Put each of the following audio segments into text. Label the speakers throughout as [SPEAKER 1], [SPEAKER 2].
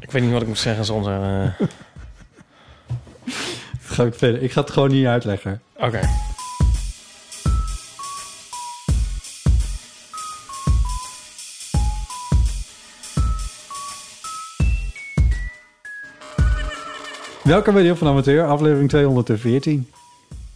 [SPEAKER 1] Ik weet niet wat ik moet zeggen zonder... eh,
[SPEAKER 2] Dat ga ik verder. Ik ga het gewoon niet uitleggen.
[SPEAKER 1] Oké.
[SPEAKER 2] Welkom bij Deel van Amateur, aflevering 214.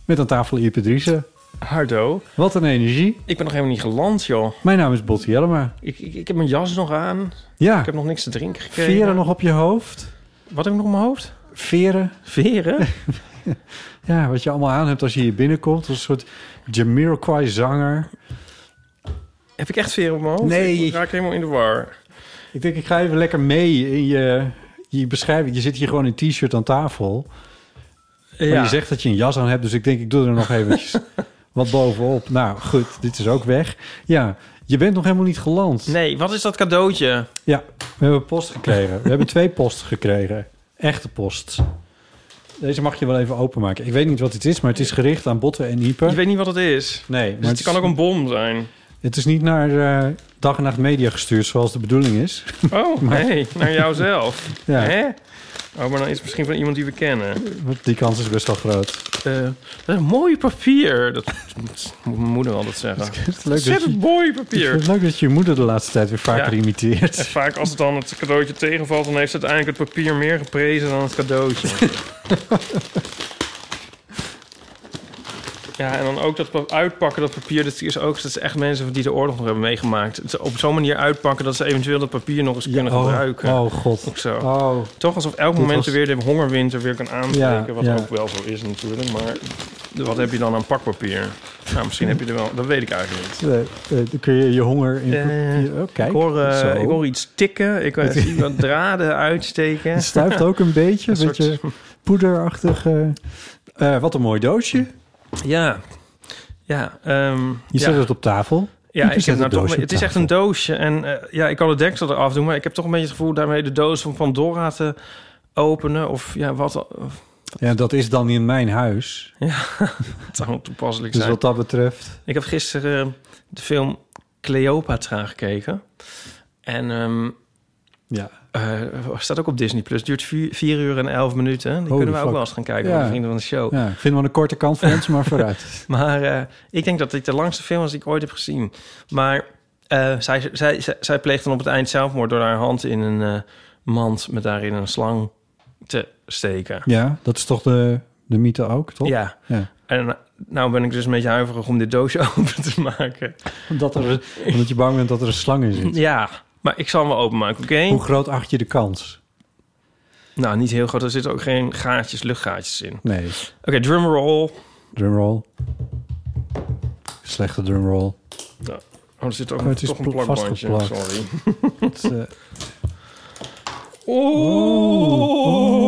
[SPEAKER 2] Met aan tafel Ipe Driessen.
[SPEAKER 1] Hardo.
[SPEAKER 2] Wat een energie.
[SPEAKER 1] Ik ben nog helemaal niet geland, joh.
[SPEAKER 2] Mijn naam is Botti Jellema.
[SPEAKER 1] Ik, ik, ik heb mijn jas nog aan.
[SPEAKER 2] Ja,
[SPEAKER 1] Ik heb nog niks te drinken gekregen.
[SPEAKER 2] veren nog op je hoofd.
[SPEAKER 1] Wat heb ik nog op mijn hoofd?
[SPEAKER 2] Veren.
[SPEAKER 1] Veren?
[SPEAKER 2] Ja, wat je allemaal aan hebt als je hier binnenkomt. Als een soort Jamiroquai zanger.
[SPEAKER 1] heb ik echt veren op mijn hoofd?
[SPEAKER 2] Nee. Oh,
[SPEAKER 1] Ik raak helemaal in de war.
[SPEAKER 2] Ik denk, ik ga even lekker mee in je, je beschrijving. Je zit hier gewoon in t-shirt aan tafel. Maar
[SPEAKER 1] Ja.
[SPEAKER 2] je zegt dat je een jas aan hebt, dus ik denk ik doe er nog eventjes wat bovenop. Nou goed, dit is ook weg. Ja, je bent nog helemaal niet geland.
[SPEAKER 1] Nee, wat is dat cadeautje?
[SPEAKER 2] Ja, we hebben post gekregen. We hebben twee posten gekregen. Echte post. Deze mag je wel even openmaken. Ik weet niet wat het is, maar het is gericht aan botten en
[SPEAKER 1] Ik
[SPEAKER 2] hyper.
[SPEAKER 1] weet niet wat het is.
[SPEAKER 2] Nee, maar
[SPEAKER 1] Dus het
[SPEAKER 2] is-
[SPEAKER 1] kan ook een bom zijn.
[SPEAKER 2] het is niet naar eh, dag en nacht media gestuurd zoals de bedoeling is.
[SPEAKER 1] Oh, nee. Naar jouzelf.
[SPEAKER 2] Ja,
[SPEAKER 1] Hè? Oh, maar dan is het misschien van iemand die we kennen.
[SPEAKER 2] want die kans is best wel groot.
[SPEAKER 1] Eh, dat is mooi papier. Dat moet mijn moeder altijd zeggen.
[SPEAKER 2] Het is leuk, dat je,
[SPEAKER 1] Ontzettend mooi
[SPEAKER 2] ik vind
[SPEAKER 1] papier.
[SPEAKER 2] het leuk dat je je moeder de laatste tijd weer vaker
[SPEAKER 1] Ja. En
[SPEAKER 2] imiteert.
[SPEAKER 1] vaak als het dan het cadeautje tegenvalt, dan heeft ze uiteindelijk het papier meer geprezen dan het cadeautje. ja, en dan ook dat pa- uitpakken, dat papier, dat is ook dat is echt mensen die de oorlog nog hebben meegemaakt. Het op zo'n manier uitpakken dat ze eventueel dat papier nog eens kunnen gebruiken.
[SPEAKER 2] Oh, oh god.
[SPEAKER 1] Of zo.
[SPEAKER 2] Oh,
[SPEAKER 1] Toch alsof elk
[SPEAKER 2] Dit
[SPEAKER 1] moment
[SPEAKER 2] was-
[SPEAKER 1] weer de hongerwinter weer kan aanbreken,
[SPEAKER 2] Ja,
[SPEAKER 1] wat
[SPEAKER 2] ja.
[SPEAKER 1] ook wel zo is natuurlijk. Maar wat heb je dan aan pakpapier? Nou, misschien heb je er wel, dat weet ik eigenlijk niet.
[SPEAKER 2] eh, eh, dan kun je je honger in...
[SPEAKER 1] Eh,
[SPEAKER 2] je- oh, kijk,
[SPEAKER 1] ik, hoor, eh,
[SPEAKER 2] zo.
[SPEAKER 1] ik hoor iets tikken. Ik eh, zie wat draden uitsteken.
[SPEAKER 2] Het stuift ook een beetje, een
[SPEAKER 1] Een
[SPEAKER 2] beetje poederachtig. eh. Eh, wat een mooi doosje.
[SPEAKER 1] Ja. Ja, ehm,
[SPEAKER 2] Je
[SPEAKER 1] ja.
[SPEAKER 2] zet het op tafel.
[SPEAKER 1] ja, ik
[SPEAKER 2] zet
[SPEAKER 1] heb
[SPEAKER 2] het
[SPEAKER 1] nou toch,
[SPEAKER 2] doosje op
[SPEAKER 1] het is echt
[SPEAKER 2] tafel.
[SPEAKER 1] een doosje. En eh, ja, ik kan het deksel eraf doen, maar ik heb toch een beetje het gevoel daarmee de doos van Pandora te openen. Of ja, wat of,
[SPEAKER 2] Ja, dat is dan in mijn huis.
[SPEAKER 1] het zou wel toepasselijk
[SPEAKER 2] Dus
[SPEAKER 1] zijn.
[SPEAKER 2] wat dat betreft.
[SPEAKER 1] Ik heb gisteren eh, de film Cleopatra gekeken. En ehm
[SPEAKER 2] Ja.
[SPEAKER 1] eh, staat ook op Disney Plus. Duurt 4 uur en 11 minuten. Die
[SPEAKER 2] Holy
[SPEAKER 1] kunnen we ook
[SPEAKER 2] fuck.
[SPEAKER 1] wel eens gaan kijken
[SPEAKER 2] Ja.
[SPEAKER 1] met de vrienden van de show.
[SPEAKER 2] ja, vinden we aan de korte kant van ons, maar vooruit.
[SPEAKER 1] Maar eh, ik denk dat dit de langste film was die ik ooit heb gezien. Maar eh, zij, zij, zij, zij pleegt dan op het eind zelfmoord door haar hand in een eh, mand met daarin een slang te steken.
[SPEAKER 2] Ja, dat is toch de, de mythe ook, toch?
[SPEAKER 1] Ja.
[SPEAKER 2] Ja.
[SPEAKER 1] En nou ben ik dus een beetje huiverig om dit doosje open te maken.
[SPEAKER 2] Omdat, er, omdat je bang bent dat er een slang in zit.
[SPEAKER 1] Ja, maar ik zal hem wel openmaken, oké?
[SPEAKER 2] Hoe groot acht je de kans?
[SPEAKER 1] Nou, niet heel groot. Er zitten ook geen gaatjes, luchtgaatjes in. Oké,
[SPEAKER 2] Nee.
[SPEAKER 1] drumroll.
[SPEAKER 2] Drumroll. Slechte drumroll.
[SPEAKER 1] Oh, er zit ook
[SPEAKER 2] Oh, het is
[SPEAKER 1] toch een
[SPEAKER 2] pl-
[SPEAKER 1] plakbandje.
[SPEAKER 2] vastgeplakt.
[SPEAKER 1] Sorry.
[SPEAKER 2] Het, eh,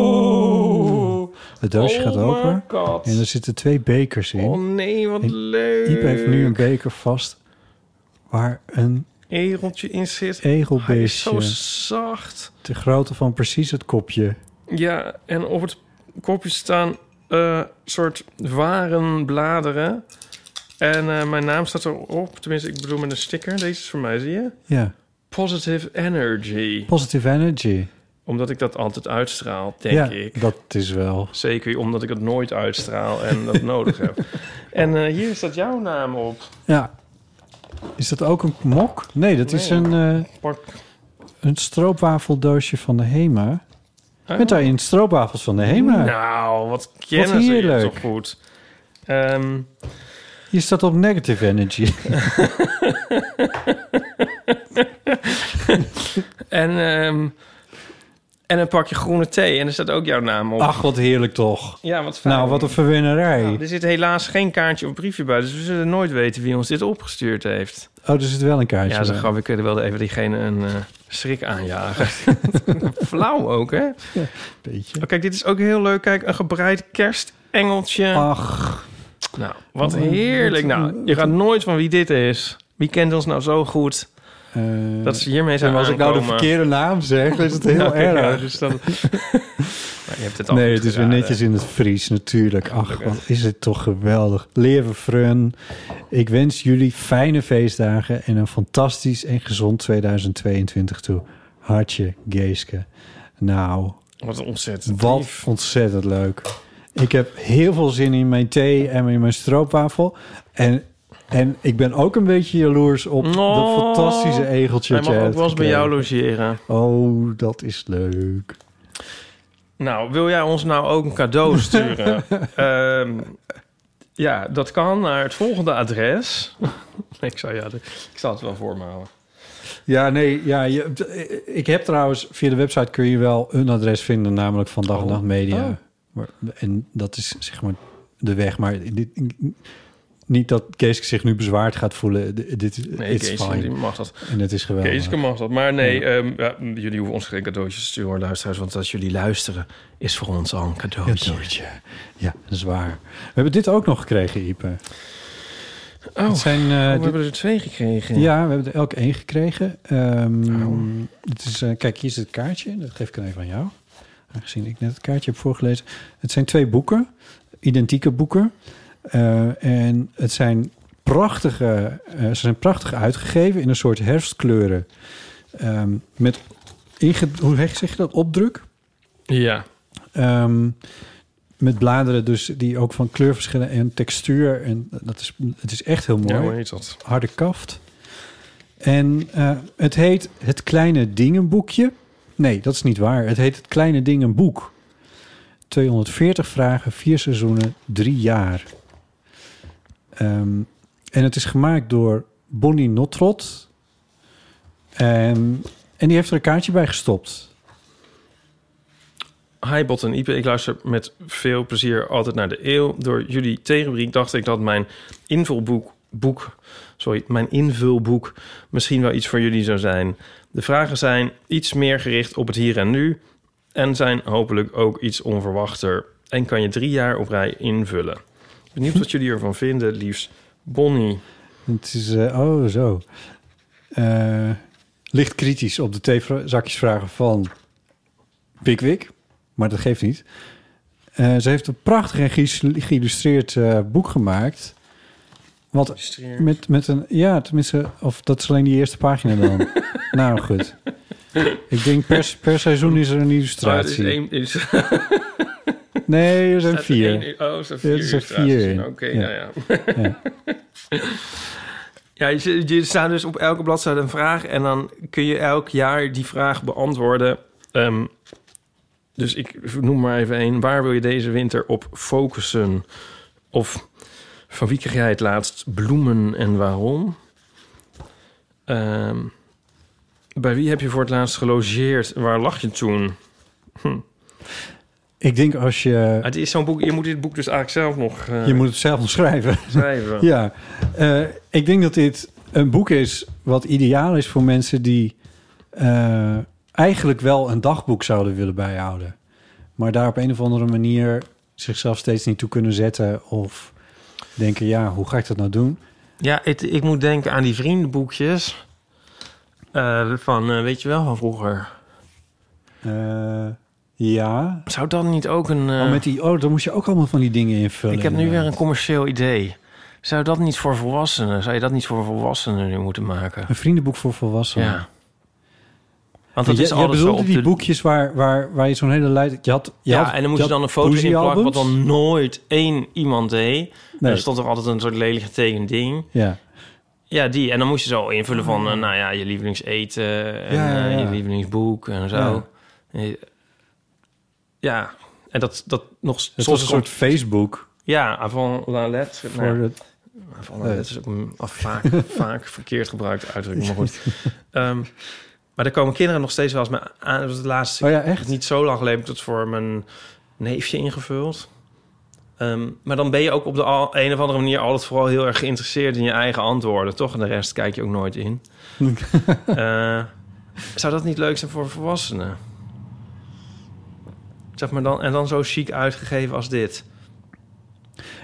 [SPEAKER 1] Oh,
[SPEAKER 2] het doosje
[SPEAKER 1] Oh
[SPEAKER 2] gaat
[SPEAKER 1] my
[SPEAKER 2] open.
[SPEAKER 1] God.
[SPEAKER 2] En er zitten twee bekers in.
[SPEAKER 1] Oh nee, wat
[SPEAKER 2] En
[SPEAKER 1] leuk.
[SPEAKER 2] Iep heeft nu een beker vast waar een
[SPEAKER 1] egeltje in zit. Hij is
[SPEAKER 2] egelbeestje
[SPEAKER 1] zo zacht.
[SPEAKER 2] de grootte van precies het kopje.
[SPEAKER 1] Ja, en op het kopje staan eh soort warenbladeren. En eh, mijn naam staat erop. Tenminste, ik bedoel met een sticker. Deze is voor mij, zie je?
[SPEAKER 2] Ja,
[SPEAKER 1] Positive Energy.
[SPEAKER 2] positive energy.
[SPEAKER 1] Omdat ik dat altijd uitstraal, denk
[SPEAKER 2] ja,
[SPEAKER 1] ik.
[SPEAKER 2] dat is wel.
[SPEAKER 1] Zeker omdat ik het nooit uitstraal en dat nodig heb. En eh, hier staat jouw naam op.
[SPEAKER 2] Ja, Is dat ook een mok? Nee, dat is
[SPEAKER 1] Nee.
[SPEAKER 2] een, eh, een stroopwafeldoosje van de Hema. Met daarin stroopwafels van de Hema.
[SPEAKER 1] Nou, wat kennen ze je
[SPEAKER 2] heerlijk.
[SPEAKER 1] toch goed. Ehm,
[SPEAKER 2] Hier staat op negative energy.
[SPEAKER 1] en, ehm, en een pakje groene thee. En er staat ook jouw naam op.
[SPEAKER 2] Ach, wat heerlijk toch.
[SPEAKER 1] ja, wat fijn. Nou,
[SPEAKER 2] Nou, wat een verwinnerij.
[SPEAKER 1] er zit helaas geen kaartje of briefje bij. Dus we zullen nooit weten wie ons dit opgestuurd heeft.
[SPEAKER 2] Oh, er zit wel een kaartje
[SPEAKER 1] Ja, zo
[SPEAKER 2] bij.
[SPEAKER 1] grap. Ik wilde even diegene een eh, schrik aanjagen. Flauw ook, hè?
[SPEAKER 2] Beetje.
[SPEAKER 1] Oh, kijk, dit is ook heel leuk. Kijk, een gebreid kerstengeltje.
[SPEAKER 2] Ach,
[SPEAKER 1] Nou, wat
[SPEAKER 2] Wat een-
[SPEAKER 1] heerlijk.
[SPEAKER 2] Ah. Oh, wat een-
[SPEAKER 1] Nou, je gaat nooit van wie dit is. Wie kent ons nou zo goed?
[SPEAKER 2] eh,
[SPEAKER 1] Dat ze hiermee zijn
[SPEAKER 2] en als ik nou de
[SPEAKER 1] aankomen.
[SPEAKER 2] verkeerde naam zeg, is het heel
[SPEAKER 1] Ja, ja,
[SPEAKER 2] erg.
[SPEAKER 1] dus dan... Maar je hebt het al
[SPEAKER 2] Nee,
[SPEAKER 1] goed
[SPEAKER 2] het is weer
[SPEAKER 1] geraden.
[SPEAKER 2] netjes in het Fries natuurlijk. Ach, wat is het toch geweldig. Leven Frun, ik wens jullie fijne feestdagen en een fantastisch en gezond 2022 toe. Hartje, Geeske. Nou,
[SPEAKER 1] Wat ontzettend.
[SPEAKER 2] wat
[SPEAKER 1] lief.
[SPEAKER 2] ontzettend leuk. Ik heb heel veel zin in mijn thee en in mijn stroopwafel. En, en ik ben ook een beetje jaloers op
[SPEAKER 1] Oh.
[SPEAKER 2] dat fantastische egeltje.
[SPEAKER 1] Hij
[SPEAKER 2] dat je
[SPEAKER 1] mag ook
[SPEAKER 2] hebt
[SPEAKER 1] wel eens bij jou
[SPEAKER 2] gekregen.
[SPEAKER 1] logeren.
[SPEAKER 2] Oh, dat is leuk.
[SPEAKER 1] Nou, wil jij ons nou ook een cadeau sturen? Ehm, ja, dat kan naar het volgende adres. ik, zou, ja, de- ik zal het wel voor me houden.
[SPEAKER 2] Ja, nee, ja, je, ik heb trouwens via de website kun je wel een adres vinden, namelijk van Dag en Nacht Media.
[SPEAKER 1] Oh.
[SPEAKER 2] Maar, en dat is zeg maar de weg. Maar dit, niet dat Kees zich nu bezwaard gaat voelen. D- Dit is
[SPEAKER 1] Nee,
[SPEAKER 2] it's
[SPEAKER 1] Kees,
[SPEAKER 2] fine.
[SPEAKER 1] die mag dat.
[SPEAKER 2] En het is geweldig.
[SPEAKER 1] Keeske mag dat. Maar nee, ehm, ja, jullie hoeven ons geen cadeautjes te sturen, hoor, luisteraars. Want als jullie luisteren, is voor ons al een cadeautje.
[SPEAKER 2] Cadeautje. Ja, dat is waar. We hebben dit ook nog gekregen, Ipe.
[SPEAKER 1] Oh,
[SPEAKER 2] Het zijn, eh,
[SPEAKER 1] we
[SPEAKER 2] dit-
[SPEAKER 1] hebben er twee gekregen.
[SPEAKER 2] ja, we hebben er elk één gekregen. Ehm, dit is, eh, kijk, hier is het kaartje. Dat geef ik dan even aan jou. Aangezien ik net het kaartje heb voorgelezen. Het zijn twee boeken. Identieke boeken. Eh, en het zijn prachtige... eh, ze zijn prachtig uitgegeven in een soort herfstkleuren. Ehm, met, inge, hoe zeg je dat? Opdruk?
[SPEAKER 1] ja.
[SPEAKER 2] Ehm, met bladeren dus die ook van kleurverschillen en textuur. En dat is, het is echt heel mooi.
[SPEAKER 1] Ja, hoe heet dat?
[SPEAKER 2] Harde kaft. En eh, het heet Het Kleine Dingenboekje. Nee, dat is niet waar. Het heet Het Kleine Dingenboek. 240 vragen, vier seizoenen, drie jaar. Ehm, en het is gemaakt door Bonnie Notrot. Ehm, en die heeft er een kaartje bij gestopt.
[SPEAKER 1] Hi Bot en Ipe, ik luister met veel plezier altijd naar de eeuw. Door jullie theerubriek dacht ik dat mijn invulboek, boek, sorry, mijn invulboek misschien wel iets voor jullie zou zijn. De vragen zijn iets meer gericht op het hier en nu en zijn hopelijk ook iets onverwachter. En kan je drie jaar op rij invullen. Benieuwd wat jullie ervan vinden, liefst Bonnie.
[SPEAKER 2] Het is, eh, oh zo. Eh, licht kritisch op de theezakjesvragen van Pickwick. Maar dat geeft niet. Eh, ze heeft een prachtig en ge- geïllustreerd eh, boek gemaakt. Wat met, met een, ja, tenminste, of dat is alleen die eerste pagina dan. nou goed. Ik denk per, se- per seizoen is er een
[SPEAKER 1] Oh, het is
[SPEAKER 2] illustratie.
[SPEAKER 1] één- is-
[SPEAKER 2] Nee, er zijn
[SPEAKER 1] staat er
[SPEAKER 2] vier.
[SPEAKER 1] één- oh, er zijn
[SPEAKER 2] Ja,
[SPEAKER 1] vier.
[SPEAKER 2] er zijn
[SPEAKER 1] illustraties
[SPEAKER 2] vier
[SPEAKER 1] in.
[SPEAKER 2] in.
[SPEAKER 1] Oké,
[SPEAKER 2] Ja.
[SPEAKER 1] nou ja. Ja, je, je staat dus op elke bladzijde een vraag en dan kun je elk jaar die vraag beantwoorden. Ehm, dus ik noem maar even één. Waar wil je deze winter op focussen? Of van wie kreeg jij het laatst bloemen en waarom? Ehm, bij wie heb je voor het laatst gelogeerd? Waar lag je toen?
[SPEAKER 2] Ik denk als je...
[SPEAKER 1] Het is zo'n boek, je moet dit boek dus eigenlijk zelf nog eh,
[SPEAKER 2] Je moet het zelf omschrijven.
[SPEAKER 1] schrijven.
[SPEAKER 2] Ja, eh, ik denk dat dit een boek is wat ideaal is voor mensen die eh, eigenlijk wel een dagboek zouden willen bijhouden. Maar daar op een of andere manier zichzelf steeds niet toe kunnen zetten. Of denken, ja, hoe ga ik dat nou doen?
[SPEAKER 1] Ja, het- ik moet denken aan die vriendenboekjes. Eh, van, eh, weet je wel, van vroeger.
[SPEAKER 2] Eh, ja.
[SPEAKER 1] Zou dat niet ook een... eh,
[SPEAKER 2] Oh, met die, oh, dan moest je ook allemaal van die dingen invullen.
[SPEAKER 1] ik heb nu weer
[SPEAKER 2] inderdaad.
[SPEAKER 1] een commercieel idee. Zou dat niet voor volwassenen... Zou je dat niet voor volwassenen nu moeten maken?
[SPEAKER 2] Een vriendenboek voor volwassenen.
[SPEAKER 1] Ja. Want dat
[SPEAKER 2] Jij-
[SPEAKER 1] is
[SPEAKER 2] jij
[SPEAKER 1] alles zo
[SPEAKER 2] bedoelde
[SPEAKER 1] op
[SPEAKER 2] die
[SPEAKER 1] de...
[SPEAKER 2] boekjes waar, waar, waar je zo'n hele lijst... Je had, je
[SPEAKER 1] ja,
[SPEAKER 2] had-
[SPEAKER 1] en dan moest je
[SPEAKER 2] had
[SPEAKER 1] dan een foto in plakken...
[SPEAKER 2] poëziealbums.
[SPEAKER 1] wat dan nooit één iemand deed. Dus En
[SPEAKER 2] Nee.
[SPEAKER 1] Er stond er altijd een soort lelijk getekend ding.
[SPEAKER 2] Ja.
[SPEAKER 1] Ja, die. En dan moest je zo invullen van, eh, nou ja, je lievelingseten en
[SPEAKER 2] Oh. Ja, ja,
[SPEAKER 1] eh,
[SPEAKER 2] ja.
[SPEAKER 1] je lievelingsboek en zo. Ja, ja. en dat, dat nog
[SPEAKER 2] Het
[SPEAKER 1] soms
[SPEAKER 2] was een
[SPEAKER 1] komt-
[SPEAKER 2] soort Facebook
[SPEAKER 1] Ja, avant la lettre.
[SPEAKER 2] voor
[SPEAKER 1] Nou,
[SPEAKER 2] het...
[SPEAKER 1] avant la lettre is ook een af- vaak, vaak verkeerd gebruikte uitdrukking, maar goed. Ehm, maar daar komen kinderen nog steeds wel eens mee aan. Dat was het laatste
[SPEAKER 2] Oh ja, echt?
[SPEAKER 1] echt niet zo lang geleden heb ik dat voor mijn neefje ingevuld. Ehm, maar dan ben je ook op de al- een of andere manier altijd vooral heel erg geïnteresseerd in je eigen antwoorden, toch? En de rest kijk je ook nooit in. Eh, zou dat niet leuk zijn voor volwassenen? Zeg maar dan, en dan zo chic uitgegeven als dit.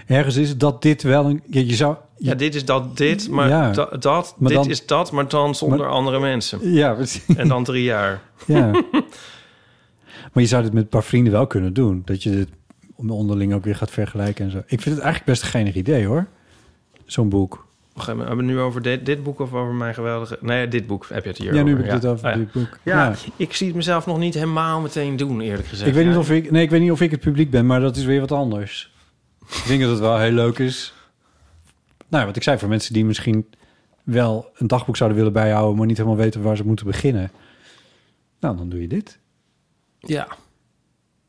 [SPEAKER 2] Ergens is het dat dit wel een... Ja, je zou...
[SPEAKER 1] Ja, dit is dat, dit, maar
[SPEAKER 2] Ja.
[SPEAKER 1] da- dat,
[SPEAKER 2] Maar
[SPEAKER 1] dit
[SPEAKER 2] dan-
[SPEAKER 1] is dat, maar dan zonder
[SPEAKER 2] Maar-
[SPEAKER 1] andere mensen.
[SPEAKER 2] ja, precies.
[SPEAKER 1] En dan drie jaar.
[SPEAKER 2] Ja. maar je zou dit met een paar vrienden wel kunnen doen. Dat je dit onderling ook weer gaat vergelijken en zo. Ik vind het eigenlijk best een geinig idee, hoor. Zo'n boek.
[SPEAKER 1] Wacht even, hebben we het nu over dit, dit boek of over mijn geweldige... Nee, dit boek heb je het hier
[SPEAKER 2] ja, nu
[SPEAKER 1] over,
[SPEAKER 2] heb ik dit over
[SPEAKER 1] Ah, ja.
[SPEAKER 2] dit boek.
[SPEAKER 1] Ja, ik zie het mezelf nog niet helemaal meteen doen, eerlijk gezegd.
[SPEAKER 2] Ik weet, niet
[SPEAKER 1] Ja.
[SPEAKER 2] of ik, nee, ik weet niet of ik het publiek ben, maar dat is weer wat anders. ik denk dat het wel heel leuk is. Nou, wat ik zei, voor mensen die misschien wel een dagboek zouden willen bijhouden, maar niet helemaal weten waar ze moeten beginnen. Nou, dan doe je dit.
[SPEAKER 1] Ja,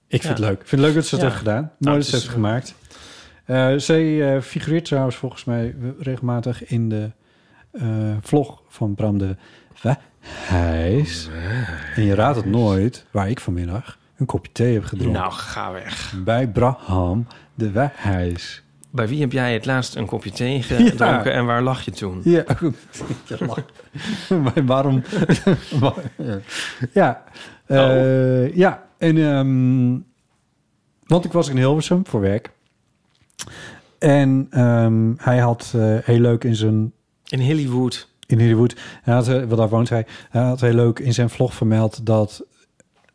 [SPEAKER 2] Ik vind
[SPEAKER 1] Ja.
[SPEAKER 2] het leuk. Ik vind het leuk dat ze dat
[SPEAKER 1] Ja. Nou,
[SPEAKER 2] heeft gedaan. Mooi
[SPEAKER 1] het
[SPEAKER 2] dat ze het
[SPEAKER 1] is-
[SPEAKER 2] heeft gemaakt. Eh zij eh, figureert trouwens volgens mij regelmatig in de eh, vlog van Bram de Wijs. En je raadt het nooit waar ik vanmiddag een kopje thee heb gedronken.
[SPEAKER 1] nou, ga weg.
[SPEAKER 2] Bij Braham de Wijs.
[SPEAKER 1] Bij wie heb jij het laatst een kopje thee
[SPEAKER 2] Ja.
[SPEAKER 1] gedronken en waar lag je toen?
[SPEAKER 2] Ja, goed. Ja, lach. maar waarom? ja. eh, ja, en ehm, want ik was in Hilversum voor werk. En ehm, hij had eh, heel leuk in zijn
[SPEAKER 1] In Hollywood.
[SPEAKER 2] in Hollywood. Hij had, eh, wel daar woont hij. Hij had heel leuk in zijn vlog vermeld dat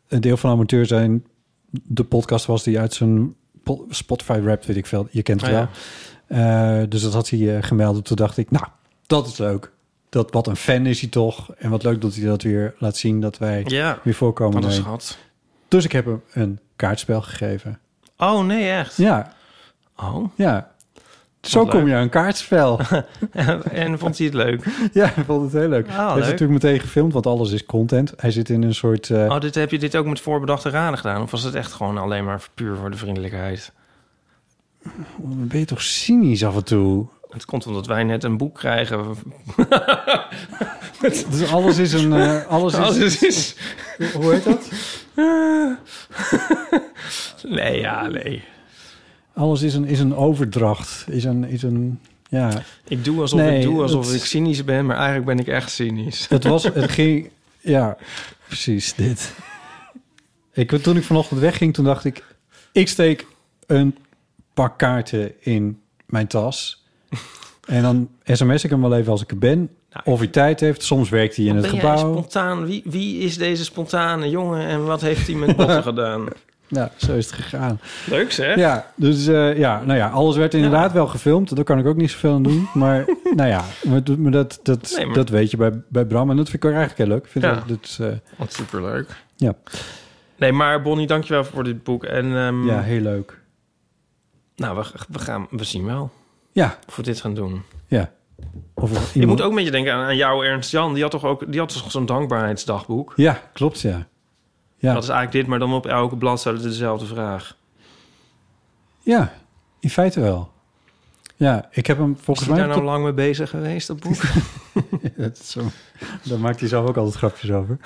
[SPEAKER 2] een deel van amateur zijn de podcast was die uit zijn po- Spotify rap, weet ik veel. Je kent het
[SPEAKER 1] Ah,
[SPEAKER 2] wel.
[SPEAKER 1] ja.
[SPEAKER 2] Eh, dus dat had hij eh, gemeld. Toen dacht ik, nou, dat is leuk. Dat, wat een fan is hij toch. En wat leuk dat hij dat weer laat zien, dat wij
[SPEAKER 1] Ja,
[SPEAKER 2] weer voorkomen.
[SPEAKER 1] wat een
[SPEAKER 2] Oh, Nee.
[SPEAKER 1] schat.
[SPEAKER 2] Dus ik heb hem een kaartspel gegeven.
[SPEAKER 1] Oh, nee, echt?
[SPEAKER 2] Ja,
[SPEAKER 1] Oh,
[SPEAKER 2] ja. Zo
[SPEAKER 1] leuk.
[SPEAKER 2] kom je aan een kaartspel.
[SPEAKER 1] en vond hij het leuk?
[SPEAKER 2] ja, ik vond het heel leuk.
[SPEAKER 1] Ah,
[SPEAKER 2] hij heeft
[SPEAKER 1] leuk.
[SPEAKER 2] natuurlijk meteen gefilmd, want alles is content. Hij zit in een soort... eh,
[SPEAKER 1] Oh, dit, heb je dit ook met voorbedachte raden gedaan? Of was het echt gewoon alleen maar puur voor de vriendelijkheid?
[SPEAKER 2] Oh, Dan ben je toch cynisch af en toe?
[SPEAKER 1] Het komt omdat wij net een boek
[SPEAKER 2] Oh,
[SPEAKER 1] krijgen.
[SPEAKER 2] Dus alles is een... eh, alles is,
[SPEAKER 1] Als het is...
[SPEAKER 2] Hoe heet dat?
[SPEAKER 1] Nee, ja, nee.
[SPEAKER 2] Alles is een, is een overdracht. Is een, is een, ja.
[SPEAKER 1] Ik doe alsof,
[SPEAKER 2] Nee,
[SPEAKER 1] ik, doe alsof
[SPEAKER 2] dat-
[SPEAKER 1] ik cynisch ben, maar eigenlijk ben ik echt cynisch.
[SPEAKER 2] Het was... Het ging... Ja, precies dit. Ik, toen ik vanochtend wegging, toen dacht ik... Ik steek een pak kaarten in mijn tas. En dan sms ik hem wel even als ik er ben.
[SPEAKER 1] Nou,
[SPEAKER 2] Of hij tijd heeft. Soms werkt hij in
[SPEAKER 1] Wat
[SPEAKER 2] het
[SPEAKER 1] ben Jij
[SPEAKER 2] gebouw.
[SPEAKER 1] spontaan, wie, wie is deze spontane jongen en wat heeft hij met botten gedaan?
[SPEAKER 2] Nou, zo is het gegaan.
[SPEAKER 1] Leuk zeg.
[SPEAKER 2] Ja, dus eh, ja, nou ja, alles werd inderdaad wel gefilmd. Daar kan ik ook niet zoveel aan doen. Maar nou ja, maar, dat- maar dat, dat,
[SPEAKER 1] Nee, maar-
[SPEAKER 2] dat weet je bij, bij Bram. En dat vind ik ook eigenlijk heel leuk. Ik Vind
[SPEAKER 1] Ja.
[SPEAKER 2] dat, dat, eh,
[SPEAKER 1] Wat superleuk.
[SPEAKER 2] Ja.
[SPEAKER 1] Nee, maar Bonnie, dankjewel voor dit boek. En ehm,
[SPEAKER 2] ja, heel leuk.
[SPEAKER 1] nou, we, we, gaan, we zien wel
[SPEAKER 2] Ja,
[SPEAKER 1] of we dit gaan doen.
[SPEAKER 2] ja. Of er
[SPEAKER 1] Ik
[SPEAKER 2] iemand-
[SPEAKER 1] moet ook een beetje denken aan, aan jou, Ernst Jan. Die had toch ook die had toch zo'n dankbaarheidsdagboek?
[SPEAKER 2] Ja, klopt, ja. Ja,
[SPEAKER 1] Dat is eigenlijk dit, maar dan op elke bladzijde dezelfde vraag.
[SPEAKER 2] ja in feite wel. Ja, ik heb hem
[SPEAKER 1] Is
[SPEAKER 2] volgens
[SPEAKER 1] hij
[SPEAKER 2] mij...
[SPEAKER 1] daar nou lang mee bezig geweest, dat boek?
[SPEAKER 2] Dat is zo- Daar maakt hij zelf ook altijd grapjes over.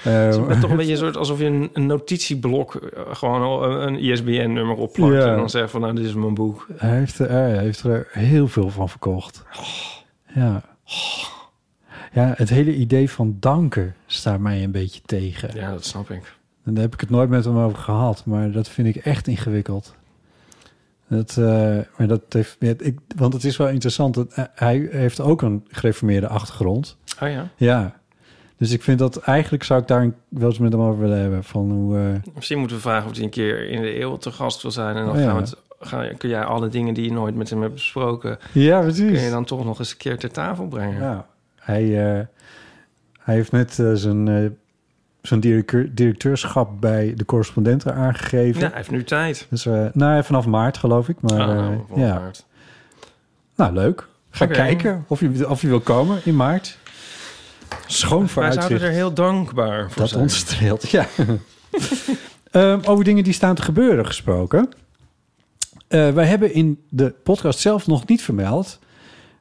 [SPEAKER 1] Het
[SPEAKER 2] Eh,
[SPEAKER 1] is toch een beetje een soort alsof je een, een notitieblok... eh, gewoon al een, een ISBN-nummer opplakt...
[SPEAKER 2] Ja.
[SPEAKER 1] en dan zegt van, nou, dit is mijn boek.
[SPEAKER 2] Hij heeft, er- hij heeft er heel veel van verkocht. Ja. Ja, het hele idee van danken staat mij een beetje tegen.
[SPEAKER 1] Ja, dat snap ik.
[SPEAKER 2] En daar heb ik het nooit met hem over gehad, maar dat vind ik echt ingewikkeld. Dat, eh, maar dat heeft, ja, ik, want het is wel interessant. Dat, eh, hij heeft ook een gereformeerde achtergrond.
[SPEAKER 1] Oh ja?
[SPEAKER 2] Ja. Dus ik vind dat eigenlijk zou ik daar een- wel eens met hem over willen hebben. Van hoe. eh,
[SPEAKER 1] Misschien moeten we vragen of hij een keer in de eeuw te gast wil zijn. En dan
[SPEAKER 2] Oh, ja.
[SPEAKER 1] gaan we het, gaan, kun jij alle dingen die je nooit met hem hebt besproken...
[SPEAKER 2] ja,
[SPEAKER 1] kun
[SPEAKER 2] precies.
[SPEAKER 1] je dan toch nog eens een keer ter tafel brengen.
[SPEAKER 2] Ja, hij, eh, hij heeft net eh, zijn, eh, zijn directeur, directeurschap bij de correspondenten aangegeven.
[SPEAKER 1] Ja, hij heeft nu tijd.
[SPEAKER 2] Dus, eh, nou, vanaf maart geloof ik. Maar,
[SPEAKER 1] Ah,
[SPEAKER 2] eh,
[SPEAKER 1] nou, wat
[SPEAKER 2] ja.
[SPEAKER 1] waard.
[SPEAKER 2] nou, leuk. Ga
[SPEAKER 1] Oké.
[SPEAKER 2] kijken of je, of je wil komen in maart. Schoon
[SPEAKER 1] Wij zouden
[SPEAKER 2] vooruitzicht.
[SPEAKER 1] er heel dankbaar voor
[SPEAKER 2] Dat
[SPEAKER 1] zijn.
[SPEAKER 2] ontstreelt, ja. Ehm, over dingen die staan te gebeuren gesproken. Eh, wij hebben in de podcast zelf nog niet vermeld.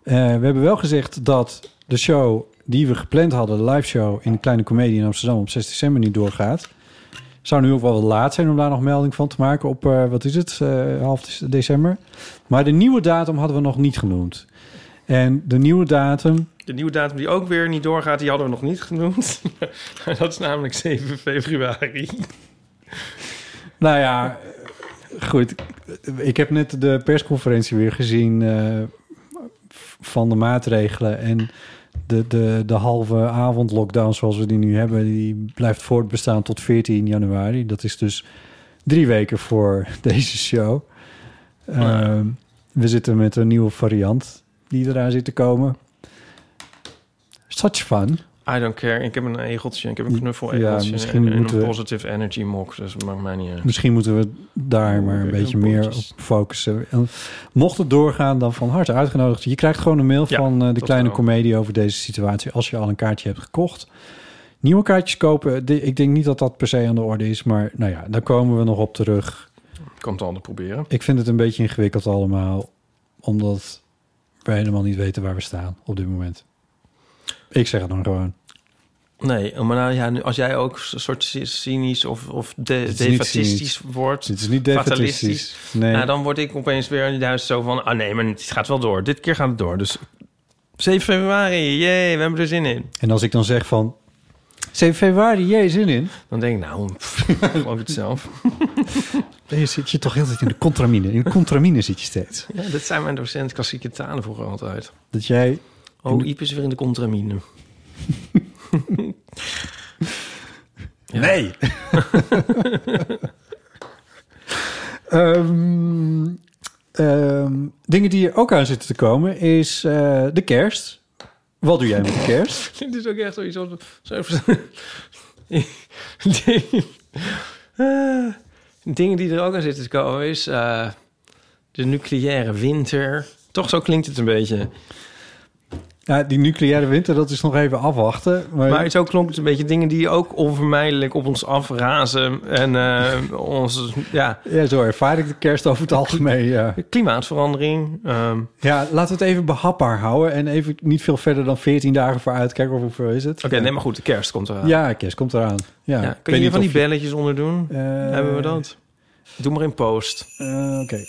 [SPEAKER 2] Eh, we hebben wel gezegd dat de show die we gepland hadden, de live show in de Kleine Comedie in Amsterdam op 6 december niet doorgaat. Zou nu ook wel wat laat zijn om daar nog melding van te maken op, eh, wat is het, eh, half december. Maar de nieuwe datum hadden we nog niet genoemd. En de nieuwe datum
[SPEAKER 1] De nieuwe datum die ook weer niet doorgaat, die hadden we nog niet genoemd. dat is namelijk 7 februari.
[SPEAKER 2] Nou ja, goed. Ik heb net de persconferentie weer gezien eh, van de maatregelen. En de, de, de halve avond lockdown zoals we die nu hebben, die blijft voortbestaan tot 14 januari. Dat is dus drie weken voor deze show. Ehm, we zitten met een nieuwe variant die eraan zit te komen. Such fun.
[SPEAKER 1] I don't care. Ik heb een egeltje. Ik heb een knuffel-egeltje.
[SPEAKER 2] Ja, misschien
[SPEAKER 1] en, en
[SPEAKER 2] moeten we-
[SPEAKER 1] een positive energy mok. Dus het maakt mij niet uit.
[SPEAKER 2] Misschien moeten we daar
[SPEAKER 1] Oh,
[SPEAKER 2] maar een
[SPEAKER 1] oké,
[SPEAKER 2] beetje
[SPEAKER 1] dan
[SPEAKER 2] meer
[SPEAKER 1] poortjes.
[SPEAKER 2] op focussen. En mocht het doorgaan, dan van harte uitgenodigd. Je krijgt gewoon een mail
[SPEAKER 1] Ja,
[SPEAKER 2] van eh, de
[SPEAKER 1] dat
[SPEAKER 2] kleine
[SPEAKER 1] wel.
[SPEAKER 2] comedie over deze situatie. Als je al een kaartje hebt gekocht. Nieuwe kaartjes kopen. de- Ik denk niet dat dat per se aan de orde is. Maar nou ja, daar komen we nog op terug.
[SPEAKER 1] Ik kan het altijd proberen.
[SPEAKER 2] Ik vind het een beetje ingewikkeld allemaal. Omdat we helemaal niet weten waar we staan op dit moment. Ik zeg het dan gewoon.
[SPEAKER 1] Nee, maar nou, ja, nu, als jij ook een soort cy- cynisch of, of de,
[SPEAKER 2] is niet
[SPEAKER 1] defatistisch wordt...
[SPEAKER 2] Het is niet
[SPEAKER 1] Fatalistisch.
[SPEAKER 2] defaitistisch. Nee.
[SPEAKER 1] Nou, dan word ik opeens weer in huis zo van... Ah nee, maar het gaat wel door. Dit keer gaat het door. Dus 7 februari, jee, we hebben er zin in.
[SPEAKER 2] En als ik dan zeg van... 7 februari, jij zin in?
[SPEAKER 1] Dan denk ik, nou, pff, ik geloof het zelf.
[SPEAKER 2] Nee, zit je toch heel de tijd in de contramine. In de contramine zit je steeds.
[SPEAKER 1] Ja, dat zijn mijn docent klassieke talen vroeger altijd.
[SPEAKER 2] Dat jij...
[SPEAKER 1] Oh, Iep is weer in de contramine.
[SPEAKER 2] Nee! Ehm, ehm, dingen die er ook aan zitten te komen is eh, de kerst. Wat doe jij met de kerst?
[SPEAKER 1] Dit is ook echt zoiets als... zo even- Ding- Eh, Dingen die er ook aan zitten te komen is... eh, de nucleaire winter. Toch zo klinkt het een beetje.
[SPEAKER 2] Ja, die nucleaire winter, dat is nog even afwachten. Maar,
[SPEAKER 1] Maar zo klonk het een beetje. Dingen die ook onvermijdelijk op ons afrazen. En eh onze ja,
[SPEAKER 2] ja, zo ervaar ik de kerst over het algemeen. Ja.
[SPEAKER 1] klimaatverandering. ehm, Oké,
[SPEAKER 2] ja, laten we het even behapbaar houden. En even niet veel verder dan 14 dagen vooruit. Kijken of hoeveel is het.
[SPEAKER 1] nee, maar goed. De kerst komt eraan.
[SPEAKER 2] Ja, kerst komt eraan. Ja. Ik
[SPEAKER 1] Ja, kun
[SPEAKER 2] weet
[SPEAKER 1] je hier
[SPEAKER 2] niet
[SPEAKER 1] van die
[SPEAKER 2] of
[SPEAKER 1] belletjes onder doen?
[SPEAKER 2] Eh,
[SPEAKER 1] Hebben we dat? Doe maar in post.
[SPEAKER 2] eh, Oké.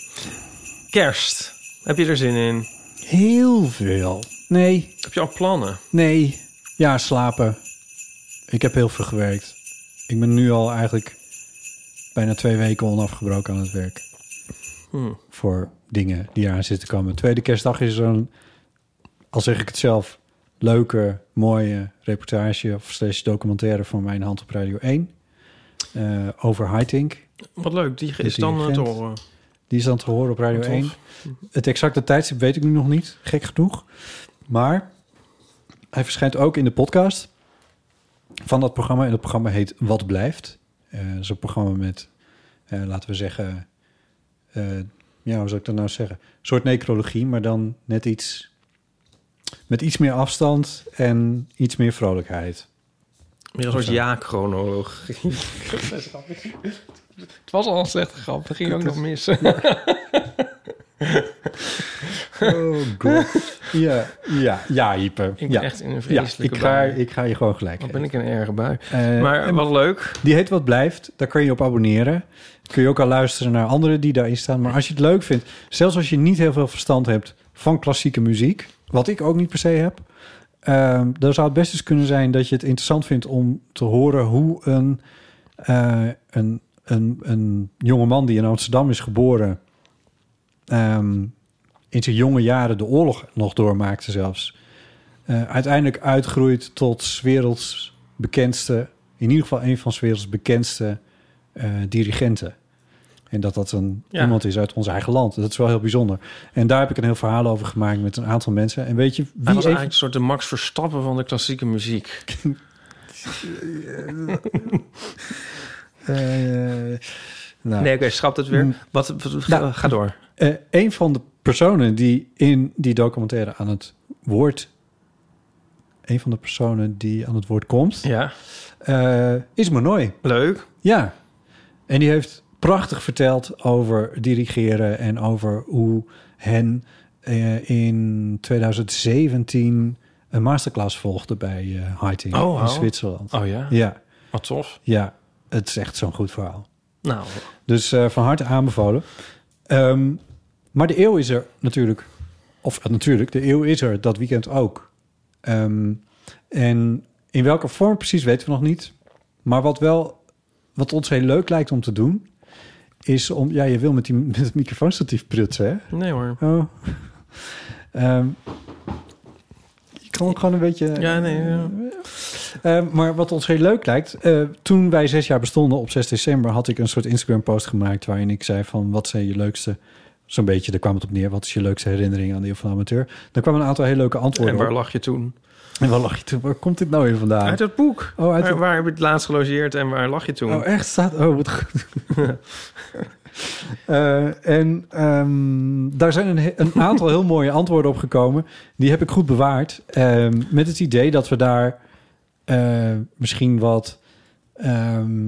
[SPEAKER 1] Kerst. Heb je er zin in?
[SPEAKER 2] Heel veel. Nee,
[SPEAKER 1] Heb je al plannen?
[SPEAKER 2] nee. Ja, slapen. Ik heb heel veel gewerkt. Ik ben nu al eigenlijk bijna twee weken onafgebroken aan het werk.
[SPEAKER 1] Hmm.
[SPEAKER 2] Voor dingen die eraan zitten komen. Tweede kerstdag is zo'n, al zeg ik het zelf, leuke, mooie reportage of slash documentaire van mijn hand op Radio 1. eh, over Highting.
[SPEAKER 1] Wat leuk, die
[SPEAKER 2] Met
[SPEAKER 1] is dan
[SPEAKER 2] die
[SPEAKER 1] het
[SPEAKER 2] Gent.
[SPEAKER 1] horen.
[SPEAKER 2] Die is dan te horen op Radio
[SPEAKER 1] Tof.
[SPEAKER 2] 1.
[SPEAKER 1] Mhm.
[SPEAKER 2] Het exacte tijdstip weet ik nu nog niet, gek genoeg. Maar hij verschijnt ook in de podcast van dat programma. En dat programma heet Wat Blijft. Eh dat is een programma met, eh, laten we zeggen... eh, ja, hoe zou ik dat nou zeggen? Een soort necrologie, maar dan net iets... Met iets meer afstand en iets meer vrolijkheid.
[SPEAKER 1] Meer een soort ja-chronoloog. Het was al een slechte grap, dat ging ook nog mis.
[SPEAKER 2] Oh god. ja, ja, ja, Hype.
[SPEAKER 1] Ik ben
[SPEAKER 2] ja.
[SPEAKER 1] echt in een
[SPEAKER 2] ja,
[SPEAKER 1] vreselijke
[SPEAKER 2] ik ga,
[SPEAKER 1] bui.
[SPEAKER 2] ik ga je gewoon gelijk
[SPEAKER 1] Wat
[SPEAKER 2] geven.
[SPEAKER 1] ben ik een erge bui.
[SPEAKER 2] Eh,
[SPEAKER 1] Maar wat leuk.
[SPEAKER 2] Die heet Wat Blijft. Daar kun je op abonneren. Kun je ook al luisteren naar anderen die daarin staan. Maar als je het leuk vindt, zelfs als je niet heel veel verstand hebt van klassieke muziek, wat ik ook niet per se heb, ehm, dan zou het best eens kunnen zijn dat je het interessant vindt om te horen hoe een, eh een, een, een jongeman die in Amsterdam is geboren, ehm, in zijn jonge jaren de oorlog nog doormaakte zelfs. eh, uiteindelijk uitgroeit tot 's werelds bekendste in ieder geval een van 's werelds bekendste eh, dirigenten. En dat dat een,
[SPEAKER 1] Ja.
[SPEAKER 2] iemand is uit ons eigen land. Dat is wel heel bijzonder. En daar heb ik een heel verhaal over gemaakt met een aantal mensen. En weet je
[SPEAKER 1] Hij
[SPEAKER 2] wie
[SPEAKER 1] was
[SPEAKER 2] even...
[SPEAKER 1] eigenlijk een soort de Max Verstappen van de klassieke muziek.
[SPEAKER 2] Eh, nou, Eh,
[SPEAKER 1] Nee, oké, schrap dat weer. Wat, wat-
[SPEAKER 2] Nou.
[SPEAKER 1] ga door.
[SPEAKER 2] eh, een van de personen die in die documentaire aan het woord... Een van de personen die aan het woord komt,
[SPEAKER 1] Ja,
[SPEAKER 2] eh, is Monoy.
[SPEAKER 1] leuk.
[SPEAKER 2] Ja. En die heeft prachtig verteld over dirigeren en over hoe hen eh, in 2017 een masterclass volgde bij eh Heiting
[SPEAKER 1] Oh,
[SPEAKER 2] in
[SPEAKER 1] wauw.
[SPEAKER 2] Zwitserland.
[SPEAKER 1] Oh ja,
[SPEAKER 2] Ja,
[SPEAKER 1] wat tof.
[SPEAKER 2] ja, het is echt zo'n goed verhaal.
[SPEAKER 1] Nou,
[SPEAKER 2] Dus eh, van harte aanbevolen. Ehm, maar de eeuw is er natuurlijk. Of eh, natuurlijk, de eeuw is er dat weekend ook. Ehm, en in welke vorm precies weten we nog niet. Maar wat wel, wat ons heel leuk lijkt om te doen, is om. Ja, je wil met, die, met het microfoonstatief prutsen, hè?
[SPEAKER 1] nee hoor.
[SPEAKER 2] Oh. Ehm, je kan ook gewoon een beetje.
[SPEAKER 1] Ja, nee. ja.
[SPEAKER 2] Eh, maar wat ons heel leuk lijkt, eh, toen wij zes jaar bestonden op 6 december, had ik een soort Instagram-post gemaakt waarin ik zei van wat zijn je leukste, zo'n beetje, daar kwam het op neer, wat is je leukste herinnering aan de Eeuw van de Amateur. Daar kwamen een aantal hele leuke
[SPEAKER 1] En
[SPEAKER 2] antwoorden
[SPEAKER 1] waar
[SPEAKER 2] op.
[SPEAKER 1] lag je toen?
[SPEAKER 2] En waar lag je toen? Waar komt dit nou weer vandaan?
[SPEAKER 1] Uit het boek.
[SPEAKER 2] Oh, uit
[SPEAKER 1] waar,
[SPEAKER 2] het-
[SPEAKER 1] waar heb je het laatst gelogeerd en waar lag je toen?
[SPEAKER 2] Oh, echt? Staat... Oh, wat goed. Eh, en ehm, daar zijn een, he- een aantal heel mooie antwoorden op gekomen. Die heb ik goed bewaard. Ehm, met het idee dat we daar eh, misschien wat, ehm,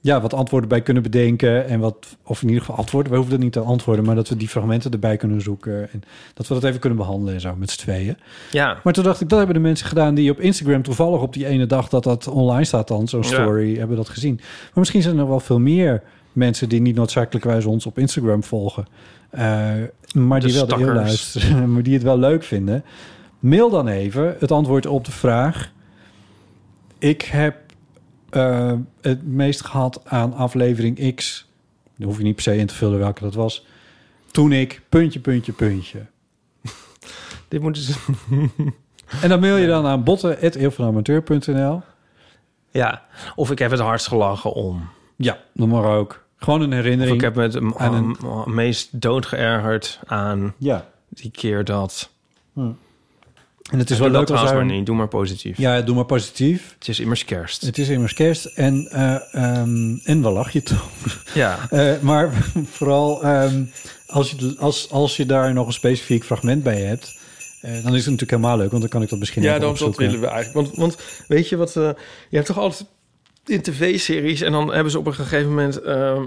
[SPEAKER 2] ja, wat antwoorden bij kunnen bedenken. En wat, of in ieder geval antwoorden. We hoeven dat niet te antwoorden, maar dat we die fragmenten erbij kunnen zoeken. En dat we dat even kunnen behandelen en zo met z'n tweeën.
[SPEAKER 1] Ja,
[SPEAKER 2] Maar toen dacht ik, dat hebben de mensen gedaan die op Instagram toevallig op die ene dag dat dat online staat dan, zo'n
[SPEAKER 1] Ja.
[SPEAKER 2] story, hebben dat gezien. Maar misschien zijn er wel veel meer mensen die niet noodzakelijkwijs ons op Instagram volgen. eh, maar
[SPEAKER 1] De
[SPEAKER 2] die wel de heel
[SPEAKER 1] stakkers.
[SPEAKER 2] luisteren, maar die het wel leuk vinden. Mail dan even het antwoord op de vraag. Ik heb eh, het meest gehad aan aflevering X. Dan hoef je niet per se in te vullen welke dat was. Toen ik puntje, puntje, puntje.
[SPEAKER 1] dit moeten ze...
[SPEAKER 2] En dan mail je dan aan botten.eeuwvanamateur.nl.
[SPEAKER 1] Ja, of ik heb het hardst gelachen om.
[SPEAKER 2] Ja, noem maar ook. Gewoon een
[SPEAKER 1] Of
[SPEAKER 2] herinnering.
[SPEAKER 1] ik heb me het m-
[SPEAKER 2] Aan een-
[SPEAKER 1] m- meest doodgeërgerd aan
[SPEAKER 2] Ja.
[SPEAKER 1] die keer dat...
[SPEAKER 2] En het is
[SPEAKER 1] Doe
[SPEAKER 2] wel leuk
[SPEAKER 1] dat
[SPEAKER 2] als
[SPEAKER 1] trouwens
[SPEAKER 2] daar...
[SPEAKER 1] maar niet, doe maar positief.
[SPEAKER 2] Ja, doe maar positief.
[SPEAKER 1] Het is immers kerst.
[SPEAKER 2] Het is immers kerst en, eh, ehm, en wel lach je toch.
[SPEAKER 1] Ja,
[SPEAKER 2] Eh, maar vooral ehm, als, je, als, als je daar nog een specifiek fragment bij hebt... eh, dan is het natuurlijk helemaal leuk, want dan kan ik dat misschien
[SPEAKER 1] ja
[SPEAKER 2] even
[SPEAKER 1] dat, dat
[SPEAKER 2] opzoeken.
[SPEAKER 1] willen we eigenlijk. Want, want weet je wat... eh, je hebt toch altijd in tv-series... en dan hebben ze op een gegeven moment... eh,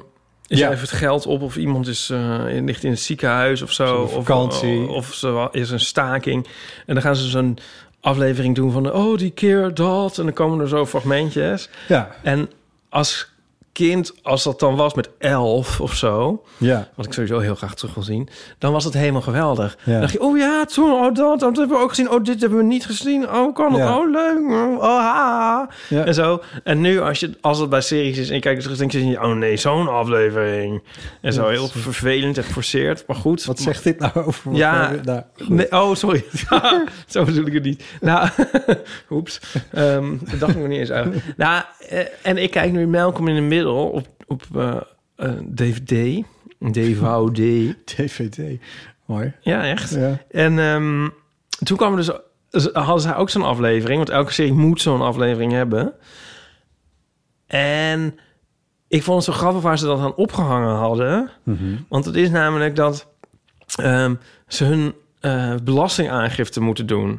[SPEAKER 1] is
[SPEAKER 2] Ja.
[SPEAKER 1] even het geld op of iemand is, eh, in- ligt in het ziekenhuis of zo.
[SPEAKER 2] Zo'n
[SPEAKER 1] of-
[SPEAKER 2] vakantie.
[SPEAKER 1] Of, ze is een staking. En dan gaan ze zo'n aflevering doen van... oh, die keer dat. En dan komen er zo fragmentjes.
[SPEAKER 2] Ja,
[SPEAKER 1] En als kind, als dat dan was met elf of zo,
[SPEAKER 2] ja.
[SPEAKER 1] wat ik sowieso heel graag terug wil zien, dan was het helemaal geweldig.
[SPEAKER 2] Ja.
[SPEAKER 1] Dan dacht je, oh ja, toen, oh dat, dat hebben we ook gezien, oh dit hebben we niet gezien, oh kan het,
[SPEAKER 2] Ja.
[SPEAKER 1] oh leuk, oh ha.
[SPEAKER 2] Ja.
[SPEAKER 1] En zo. En nu, als, je, als het bij series is en je kijkt terug, denk je, oh nee, zo'n aflevering. En zo,
[SPEAKER 2] Ja,
[SPEAKER 1] heel vervelend en geforceerd, maar goed.
[SPEAKER 2] Wat zegt dit nou over... wat
[SPEAKER 1] Ja.
[SPEAKER 2] we- nou, goed.
[SPEAKER 1] Nee, oh, sorry. Ja, zo bedoel ik het niet. Nou, oeps. Ehm, dat dacht ik nog niet eens uit. Nou, eh, en ik kijk nu Malcolm in the Middle op, op eh, eh, DVD. DVD.
[SPEAKER 2] DVD. Mooi.
[SPEAKER 1] Ja, echt.
[SPEAKER 2] Ja.
[SPEAKER 1] En ehm, toen kwam er dus... z- Hadden zij ook zo'n aflevering. Want elke serie moet zo'n aflevering hebben. En ik vond het zo grappig waar ze dat aan opgehangen hadden.
[SPEAKER 2] Mhm.
[SPEAKER 1] Want het is namelijk dat ehm, ze hun eh, belastingaangifte moeten doen.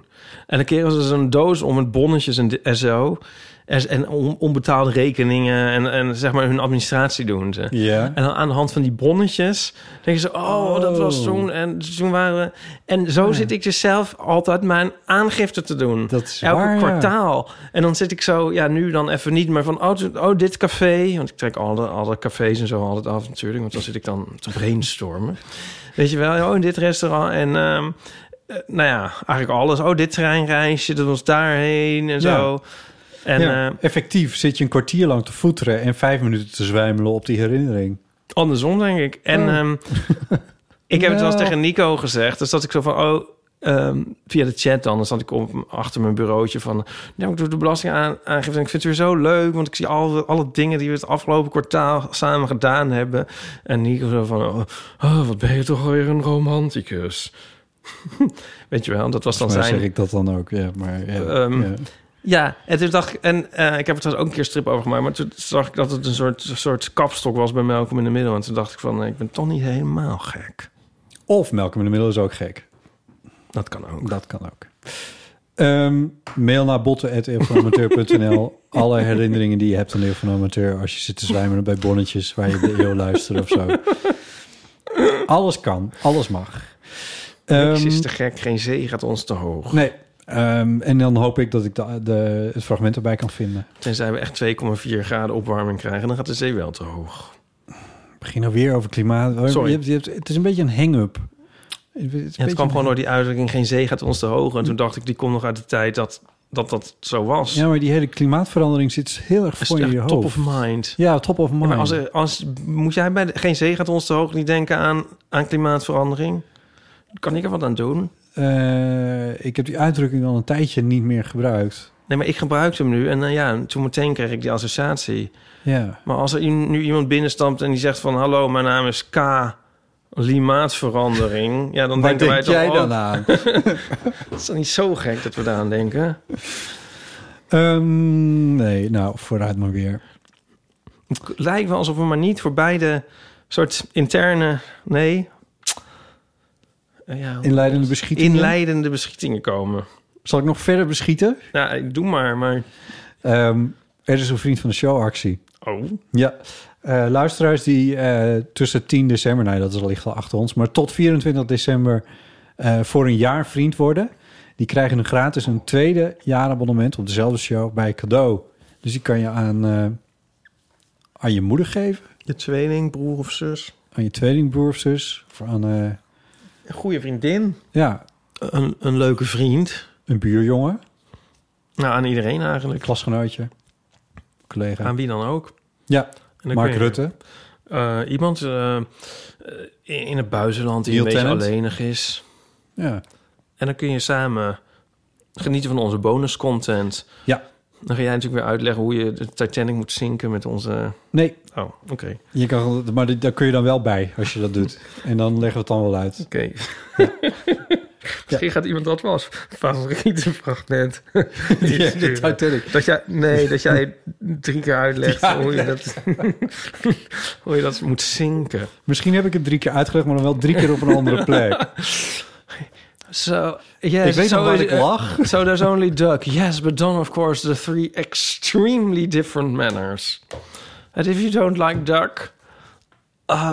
[SPEAKER 1] En dan keren ze zo'n doos om met bonnetjes en, di- en zo. En, en on- onbetaalde rekeningen en, en zeg maar hun administratie doen ze.
[SPEAKER 2] Ja.
[SPEAKER 1] En dan aan de hand van die bonnetjes denken ze... oh, dat was toen en toen waren we... En zo zit ik dus zelf altijd mijn aangifte te doen.
[SPEAKER 2] Dat is
[SPEAKER 1] Elke
[SPEAKER 2] waar, ja.
[SPEAKER 1] kwartaal. En dan zit ik zo, ja, nu dan even niet meer van... oh, toen- oh dit café. Want ik trek alle, alle cafés en zo altijd af natuurlijk. Want dan zit ik dan te brainstormen. Weet je wel, oh, in dit restaurant en... ehm, eh, nou ja, eigenlijk alles. Oh, dit treinreisje, dat was daarheen en
[SPEAKER 2] Ja.
[SPEAKER 1] zo. En
[SPEAKER 2] ja,
[SPEAKER 1] eh,
[SPEAKER 2] effectief zit je een kwartier lang te voeteren en vijf minuten te zwijmelen op die herinnering.
[SPEAKER 1] andersom, denk ik. En
[SPEAKER 2] Oh.
[SPEAKER 1] ehm, ik heb het wel eens
[SPEAKER 2] Nou.
[SPEAKER 1] tegen Nico gezegd. Dus dat ik zo van, oh, ehm, via de chat dan. Dan zat ik op, achter mijn bureautje van... Nou, ik doe de belastingaangifte en ik vind het weer zo leuk... want ik zie alle, alle dingen die we het afgelopen kwartaal samen gedaan hebben. En Nico zo van, oh, oh, wat ben je toch alweer een romanticus. Weet je wel, dat was dan
[SPEAKER 2] Maar
[SPEAKER 1] zijn...
[SPEAKER 2] zeg ik dat dan ook, ja. Maar, ja,
[SPEAKER 1] Ehm,
[SPEAKER 2] ja.
[SPEAKER 1] Ja, en toen dacht ik, en eh, ik heb er trouwens ook een keer strip over gemaakt, maar toen zag ik dat het eh, een soort, soort kapstok was bij Malcolm in de middel. En toen dacht ik van, nee, ik ben toch niet helemaal gek.
[SPEAKER 2] Of Malcolm in de Middel is ook gek.
[SPEAKER 1] Dat kan ook.
[SPEAKER 2] Dat kan ook. Ehm, mail naar botten.eeuwvanamateur.nl Alle herinneringen die je hebt aan Eeuw van Amateur... als je zit te zwijmeren bij bonnetjes waar je de eeuw luistert of zo. Alles kan, alles mag.
[SPEAKER 1] Niks is
[SPEAKER 2] Ehm,
[SPEAKER 1] te gek, geen zee gaat ons te hoog.
[SPEAKER 2] Nee. Ehm, en dan hoop ik dat ik de, de, het fragment erbij kan vinden.
[SPEAKER 1] Tenzij we echt 2,4 graden opwarming krijgen, dan gaat de zee wel te hoog.
[SPEAKER 2] Ik begin alweer over klimaat.
[SPEAKER 1] Sorry.
[SPEAKER 2] Je hebt, je hebt, het is een beetje een hang-up. Het, is een
[SPEAKER 1] En het
[SPEAKER 2] beetje
[SPEAKER 1] kwam gewoon
[SPEAKER 2] een-
[SPEAKER 1] door die uitdrukking, geen zee gaat ons te hoog. En toen dacht ik, die komt nog uit de tijd dat dat, dat zo was.
[SPEAKER 2] Ja, maar die hele klimaatverandering zit dus heel erg
[SPEAKER 1] Dat
[SPEAKER 2] voor
[SPEAKER 1] is
[SPEAKER 2] in
[SPEAKER 1] echt
[SPEAKER 2] je
[SPEAKER 1] top
[SPEAKER 2] hoofd.
[SPEAKER 1] of mind.
[SPEAKER 2] Ja, top of mind.
[SPEAKER 1] Ja, maar als, er- als, moet jij bij de- geen zee gaat ons te hoog niet denken aan, aan klimaatverandering? Kan ik er wat aan doen?
[SPEAKER 2] Eh, ik heb die uitdrukking al een tijdje niet meer gebruikt.
[SPEAKER 1] Nee, maar ik gebruik hem nu. En nou ja, toen meteen kreeg ik die associatie.
[SPEAKER 2] Ja.
[SPEAKER 1] Maar als er i- nu iemand binnenstamt en die zegt van... Hallo, mijn naam is K. Klimaatverandering. Ja, dan
[SPEAKER 2] Waar
[SPEAKER 1] denken wij
[SPEAKER 2] denk
[SPEAKER 1] toch...
[SPEAKER 2] jij
[SPEAKER 1] oh,
[SPEAKER 2] dan aan?
[SPEAKER 1] Het is dan niet zo gek dat we daaraan denken.
[SPEAKER 2] Ehm, nee, nou, vooruit maar weer.
[SPEAKER 1] Het lijkt wel alsof we maar niet voor beide soort interne... Nee. Eh, Ja,
[SPEAKER 2] Inleidende beschietingen.
[SPEAKER 1] inleidende beschietingen komen.
[SPEAKER 2] Zal ik nog verder beschieten?
[SPEAKER 1] Nou, ik doe maar, maar...
[SPEAKER 2] Ehm, er is een vriend van de show actie.
[SPEAKER 1] Oh,
[SPEAKER 2] Ja, eh, luisteraars die eh, tussen 10 december, nou dat is ligt al achter ons, maar tot 24 december eh, voor een jaar vriend worden, die krijgen een gratis een tweede jaarabonnement op dezelfde show bij cadeau. Dus die kan je aan, eh, aan je moeder geven,
[SPEAKER 1] je tweeling, broer of zus.
[SPEAKER 2] aan je tweelingbroer of zus, of aan eh,
[SPEAKER 1] Een goede vriendin.
[SPEAKER 2] ja,
[SPEAKER 1] Een, een leuke vriend.
[SPEAKER 2] een buurjongen,
[SPEAKER 1] Nou, aan iedereen
[SPEAKER 2] een
[SPEAKER 1] eigenlijk.
[SPEAKER 2] klasgenootje, collega.
[SPEAKER 1] Aan wie dan ook.
[SPEAKER 2] ja,
[SPEAKER 1] En dan
[SPEAKER 2] Mark
[SPEAKER 1] kun je-
[SPEAKER 2] Rutte.
[SPEAKER 1] Eh, iemand eh, eh, in in het buitenland die
[SPEAKER 2] Neil
[SPEAKER 1] een beetje
[SPEAKER 2] Tennant.
[SPEAKER 1] alleenig is.
[SPEAKER 2] Ja.
[SPEAKER 1] En dan kun je samen genieten van onze bonuscontent.
[SPEAKER 2] ja,
[SPEAKER 1] Dan ga jij natuurlijk weer uitleggen hoe je de Titanic moet zinken met onze...
[SPEAKER 2] nee,
[SPEAKER 1] Oh, oké. Oké.
[SPEAKER 2] je kan, maar dit- daar kun je dan wel bij als je dat doet. En dan leggen we het dan wel uit.
[SPEAKER 1] Misschien gaat iemand dat was. Favoriete fragment.
[SPEAKER 2] Ja, de Titanic.
[SPEAKER 1] Dat jij, nee, dat jij drie keer uitlegt hoe, je dat, hoe je dat moet zinken.
[SPEAKER 2] Misschien heb ik het drie keer uitgelegd, maar dan wel drie keer op een andere plek.
[SPEAKER 1] So, yes,
[SPEAKER 2] Ik weet
[SPEAKER 1] so
[SPEAKER 2] nog waar
[SPEAKER 1] is-
[SPEAKER 2] ik lag.
[SPEAKER 1] So there's only duck. Yes, but done, of course, the three extremely different manners. And if you don't like duck, uh,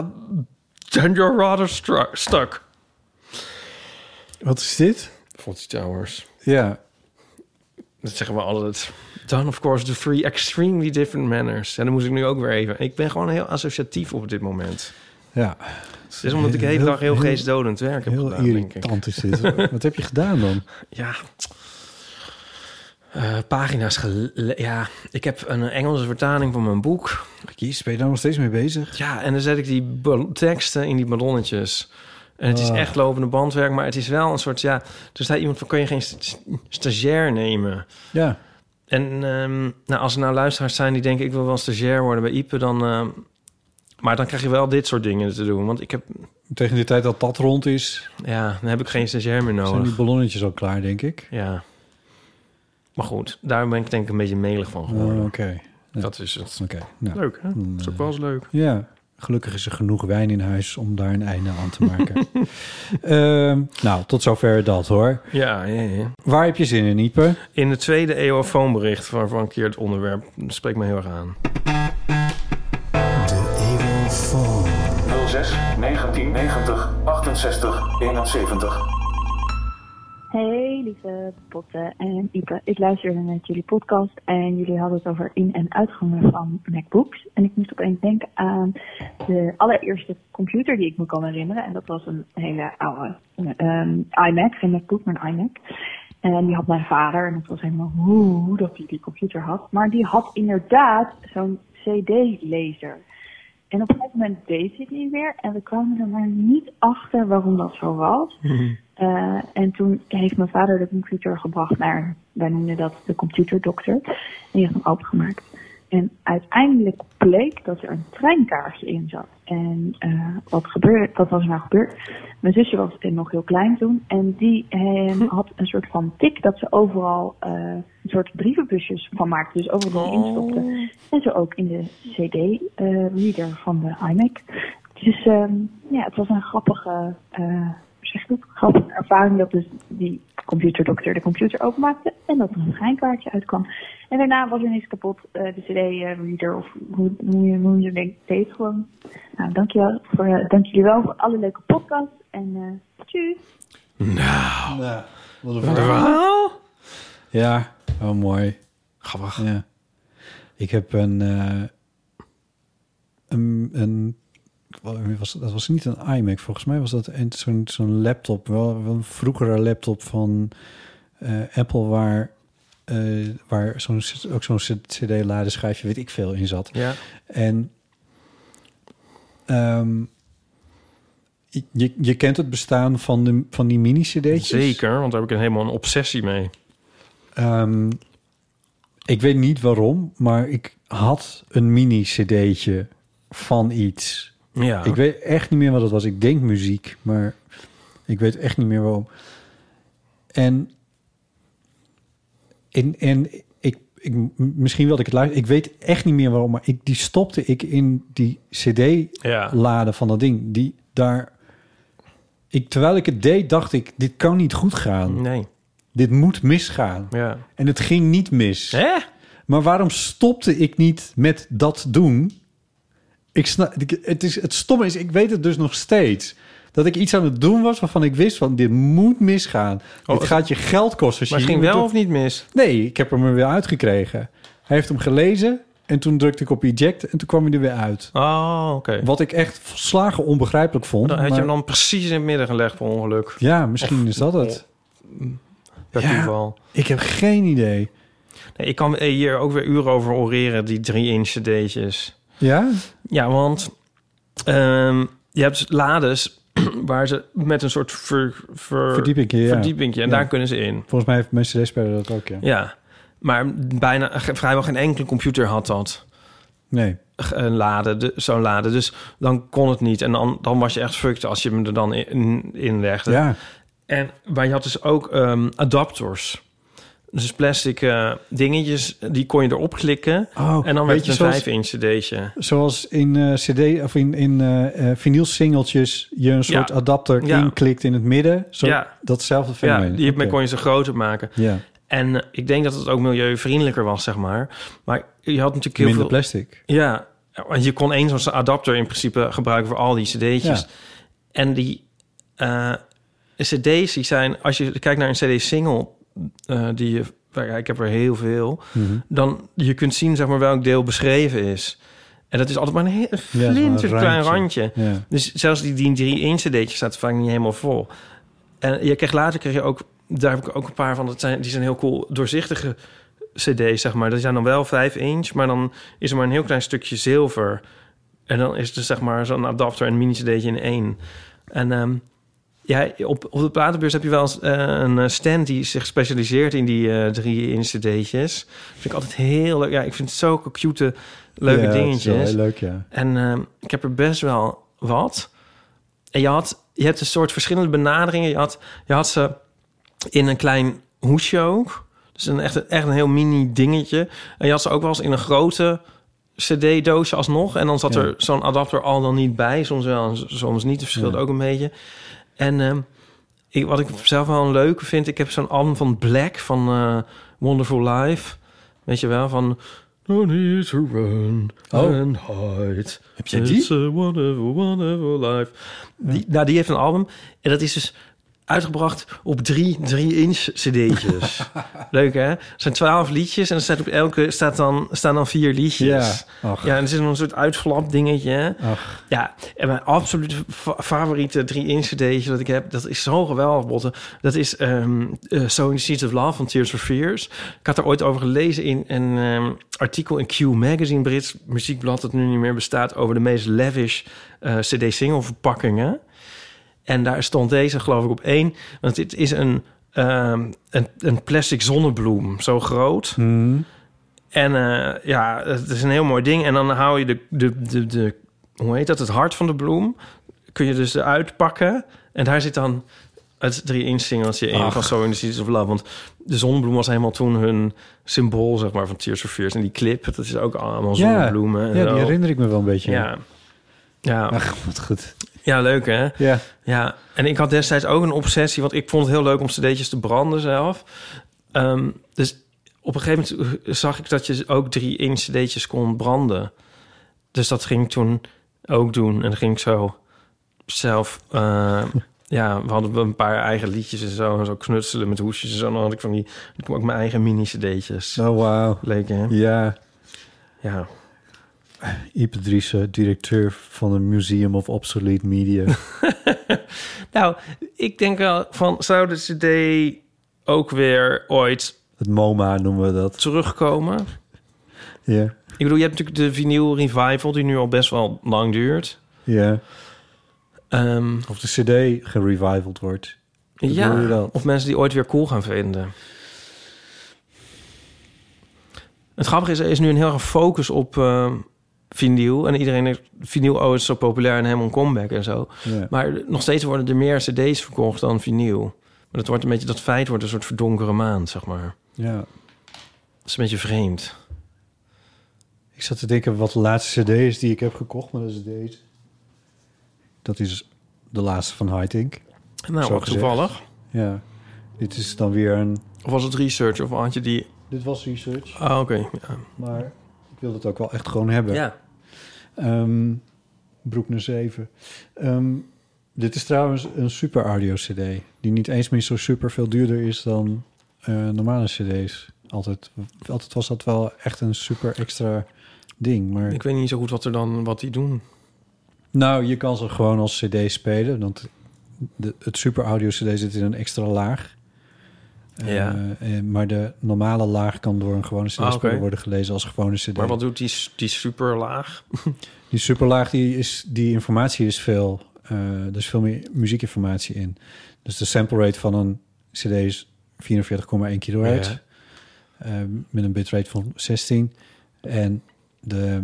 [SPEAKER 1] then you're rather stru- stuck.
[SPEAKER 2] Wat is dit?
[SPEAKER 1] Fawlty Towers.
[SPEAKER 2] Ja.
[SPEAKER 1] Dat zeggen we altijd. Done, of course, the three extremely different manners. En dan moet ik nu ook weer even. Ik ben gewoon heel associatief op dit moment.
[SPEAKER 2] Ja.
[SPEAKER 1] Het is omdat ik de hele
[SPEAKER 2] Heel-
[SPEAKER 1] dag heel
[SPEAKER 2] heel-
[SPEAKER 1] geestdodend werk heb
[SPEAKER 2] Heel
[SPEAKER 1] gedaan, denk ik.
[SPEAKER 2] irritant is dit. Wat heb je gedaan dan?
[SPEAKER 1] Ja. Eh, pagina's gele- Ja, ik heb een Engelse vertaling van mijn boek.
[SPEAKER 2] Jezus, ben je daar nog steeds mee bezig?
[SPEAKER 1] Ja, en dan zet ik die bal- teksten in die ballonnetjes. En het is
[SPEAKER 2] Ah.
[SPEAKER 1] echt lopende bandwerk, maar het is wel een soort... Ja, er staat iemand van, kun je geen st- stagiair nemen?
[SPEAKER 2] Ja.
[SPEAKER 1] En ehm, nou, als er nou luisteraars zijn die denken... ik wil wel stagiair worden bij Ipe, dan... ehm, maar dan krijg je wel dit soort dingen te doen. Want ik heb...
[SPEAKER 2] Tegen de tijd dat dat rond is,
[SPEAKER 1] Ja, dan heb ik geen stagiair meer
[SPEAKER 2] zijn die
[SPEAKER 1] nodig.
[SPEAKER 2] ballonnetjes al klaar, denk ik.
[SPEAKER 1] Ja. Maar goed, daar ben ik denk ik een beetje melig van
[SPEAKER 2] Oh,
[SPEAKER 1] geworden.
[SPEAKER 2] Oké. Ja.
[SPEAKER 1] Dat is het.
[SPEAKER 2] Oké. Nou,
[SPEAKER 1] Leuk, hè? Dat is ook wel eens leuk.
[SPEAKER 2] Ja, gelukkig is er genoeg wijn in huis om daar een einde aan te maken. Ehm, nou, tot zover dat hoor.
[SPEAKER 1] Ja, ja, ja.
[SPEAKER 2] Waar heb je zin in, Ipe?
[SPEAKER 1] In de tweede eeuwofoonbericht, waarvan keer het onderwerp spreekt me heel erg aan.
[SPEAKER 3] 06 1990 68 71.
[SPEAKER 4] Hey lieve Botte en Ipe. Ik luisterde naar jullie podcast en jullie hadden het over in- en uitgangen van MacBooks. En ik moest opeens denken aan de allereerste computer die ik me kan herinneren. En dat was een hele oude ehm, iMac, geen MacBook, maar een iMac. En die had mijn vader en het was helemaal hoe dat hij die computer had. Maar die had inderdaad zo'n CD-laser. En op een gegeven moment deed hij die weer. En we kwamen er maar niet achter waarom dat zo was. Eh, en toen heeft mijn vader de computer gebracht naar, wij noemden dat de computerdokter. En die heeft hem opengemaakt. En uiteindelijk bleek dat er een treinkaartje in zat. En eh, wat, gebeurde, wat was er nou gebeurd? Mijn zusje was nog heel klein toen. En die eh, had een soort van tik dat ze overal eh, een soort brievenbusjes van maakte. Dus overal die eh, instopte. En zo ook in de CD-reader van de iMac. Dus ehm, ja, het was een grappige, eh, hoe zeg je dat? grappige ervaring dat dus die computerdokter de computer openmaakte en dat er een schijnkaartje uitkwam. En daarna was er niks kapot, eh, de CD-reader of hoe, hoe, je- hoe je denkt, deed gewoon. Nou, dankjewel voor, eh, dank jullie wel voor alle leuke podcasts en eh tjus!
[SPEAKER 2] Ja, wat een verhaal. Ja, oh mooi. Grappig. Ja. Ik heb een, eh, een, een wat was, dat was niet een iMac, volgens mij was dat een- zo'n zo'n laptop, wel, wel een vroegere laptop van eh, Apple waar, eh, waar zo'n, ook zo'n cd-ladeschijfje, weet ik veel, in zat.
[SPEAKER 1] Ja.
[SPEAKER 2] En ehm, je, je kent het bestaan van, de, van die mini-cd'tjes.
[SPEAKER 1] Zeker, want daar heb ik een helemaal een obsessie mee.
[SPEAKER 2] Ehm, ik weet niet waarom, maar ik had een mini-cd'tje van iets.
[SPEAKER 1] Ja.
[SPEAKER 2] Ik weet echt niet meer wat het was. Ik denk muziek, maar ik weet echt niet meer waarom. En, en, en ik, ik, m- misschien wilde ik het luisteren. Ik weet echt niet meer waarom, maar ik, die stopte ik in die
[SPEAKER 1] Ja.
[SPEAKER 2] cd-laden van dat ding. Die daar... Ik, terwijl ik het deed, dacht ik, dit kan niet goed gaan.
[SPEAKER 1] Nee.
[SPEAKER 2] Dit moet misgaan.
[SPEAKER 1] Ja.
[SPEAKER 2] En het ging niet mis.
[SPEAKER 1] Hè?
[SPEAKER 2] Maar waarom stopte ik niet met dat doen? Ik snap, ik- het, is, het stomme is, ik weet het dus nog steeds. Dat ik iets aan het doen was waarvan ik wist van dit moet misgaan.
[SPEAKER 1] Oh,
[SPEAKER 2] dit gaat je geld kosten. als
[SPEAKER 1] Maar het
[SPEAKER 2] je
[SPEAKER 1] ging
[SPEAKER 2] hier
[SPEAKER 1] wel
[SPEAKER 2] moet
[SPEAKER 1] of niet mis?
[SPEAKER 2] doen. Nee, ik heb hem er weer uitgekregen. Hij heeft hem gelezen en toen drukte ik op eject en toen kwam hij er weer uit.
[SPEAKER 1] Oh, oké.
[SPEAKER 2] Wat ik echt volslagen onbegrijpelijk vond.
[SPEAKER 1] Dan had je
[SPEAKER 2] maar-
[SPEAKER 1] hem dan precies in het midden gelegd per ongeluk.
[SPEAKER 2] Ja, misschien is dat het.
[SPEAKER 1] Oh. Per
[SPEAKER 2] Ja.
[SPEAKER 1] toeval.
[SPEAKER 2] Ik heb geen idee.
[SPEAKER 1] Nee, ik kan eh, hier ook weer uren over oreren, die drie inch cd'tjes.
[SPEAKER 2] Ja?
[SPEAKER 1] Ja, want ehm, je hebt lades waar ze met een soort ver, ver-
[SPEAKER 2] Verdieping, ja.
[SPEAKER 1] verdiepingje, en
[SPEAKER 2] Ja.
[SPEAKER 1] daar kunnen ze in.
[SPEAKER 2] Volgens mij heeft mijn cd-speler dat ook, ja.
[SPEAKER 1] Ja, maar bijna, ge- vrijwel geen enkele computer had dat.
[SPEAKER 2] Nee.
[SPEAKER 1] G- Een lade, de- zo'n lade. Dus dan kon het niet. En dan, dan was je echt fucked als je hem er dan in, in legde.
[SPEAKER 2] Ja.
[SPEAKER 1] En, maar je had dus ook ehm, adapters. Dus plastic eh, dingetjes, die kon je erop klikken.
[SPEAKER 2] Oh,
[SPEAKER 1] en dan
[SPEAKER 2] weet
[SPEAKER 1] werd
[SPEAKER 2] je
[SPEAKER 1] het een
[SPEAKER 2] zoals-
[SPEAKER 1] 5 inch cd'tje.
[SPEAKER 2] Zoals in eh, CD of in, in eh eh, vinylsingeltjes je een soort
[SPEAKER 1] Ja.
[SPEAKER 2] adapter
[SPEAKER 1] Ja.
[SPEAKER 2] inklikt in het midden. Zo,
[SPEAKER 1] Ja.
[SPEAKER 2] Datzelfde
[SPEAKER 1] Ja,
[SPEAKER 2] fenomeen.
[SPEAKER 1] die
[SPEAKER 2] Oké.
[SPEAKER 1] kon je ze groter maken.
[SPEAKER 2] Ja,
[SPEAKER 1] En eh, ik denk dat het ook milieuvriendelijker was, zeg maar. Maar je had natuurlijk heel
[SPEAKER 2] minder
[SPEAKER 1] veel...
[SPEAKER 2] plastic.
[SPEAKER 1] Ja, want je kon één zo'n adapter in principe gebruiken voor al die cd'tjes.
[SPEAKER 2] Ja.
[SPEAKER 1] En die eh, cd's die zijn, als je kijkt naar een cd-single, eh, die je, waar- ik heb er heel veel,
[SPEAKER 2] Mhm.
[SPEAKER 1] dan je kunt zien zeg maar welk deel beschreven is. En dat is altijd maar een, heel, een
[SPEAKER 2] zo'n
[SPEAKER 1] flinterklein klein
[SPEAKER 2] randje.
[SPEAKER 1] randje.
[SPEAKER 2] Ja.
[SPEAKER 1] Dus zelfs die, die drie inch cd'tjes staat vaak niet helemaal vol. En je kreeg, later kreeg je ook, daar heb ik ook een paar van, dat zijn, die zijn heel cool, doorzichtige cd's, zeg maar. Die zijn dan wel 5 inch, maar dan is er maar een heel klein stukje zilver. En dan is het dus, zeg maar zo'n adapter en een mini cd'tje in één. En ehm, ja, op, op de platenbeurs heb je wel eens, eh, een eh, stand die zich specialiseert in die eh, drie inch cd'tjes. vind ik altijd heel leuk. Ja, ik vind het zulke cute, leuke
[SPEAKER 2] Ja, het is wel
[SPEAKER 1] dingetjes.
[SPEAKER 2] heel leuk, ja.
[SPEAKER 1] En ehm, ik heb er best wel wat. En je, had, je hebt een soort verschillende benaderingen. Je had, je had ze in een klein hoesje ook. Dus een, echt, echt een heel mini dingetje. En je had ze ook wel eens in een grote cd-doosje alsnog. En dan zat
[SPEAKER 2] Ja.
[SPEAKER 1] er zo'n adapter al dan niet bij. Soms wel, en s- soms niet. Het verschilt
[SPEAKER 2] Ja.
[SPEAKER 1] ook een beetje. En ehm, ik, wat ik zelf wel een leuke vind... Ik heb zo'n album van Black van eh, Wonderful Life. Weet je wel, van... No need to run
[SPEAKER 2] Oh.
[SPEAKER 1] and hide.
[SPEAKER 2] Heb jij die?
[SPEAKER 1] It's a wonderful, wonderful life. Die, nou, die heeft een album. En dat is dus uitgebracht op drie 3-inch cd'tjes. Leuk, hè? Er zijn twaalf liedjes en er staat op elke staat dan, staan dan vier liedjes.
[SPEAKER 2] Ja, ach.
[SPEAKER 1] ja en er is een soort uitflap dingetje.
[SPEAKER 2] Ach.
[SPEAKER 1] Ja, en mijn absolute fa- favoriete 3-inch cd'tje dat ik heb... dat is zo geweldig, Botte. Dat is ehm eh, So in the Seeds of Love van Tears for Fears. Ik had er ooit over gelezen in een ehm, artikel in Q Magazine... Brits muziekblad dat nu niet meer bestaat... over de meest lavish eh cd-single verpakkingen. En daar stond deze, geloof ik, op één. Want dit is een, ehm, een, een plastic zonnebloem, zo groot.
[SPEAKER 2] Mhm.
[SPEAKER 1] En eh, ja, het is een heel mooi ding. En dan hou je de, de, de, de, hoe heet dat, het hart van de bloem. Kun je dus eruit pakken. En daar zit dan het drie inch singeltje in van So in the Seeds of Love. Want de zonnebloem was helemaal toen hun symbool, zeg maar, van Tears for Fears. En die clip, dat is ook
[SPEAKER 2] Ja,
[SPEAKER 1] allemaal zonnebloemen. en
[SPEAKER 2] ja, die
[SPEAKER 1] zo.
[SPEAKER 2] herinner ik me wel een beetje.
[SPEAKER 1] ja. Ja,
[SPEAKER 2] Ach, wat goed.
[SPEAKER 1] Ja, leuk hè?
[SPEAKER 2] Ja.
[SPEAKER 1] Ja, en ik had destijds ook een obsessie, want ik vond het heel leuk om cd'tjes te branden zelf. Ehm, dus op een gegeven moment zag ik dat je ook drie inch cd'tjes kon branden. Dus dat ging ik toen ook doen. En dan ging ik zo zelf... eh, ja, we hadden een paar eigen liedjes en zo. En zo knutselen met hoesjes en zo. En dan had ik van die... Ik ook mijn eigen mini-cd'tjes.
[SPEAKER 2] Oh, wauw.
[SPEAKER 1] Leuk, hè?
[SPEAKER 2] Ja.
[SPEAKER 1] Ja.
[SPEAKER 2] Ipe Driessen, directeur van het Museum of Obsolete Media.
[SPEAKER 1] Nou, ik denk wel van... Zou de cd ook weer ooit
[SPEAKER 2] het MoMA noemen we dat.
[SPEAKER 1] terugkomen?
[SPEAKER 2] Ja.
[SPEAKER 1] Ik bedoel, je hebt natuurlijk de vinyl revival die nu al best wel lang duurt.
[SPEAKER 2] Ja.
[SPEAKER 1] Ehm,
[SPEAKER 2] Of de CD gerevivald wordt. Wat bedoel je
[SPEAKER 1] ja,
[SPEAKER 2] dan?
[SPEAKER 1] of mensen die ooit weer cool gaan vinden. Het grappige is, er is nu een heel erg focus op eh vinyl. En iedereen is vinyl, oh, het is zo populair en helemaal een comeback en zo.
[SPEAKER 2] Ja.
[SPEAKER 1] Maar nog steeds worden er meer cd's verkocht dan vinyl. Maar dat, wordt een beetje, dat feit wordt een soort verdonkere maand, zeg maar.
[SPEAKER 2] ja.
[SPEAKER 1] Dat is een beetje vreemd.
[SPEAKER 2] Ik zat te denken wat de laatste CD is die ik heb gekocht, maar dat is deze. Dat is de laatste van Hightink.
[SPEAKER 1] Nou,
[SPEAKER 2] Zo gezegd.
[SPEAKER 1] toevallig.
[SPEAKER 2] Ja. Dit is dan weer een...
[SPEAKER 1] Of was het research? Of had je die...
[SPEAKER 2] Dit was research,
[SPEAKER 1] Ah, oké. Ja.
[SPEAKER 2] maar ik wil het ook wel echt gewoon hebben.
[SPEAKER 1] ja.
[SPEAKER 2] Ehm, Broekner 7. Ehm, dit is trouwens een super audio CD. Die niet eens meer zo super veel duurder is dan eh, normale CD's. Altijd, altijd was dat wel echt een super extra ding. Maar
[SPEAKER 1] Ik weet niet zo goed wat, er dan, wat die doen.
[SPEAKER 2] nou, je kan ze gewoon als CD spelen. Want de, het super audio CD zit in een extra laag. Eh,
[SPEAKER 1] Ja.
[SPEAKER 2] eh, maar de normale laag kan door een gewone CD-speler
[SPEAKER 1] Ah, oké.
[SPEAKER 2] worden gelezen als gewone CD.
[SPEAKER 1] Maar wat doet die, die superlaag?
[SPEAKER 2] Die superlaag, die, is, die informatie is veel... eh er is veel meer muziekinformatie in. Dus de sample rate van een cd is 44,1 kilohertz.
[SPEAKER 1] Ja.
[SPEAKER 2] eh, met een bitrate van 16. En de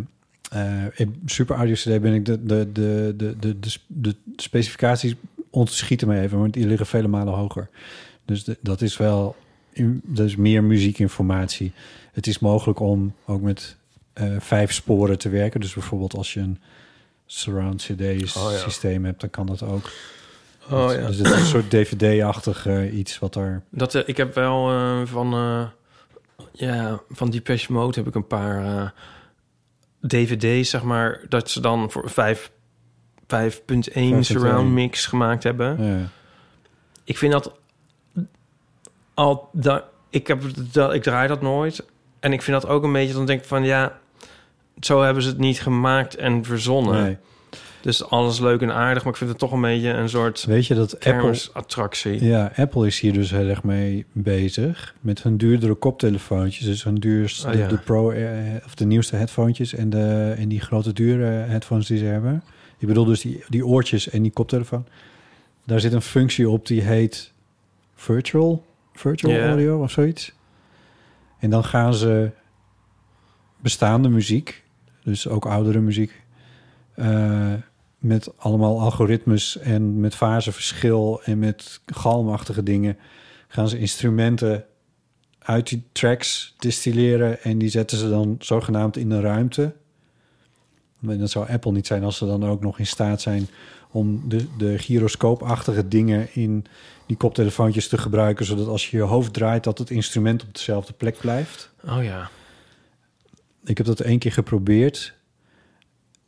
[SPEAKER 2] eh, in super audio cd ben ik de, de, de, de, de, de, de specificaties ontschieten me even. Want die liggen vele malen hoger. Dus de- dat is wel... Dat is meer muziekinformatie. Het is mogelijk om ook met eh, vijf sporen te werken. Dus bijvoorbeeld als je een surround CD
[SPEAKER 1] Oh ja.
[SPEAKER 2] systeem hebt, dan kan dat ook.
[SPEAKER 1] Oh ja.
[SPEAKER 2] Dus het is een soort DVD-achtig eh, iets wat er.
[SPEAKER 1] Dat, eh, ik heb wel eh, van, eh ja, van Depeche Mode heb ik een paar eh, dvd's, zeg maar... dat ze dan voor vijf- 5.1 surround mix gemaakt hebben.
[SPEAKER 2] eh,
[SPEAKER 1] Ik vind dat... Al, da, ik, heb, dat, ik draai dat nooit. En ik vind dat ook een beetje... dan denk ik van, ja... zo hebben ze het niet gemaakt en verzonnen.
[SPEAKER 2] nee.
[SPEAKER 1] Dus alles leuk en aardig, maar ik vind het toch een beetje een soort
[SPEAKER 2] Weet je dat Apple.
[SPEAKER 1] kermisattractie.
[SPEAKER 2] Ja, Apple is hier dus heel erg mee bezig. Met hun duurdere koptelefoontjes. Dus hun duurste,
[SPEAKER 1] Ah, ja.
[SPEAKER 2] de, de pro eh, of de nieuwste headfoontjes en, de, en die grote dure headphones die ze hebben. Ik bedoel dus die, die oortjes en die koptelefoon. Daar zit een functie op die heet virtual, virtual
[SPEAKER 1] Ja.
[SPEAKER 2] audio of zoiets. En dan gaan ze bestaande muziek, dus ook oudere muziek, eh, met allemaal algoritmes en met faseverschil en met galmachtige dingen, gaan ze instrumenten uit die tracks distilleren en die zetten ze dan zogenaamd in de ruimte. En dat zou Apple niet zijn als ze dan ook nog in staat zijn om de, de gyroscoopachtige dingen in die koptelefoontjes te gebruiken, zodat als je je hoofd draait dat het instrument op dezelfde plek blijft.
[SPEAKER 1] Oh ja.
[SPEAKER 2] Ik heb dat één keer geprobeerd.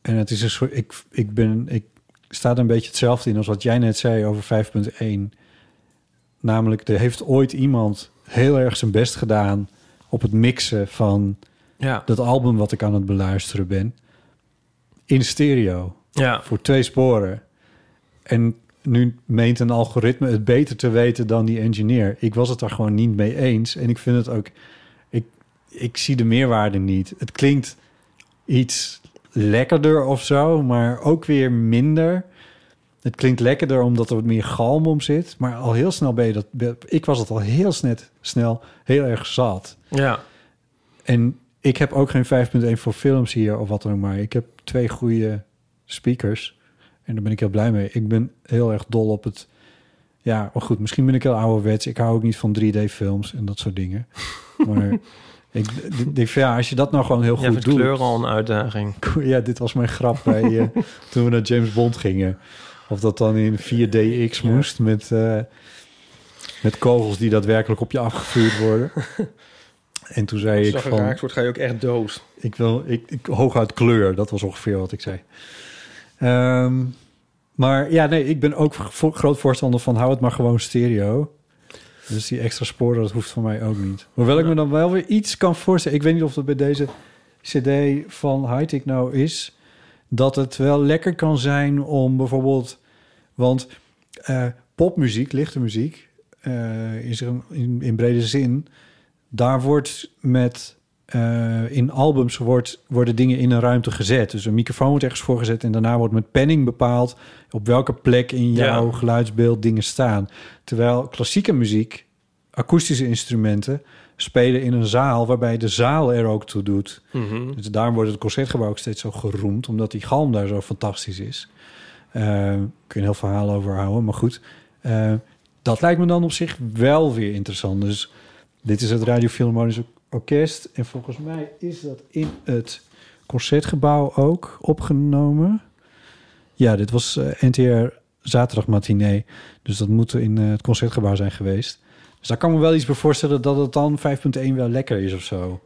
[SPEAKER 2] En het is een soort. Ik, ik, ben, ik sta er een beetje hetzelfde in als wat jij net zei over 5.1. Namelijk, er heeft ooit iemand heel erg zijn best gedaan op het mixen van
[SPEAKER 1] Ja.
[SPEAKER 2] dat album wat ik aan het beluisteren ben. In stereo
[SPEAKER 1] Ja.
[SPEAKER 2] voor twee sporen. En nu meent een algoritme het beter te weten dan die engineer. Ik was het daar gewoon niet mee eens. En ik vind het ook... Ik, ik zie de meerwaarde niet. Het klinkt iets lekkerder of zo, maar ook weer minder. Het klinkt lekkerder omdat er wat meer galm om zit. Maar al heel snel ben je dat... Ik was het al heel snet, snel heel erg zat.
[SPEAKER 1] Ja.
[SPEAKER 2] En ik heb ook geen 5.1 voor films hier of wat dan ook maar. Ik heb twee goede speakers. En daar ben ik heel blij mee. Ik ben heel erg dol op het... Ja, maar goed, misschien ben ik heel ouderwets. Ik hou ook niet van 3D-films en dat soort dingen. Maar ik d- ik denk van ja, als je dat nou gewoon heel
[SPEAKER 1] Ja,
[SPEAKER 2] goed
[SPEAKER 1] met
[SPEAKER 2] doet...
[SPEAKER 1] kleur al een uitdaging.
[SPEAKER 2] Ja, dit was mijn grap bij, eh, toen we naar James Bond gingen. Of dat dan in 4DX moest met, eh, met kogels die daadwerkelijk op je afgevuurd worden. en toen zei
[SPEAKER 1] Als
[SPEAKER 2] ik
[SPEAKER 1] je
[SPEAKER 2] van,
[SPEAKER 1] geraakt wordt, ga je ook echt dood.
[SPEAKER 2] ik wil ik, ik, hooguit kleur. Dat was ongeveer wat ik zei. Ehm, maar ja, nee, ik ben ook voor- groot voorstander van hou het maar gewoon stereo. Dus die extra sporen, dat hoeft voor mij ook niet. Hoewel ik me dan wel weer iets kan voorstellen. Ik weet niet of dat bij deze cd van Hightech nou is. Dat het wel lekker kan zijn om bijvoorbeeld... Want eh, popmuziek, lichte muziek... eh, is er een, in, in brede zin... Daar wordt met eh, in albums wordt, worden dingen in een ruimte gezet. Dus een microfoon wordt ergens voorgezet en daarna wordt met penning bepaald op welke plek in
[SPEAKER 1] Ja.
[SPEAKER 2] jouw geluidsbeeld dingen staan. Terwijl klassieke muziek, akoestische instrumenten, spelen in een zaal waarbij de zaal er ook toe doet.
[SPEAKER 1] Mhm.
[SPEAKER 2] Dus daarom wordt het concertgebouw ook steeds zo geroemd, omdat die galm daar zo fantastisch is. Eh, kun je een heel verhaal over houden, maar goed. Eh, dat lijkt me dan op zich wel weer interessant. Dus dit is het Radio Philharmonisch Orkest. En volgens mij is dat in het concertgebouw ook opgenomen. Ja, dit was eh, NTR zaterdagmatinee. Dus dat moet in eh, het concertgebouw zijn geweest. Dus daar kan ik me wel iets bij voorstellen dat het dan 5.1 wel lekker is of zo.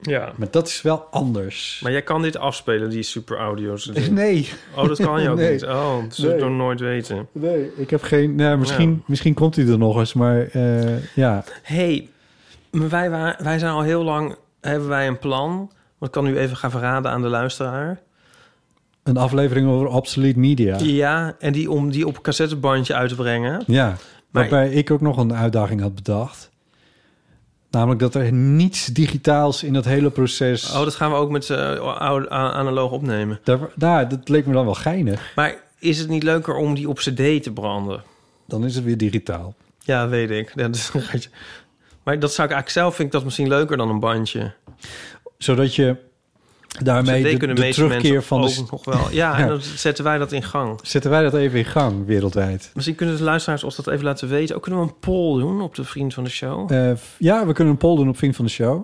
[SPEAKER 1] Ja.
[SPEAKER 2] Maar dat is wel anders.
[SPEAKER 1] Maar jij kan dit afspelen, die super audio's.
[SPEAKER 2] Nee,
[SPEAKER 1] Oh, dat kan je ook
[SPEAKER 2] Nee.
[SPEAKER 1] niet. Oh, dat zullen we
[SPEAKER 2] Nee.
[SPEAKER 1] nog nooit weten.
[SPEAKER 2] nee, ik heb geen... Nou, misschien,
[SPEAKER 1] Ja.
[SPEAKER 2] misschien komt hij er nog eens, maar eh, ja.
[SPEAKER 1] hey, maar wij, wa- wij zijn al heel lang... Hebben wij een plan? Want ik kan nu even gaan verraden aan de luisteraar.
[SPEAKER 2] Een aflevering over Obsolete Media.
[SPEAKER 1] Ja, en die om die op cassettebandje uit te brengen.
[SPEAKER 2] Ja,
[SPEAKER 1] Maar-
[SPEAKER 2] waarbij ik ook nog een uitdaging had bedacht. Namelijk dat er niets digitaals in dat hele proces...
[SPEAKER 1] Oh, dat gaan we ook met eh, oude- a- analoog opnemen.
[SPEAKER 2] Daar, nou, dat leek me dan wel geinig.
[SPEAKER 1] Maar is het niet leuker om die op cd te branden?
[SPEAKER 2] Dan is het weer digitaal.
[SPEAKER 1] Ja, weet ik. Ja, dat is- maar dat zou ik eigenlijk zelf vind ik dat misschien leuker dan een bandje.
[SPEAKER 2] Zodat je daarmee
[SPEAKER 1] CD
[SPEAKER 2] de,
[SPEAKER 1] kunnen
[SPEAKER 2] de
[SPEAKER 1] meeste
[SPEAKER 2] terugkeer
[SPEAKER 1] mensen
[SPEAKER 2] van de...
[SPEAKER 1] ook
[SPEAKER 2] s-
[SPEAKER 1] nog wel. Ja, en
[SPEAKER 2] Ja.
[SPEAKER 1] dan zetten wij dat in gang.
[SPEAKER 2] Zetten wij dat even in gang wereldwijd?
[SPEAKER 1] Misschien kunnen de luisteraars ons dat even laten weten. Ook kunnen we een poll doen op de vriend van de show.
[SPEAKER 2] Eh, f- ja, we kunnen een poll doen op Vriend van de Show.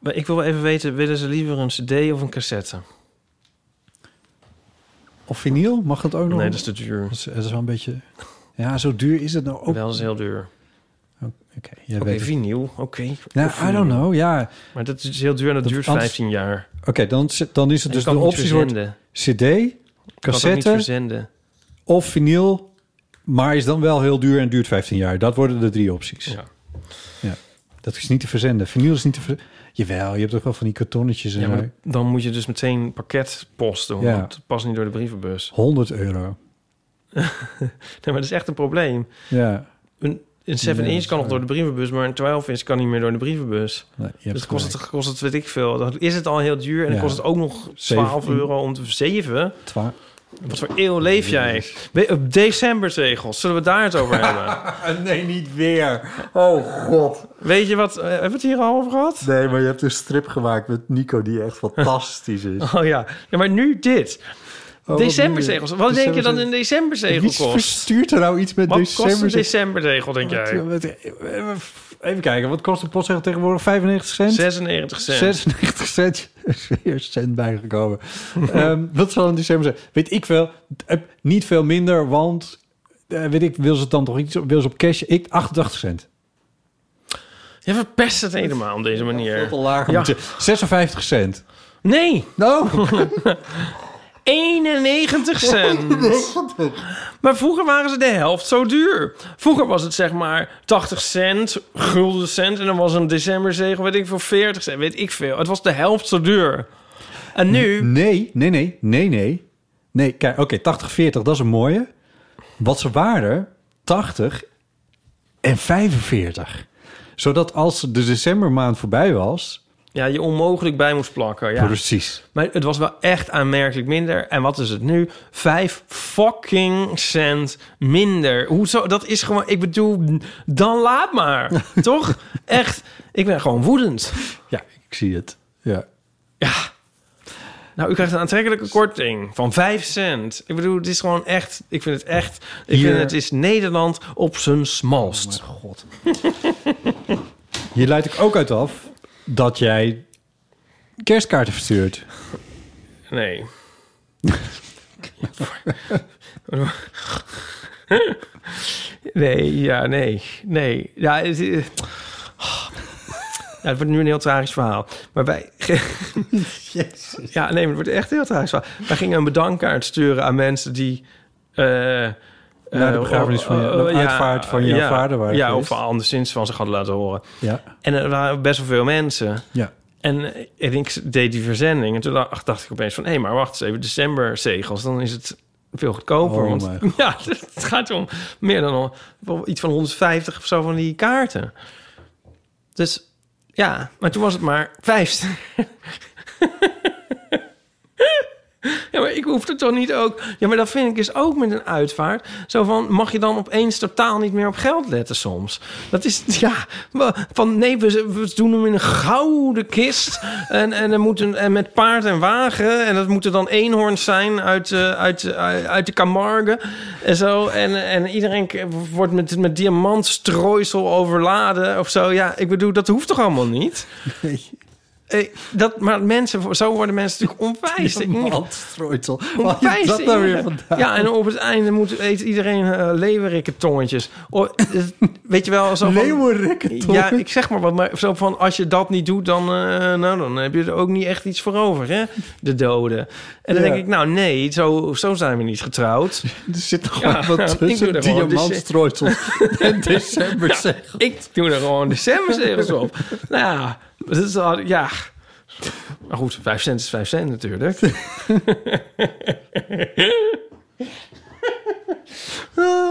[SPEAKER 1] Maar ik wil wel even weten, willen ze liever een cd of een cassette?
[SPEAKER 2] Of vinyl, mag dat ook nog?
[SPEAKER 1] Nee, dat is te duur.
[SPEAKER 2] Dat is- dat is wel een beetje... Ja, zo duur is het nou ook.
[SPEAKER 1] Wel is heel duur.
[SPEAKER 2] Oké, jij
[SPEAKER 1] Oké,
[SPEAKER 2] weet het.
[SPEAKER 1] vinyl. Oké. Of
[SPEAKER 2] Nou, I
[SPEAKER 1] vinyl.
[SPEAKER 2] don't know, ja.
[SPEAKER 1] Maar dat is heel duur en dat,
[SPEAKER 2] Dat
[SPEAKER 1] duurt
[SPEAKER 2] anders-
[SPEAKER 1] 15 jaar.
[SPEAKER 2] Oké, dan, zit- dan is het dus
[SPEAKER 1] Dus kan
[SPEAKER 2] de
[SPEAKER 1] de niet
[SPEAKER 2] opties wordt
[SPEAKER 1] verzenden.
[SPEAKER 2] cd,
[SPEAKER 1] Kan het ook niet
[SPEAKER 2] cassette
[SPEAKER 1] verzenden.
[SPEAKER 2] of vinyl. Maar is dan wel heel duur en duurt 15 jaar. Dat worden de drie opties.
[SPEAKER 1] Ja.
[SPEAKER 2] Ja. Dat is niet te verzenden. Vinyl is niet te verzenden. Jawel, je hebt toch wel van die kartonnetjes en
[SPEAKER 1] Ja, maar
[SPEAKER 2] zo.
[SPEAKER 1] dan moet je dus meteen pakketpost doen.
[SPEAKER 2] Ja.
[SPEAKER 1] Want het past niet door de brievenbus.
[SPEAKER 2] 100 euro.
[SPEAKER 1] Nee, maar dat is echt een probleem.
[SPEAKER 2] Ja.
[SPEAKER 1] Een, een 7
[SPEAKER 2] Ja, dat
[SPEAKER 1] inch
[SPEAKER 2] is
[SPEAKER 1] kan nog
[SPEAKER 2] waar.
[SPEAKER 1] door de brievenbus, maar een 12 inch kan niet meer door de brievenbus.
[SPEAKER 2] Nee, je hebt
[SPEAKER 1] Dus kost
[SPEAKER 2] gelijk.
[SPEAKER 1] het, kost het, weet ik veel. Dan is het al heel duur en dan
[SPEAKER 2] Ja.
[SPEAKER 1] kost het ook nog 12
[SPEAKER 2] Zeven-
[SPEAKER 1] euro om te verzeven.
[SPEAKER 2] Twa-
[SPEAKER 1] Wat voor eeuw leef jij? We- Op decembertegels, zullen we daar het over hebben?
[SPEAKER 2] nee, niet weer. Oh god.
[SPEAKER 1] Weet je wat, eh, hebben we het hier al over gehad?
[SPEAKER 2] Nee, maar je hebt een strip gemaakt met Nico die echt fantastisch is. Oh,
[SPEAKER 1] Oh ja. ja, maar nu dit.
[SPEAKER 2] wat
[SPEAKER 1] decembertegels.
[SPEAKER 2] nu?
[SPEAKER 1] Wat denk je dan een
[SPEAKER 2] Decembertegels.
[SPEAKER 1] decembertegel
[SPEAKER 2] Wie
[SPEAKER 1] kost?
[SPEAKER 2] verstuurt er nou iets met
[SPEAKER 1] Wat kost een
[SPEAKER 2] december?
[SPEAKER 1] decembertegel, denk
[SPEAKER 2] eh,
[SPEAKER 1] jij?
[SPEAKER 2] Even kijken, wat kost een postzegel tegenwoordig? 95 cent?
[SPEAKER 1] 96 cent.
[SPEAKER 2] 96 cent. Er is weer een cent bijgekomen. Ehm, wat zal in december zijn? Weet ik wel. Eh, niet veel minder, want... eh, weet ik, wil ze het dan toch iets op, wil ze op cash? Ik 88 cent.
[SPEAKER 1] Je verpest het helemaal op deze manier.
[SPEAKER 2] lager.
[SPEAKER 1] Ja.
[SPEAKER 2] 56 cent.
[SPEAKER 1] Nee,
[SPEAKER 2] Nou,
[SPEAKER 1] 91 cent. Maar vroeger waren ze de helft zo duur. Vroeger was het zeg maar 80 cent, gulden cent. En dan was een decemberzegel, weet ik veel, 40 cent, weet ik veel. Het was de helft zo duur. En nu,
[SPEAKER 2] nee, nee, nee, nee, nee. Nee, kijk, oké, 80, 40, dat is een mooie. Wat ze waren, 80 en 45. Zodat als de decembermaand voorbij was...
[SPEAKER 1] ja, je onmogelijk bij moest plakken. Ja.
[SPEAKER 2] Precies.
[SPEAKER 1] Maar het was wel echt aanmerkelijk minder. En wat is het nu? Vijf fucking cent minder. Hoezo? Dat is gewoon... Ik bedoel, dan laat maar. Toch? Echt. Ik ben gewoon woedend.
[SPEAKER 2] Ja, ik zie het. Ja.
[SPEAKER 1] Ja. Nou, u krijgt een aantrekkelijke korting van 5 cent. Ik bedoel, het is gewoon echt... Ik vind het echt... Ik
[SPEAKER 2] Hier-
[SPEAKER 1] vind het is Nederland op zijn smalst.
[SPEAKER 2] God. Hier leid ik ook uit af dat jij kerstkaarten verstuurt.
[SPEAKER 1] Nee. Nee, ja, nee. Nee. Ja, het, is- ja, het wordt nu een heel tragisch verhaal. Maar wij... Ja, nee, maar het wordt echt een heel tragisch verhaal. Wij gingen een bedankkaart sturen aan mensen die... eh,
[SPEAKER 2] Naar de
[SPEAKER 1] eh,
[SPEAKER 2] begrafenis van je-
[SPEAKER 1] eh,
[SPEAKER 2] de
[SPEAKER 1] ja,
[SPEAKER 2] uitvaart van jouw
[SPEAKER 1] ja,
[SPEAKER 2] vader waren
[SPEAKER 1] Ja,
[SPEAKER 2] geweest.
[SPEAKER 1] of anderszins van zich hadden laten horen.
[SPEAKER 2] Ja.
[SPEAKER 1] En er waren best wel veel mensen.
[SPEAKER 2] ja.
[SPEAKER 1] En eh, en ik deed die verzending. En toen dacht, dacht ik opeens van... hé, maar wacht eens even, decemberzegels. Dan is het veel goedkoper.
[SPEAKER 2] Oh
[SPEAKER 1] want
[SPEAKER 2] my God.
[SPEAKER 1] ja, het gaat om meer dan om- wel iets van 150 of zo van die kaarten. Dus ja, maar toen was het maar 50. Ja, maar ik hoef het toch niet ook... Ja, maar dat vind ik is ook met een uitvaart. Zo van, mag je dan opeens totaal niet meer op geld letten soms? Dat is, ja, wa- van nee, we, we doen hem in een gouden kist. En, en, er moet een, en met paard en wagen. En dat moeten dan eenhoorns zijn uit, eh, uit, uit, uit de Camargue. En zo. En, en iedereen k- wordt met, met diamantstrooisel overladen of zo. Ja, ik bedoel, dat hoeft toch allemaal niet? Eh, Dat, maar mensen, zo worden mensen natuurlijk onwijs.
[SPEAKER 2] Diamantstrooisel. Waar
[SPEAKER 1] Onwijs
[SPEAKER 2] is dat nou weer
[SPEAKER 1] inge-
[SPEAKER 2] vandaan?
[SPEAKER 1] Ja, en op het einde moet, eet iedereen eh leeuwerikkentongentjes. Oh, eh, weet je wel, zo van...
[SPEAKER 2] Leeuwenrikkentong.
[SPEAKER 1] Ja, ik zeg maar wat, maar zo van als je dat niet doet, dan, eh, nou, dan heb je er ook niet echt iets voor over, hè? De doden. En dan
[SPEAKER 2] Ja.
[SPEAKER 1] denk ik, nou nee, zo, zo zijn we niet getrouwd.
[SPEAKER 2] Er zit nog
[SPEAKER 1] Ja,
[SPEAKER 2] wat
[SPEAKER 1] ik doe
[SPEAKER 2] tussen.
[SPEAKER 1] er gewoon
[SPEAKER 2] Diamantstrooisel en december zeg.
[SPEAKER 1] Ik doe er gewoon de semmenzegels op. nou ja, dat is al, ja. Maar goed, vijf cent is vijf cent natuurlijk.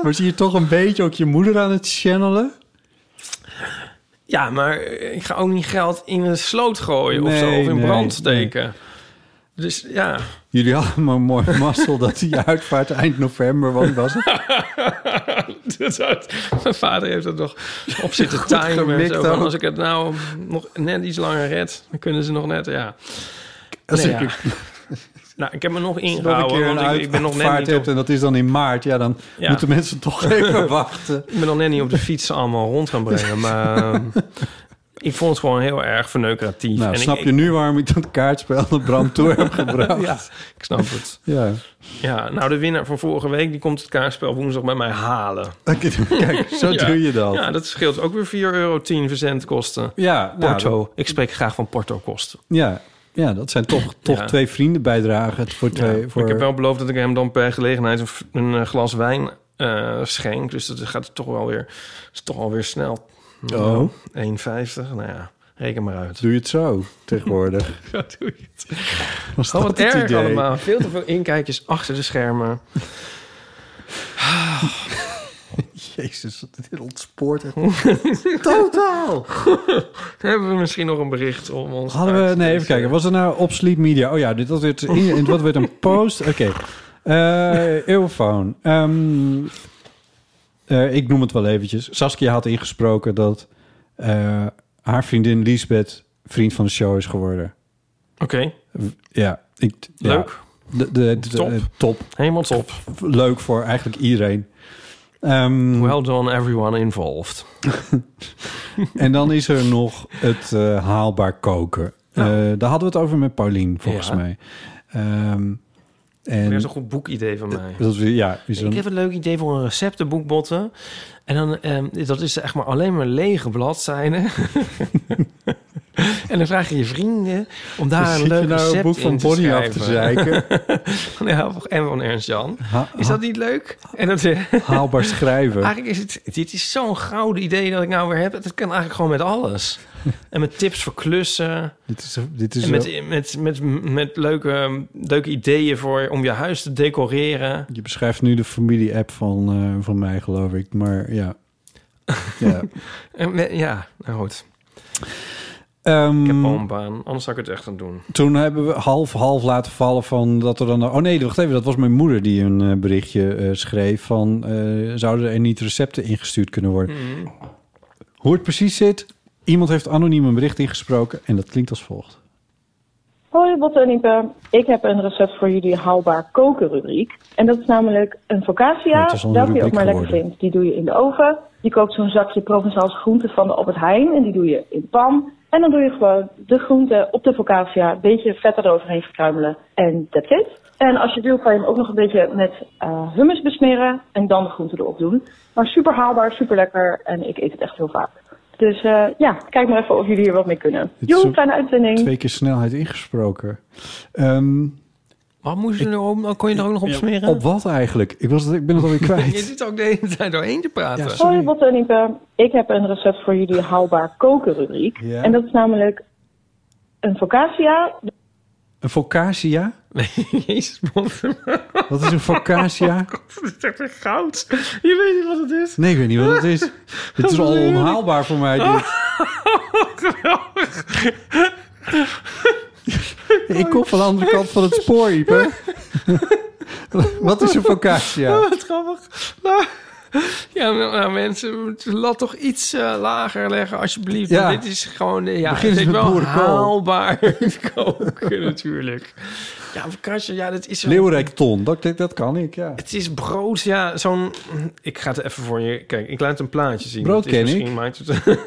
[SPEAKER 2] Maar zie je toch een beetje ook je moeder aan het channelen?
[SPEAKER 1] Ja, maar eh, ik ga ook niet geld in een sloot gooien of zo.
[SPEAKER 2] Nee,
[SPEAKER 1] Of in
[SPEAKER 2] nee,
[SPEAKER 1] brand steken. Dus ja,
[SPEAKER 2] Jullie hadden maar mooi mazzel dat die uitvaart eind november was. was het?
[SPEAKER 1] dat had- mijn vader heeft dat nog op zitten timen. en
[SPEAKER 2] gemikt
[SPEAKER 1] Zo, van,
[SPEAKER 2] ook.
[SPEAKER 1] als ik het nou nog net iets langer red, dan kunnen ze nog net, ja.
[SPEAKER 2] Als
[SPEAKER 1] Nee,
[SPEAKER 2] ik
[SPEAKER 1] ja. Nou, ik heb me nog
[SPEAKER 2] nog een keer
[SPEAKER 1] ingehouden,
[SPEAKER 2] een
[SPEAKER 1] want ik,
[SPEAKER 2] uit-
[SPEAKER 1] ik ben nog net
[SPEAKER 2] uitvaart
[SPEAKER 1] niet
[SPEAKER 2] hebt
[SPEAKER 1] op,
[SPEAKER 2] en dat is dan in maart, ja, dan
[SPEAKER 1] Ja.
[SPEAKER 2] moeten mensen toch even wachten.
[SPEAKER 1] ik ben nog net niet op de fiets allemaal rond gaan brengen. Maar ehm, ik vond het gewoon heel erg verneukeratief.
[SPEAKER 2] Nou,
[SPEAKER 1] En ik-
[SPEAKER 2] snap
[SPEAKER 1] ik,
[SPEAKER 2] je nu waarom ik dat kaartspel naar Bram toe heb gebracht?
[SPEAKER 1] Ja, ik snap het.
[SPEAKER 2] ja.
[SPEAKER 1] Ja, nou, de winnaar van vorige week, die komt het kaartspel woensdag bij mij halen.
[SPEAKER 2] Kijk, zo
[SPEAKER 1] Ja.
[SPEAKER 2] doe je dat. Ja,
[SPEAKER 1] Ja, dat scheelt ook weer 4,10 euro verzendkosten.
[SPEAKER 2] nou,
[SPEAKER 1] Porto. ik spreek graag van porto-kosten.
[SPEAKER 2] ja, ja, dat zijn toch, toch
[SPEAKER 1] Ja.
[SPEAKER 2] twee vrienden bijdragen voor
[SPEAKER 1] Ja,
[SPEAKER 2] twee.
[SPEAKER 1] maar
[SPEAKER 2] voor...
[SPEAKER 1] Ik heb wel beloofd dat ik hem dan per gelegenheid een, f- een, eh, glas wijn eh, schenk. Dus dat gaat toch wel weer, is toch alweer snel.
[SPEAKER 2] Oh.
[SPEAKER 1] 1,50. Nou ja, reken maar uit.
[SPEAKER 2] Doe je het zo tegenwoordig?
[SPEAKER 1] Ja, doe je het.
[SPEAKER 2] Was
[SPEAKER 1] Oh,
[SPEAKER 2] dat
[SPEAKER 1] wat
[SPEAKER 2] het
[SPEAKER 1] erg
[SPEAKER 2] idee?
[SPEAKER 1] allemaal. Veel te veel inkijkjes achter de schermen.
[SPEAKER 2] Jezus, dit ontspoort echt. Totaal!
[SPEAKER 1] Hebben we misschien nog een bericht om ons
[SPEAKER 2] Hadden we,
[SPEAKER 1] uit te
[SPEAKER 2] nee, even
[SPEAKER 1] lezen?
[SPEAKER 2] kijken. Was er nou op Sleep Media? Oh ja, dit was weer, in- en wat werd een post. Oké. Eh, Eeuwfoon. Ehm, eh, ik noem het wel eventjes. Saskia had ingesproken dat eh, haar vriendin Liesbeth vriend van de show is geworden.
[SPEAKER 1] Oké,
[SPEAKER 2] Ja, ik, ja.
[SPEAKER 1] leuk.
[SPEAKER 2] De, de, de-
[SPEAKER 1] Top.
[SPEAKER 2] eh, top.
[SPEAKER 1] Helemaal top.
[SPEAKER 2] Leuk voor eigenlijk iedereen. Ehm,
[SPEAKER 1] Well done everyone involved.
[SPEAKER 2] En dan is er nog het eh, haalbaar koken. Eh, daar hadden we het over met Paulien, volgens
[SPEAKER 1] Ja.
[SPEAKER 2] mij. Ehm,
[SPEAKER 1] Dat
[SPEAKER 2] en
[SPEAKER 1] is een goed boekidee van mij.
[SPEAKER 2] dat we, ja, is
[SPEAKER 1] Ik
[SPEAKER 2] een-
[SPEAKER 1] heb een leuk idee voor een receptenboekbotten. En dan, ehm, dat is echt maar alleen maar lege bladzijden. en dan vraag je je vrienden om daar
[SPEAKER 2] Zit
[SPEAKER 1] een
[SPEAKER 2] je
[SPEAKER 1] leuk
[SPEAKER 2] nou
[SPEAKER 1] recept
[SPEAKER 2] een boek van
[SPEAKER 1] in te
[SPEAKER 2] Bonnie af te
[SPEAKER 1] schrijven.
[SPEAKER 2] zeiken.
[SPEAKER 1] Ja, en van Ernst Jan.
[SPEAKER 2] Ha-
[SPEAKER 1] Is dat niet leuk? En dat, eh,
[SPEAKER 2] haalbaar schrijven.
[SPEAKER 1] eigenlijk is het, dit is zo'n gouden idee dat ik nou weer heb. Dat kan eigenlijk gewoon met alles. En met tips voor klussen.
[SPEAKER 2] dit is, dit is
[SPEAKER 1] En
[SPEAKER 2] wel-
[SPEAKER 1] met, met, met, met leuke, leuke ideeën voor, om je huis te decoreren.
[SPEAKER 2] je beschrijft nu de familie-app van, eh, van mij, geloof ik. Maar ja. ja.
[SPEAKER 1] En met- ja, nou goed.
[SPEAKER 2] Ehm,
[SPEAKER 1] Ik heb al een baan, anders zou ik het echt aan doen.
[SPEAKER 2] toen hebben we half half laten vallen van dat er dan... Oh nee, wacht even, dat was mijn moeder die een eh, berichtje eh, schreef van... eh, zouden er niet recepten ingestuurd kunnen worden?
[SPEAKER 1] Mhm.
[SPEAKER 2] Hoe het precies zit, iemand heeft anoniem een bericht ingesproken en dat klinkt als volgt.
[SPEAKER 5] Hoi Botte en Ipe. Ik heb een recept voor jullie haalbaar koken rubriek. En dat is namelijk een
[SPEAKER 2] Ja,
[SPEAKER 5] focaccia,
[SPEAKER 2] het is al een
[SPEAKER 5] welke je ook
[SPEAKER 2] rubriek
[SPEAKER 5] maar lekker
[SPEAKER 2] geworden.
[SPEAKER 5] vindt. Die doe je in de oven. Je koopt zo'n zakje Provençals groente van de Albert Heijn en die doe je in de pan. En dan doe je gewoon de groente op de focaccia, een beetje vet eroverheen verkruimelen. En that's it. En als je wil, kan je hem ook nog een beetje met eh, hummus besmeren en dan de groente erop doen. Maar super haalbaar, super lekker en ik eet het echt heel vaak. Dus eh, ja, kijk maar even of jullie hier wat mee kunnen.
[SPEAKER 2] Dit is
[SPEAKER 5] Joe,
[SPEAKER 2] een-
[SPEAKER 5] kleine uitzending.
[SPEAKER 2] Twee keer snelheid ingesproken. Ehm,
[SPEAKER 1] Wat moest je er om? Kon je er ook nog op smeren?
[SPEAKER 2] op wat eigenlijk? Ik, was het, ik ben het alweer
[SPEAKER 1] Je
[SPEAKER 2] kwijt.
[SPEAKER 1] zit ook de hele tijd doorheen te praten.
[SPEAKER 2] Ja,
[SPEAKER 5] Hoi Botte en Ipe. Ik heb een recept voor jullie haalbaar koken rubriek.
[SPEAKER 2] Ja.
[SPEAKER 5] En dat is namelijk een focaccia.
[SPEAKER 2] Een focaccia?
[SPEAKER 1] Jezus,
[SPEAKER 2] Wat is een focaccia?
[SPEAKER 1] dat is echt weer goud. Je weet niet wat het is.
[SPEAKER 2] Nee, ik weet niet wat het is. Dit is al onhaalbaar voor mij. Dit. Ik kom van de andere kant van het spoor, Ipe. Wat is een focaccia?
[SPEAKER 1] Wat grappig. Nou, ja, nou, nou, mensen, laat toch iets eh, lager leggen alsjeblieft.
[SPEAKER 2] Ja.
[SPEAKER 1] Dit is gewoon, eh, ja,
[SPEAKER 2] Begin
[SPEAKER 1] het
[SPEAKER 2] eens
[SPEAKER 1] is
[SPEAKER 2] met
[SPEAKER 1] wel
[SPEAKER 2] boerenkool.
[SPEAKER 1] haalbaar koken natuurlijk. Ja, vakantie, ja, dat is wel-
[SPEAKER 2] Leeuwenrijk ton, dat, dat kan ik, ja.
[SPEAKER 1] Het is brood, ja, zo'n... Ik ga het even voor je... Kijk, ik laat een plaatje zien.
[SPEAKER 2] Brood
[SPEAKER 1] Dat is
[SPEAKER 2] ken
[SPEAKER 1] misschien
[SPEAKER 2] ik.
[SPEAKER 1] Maakt het...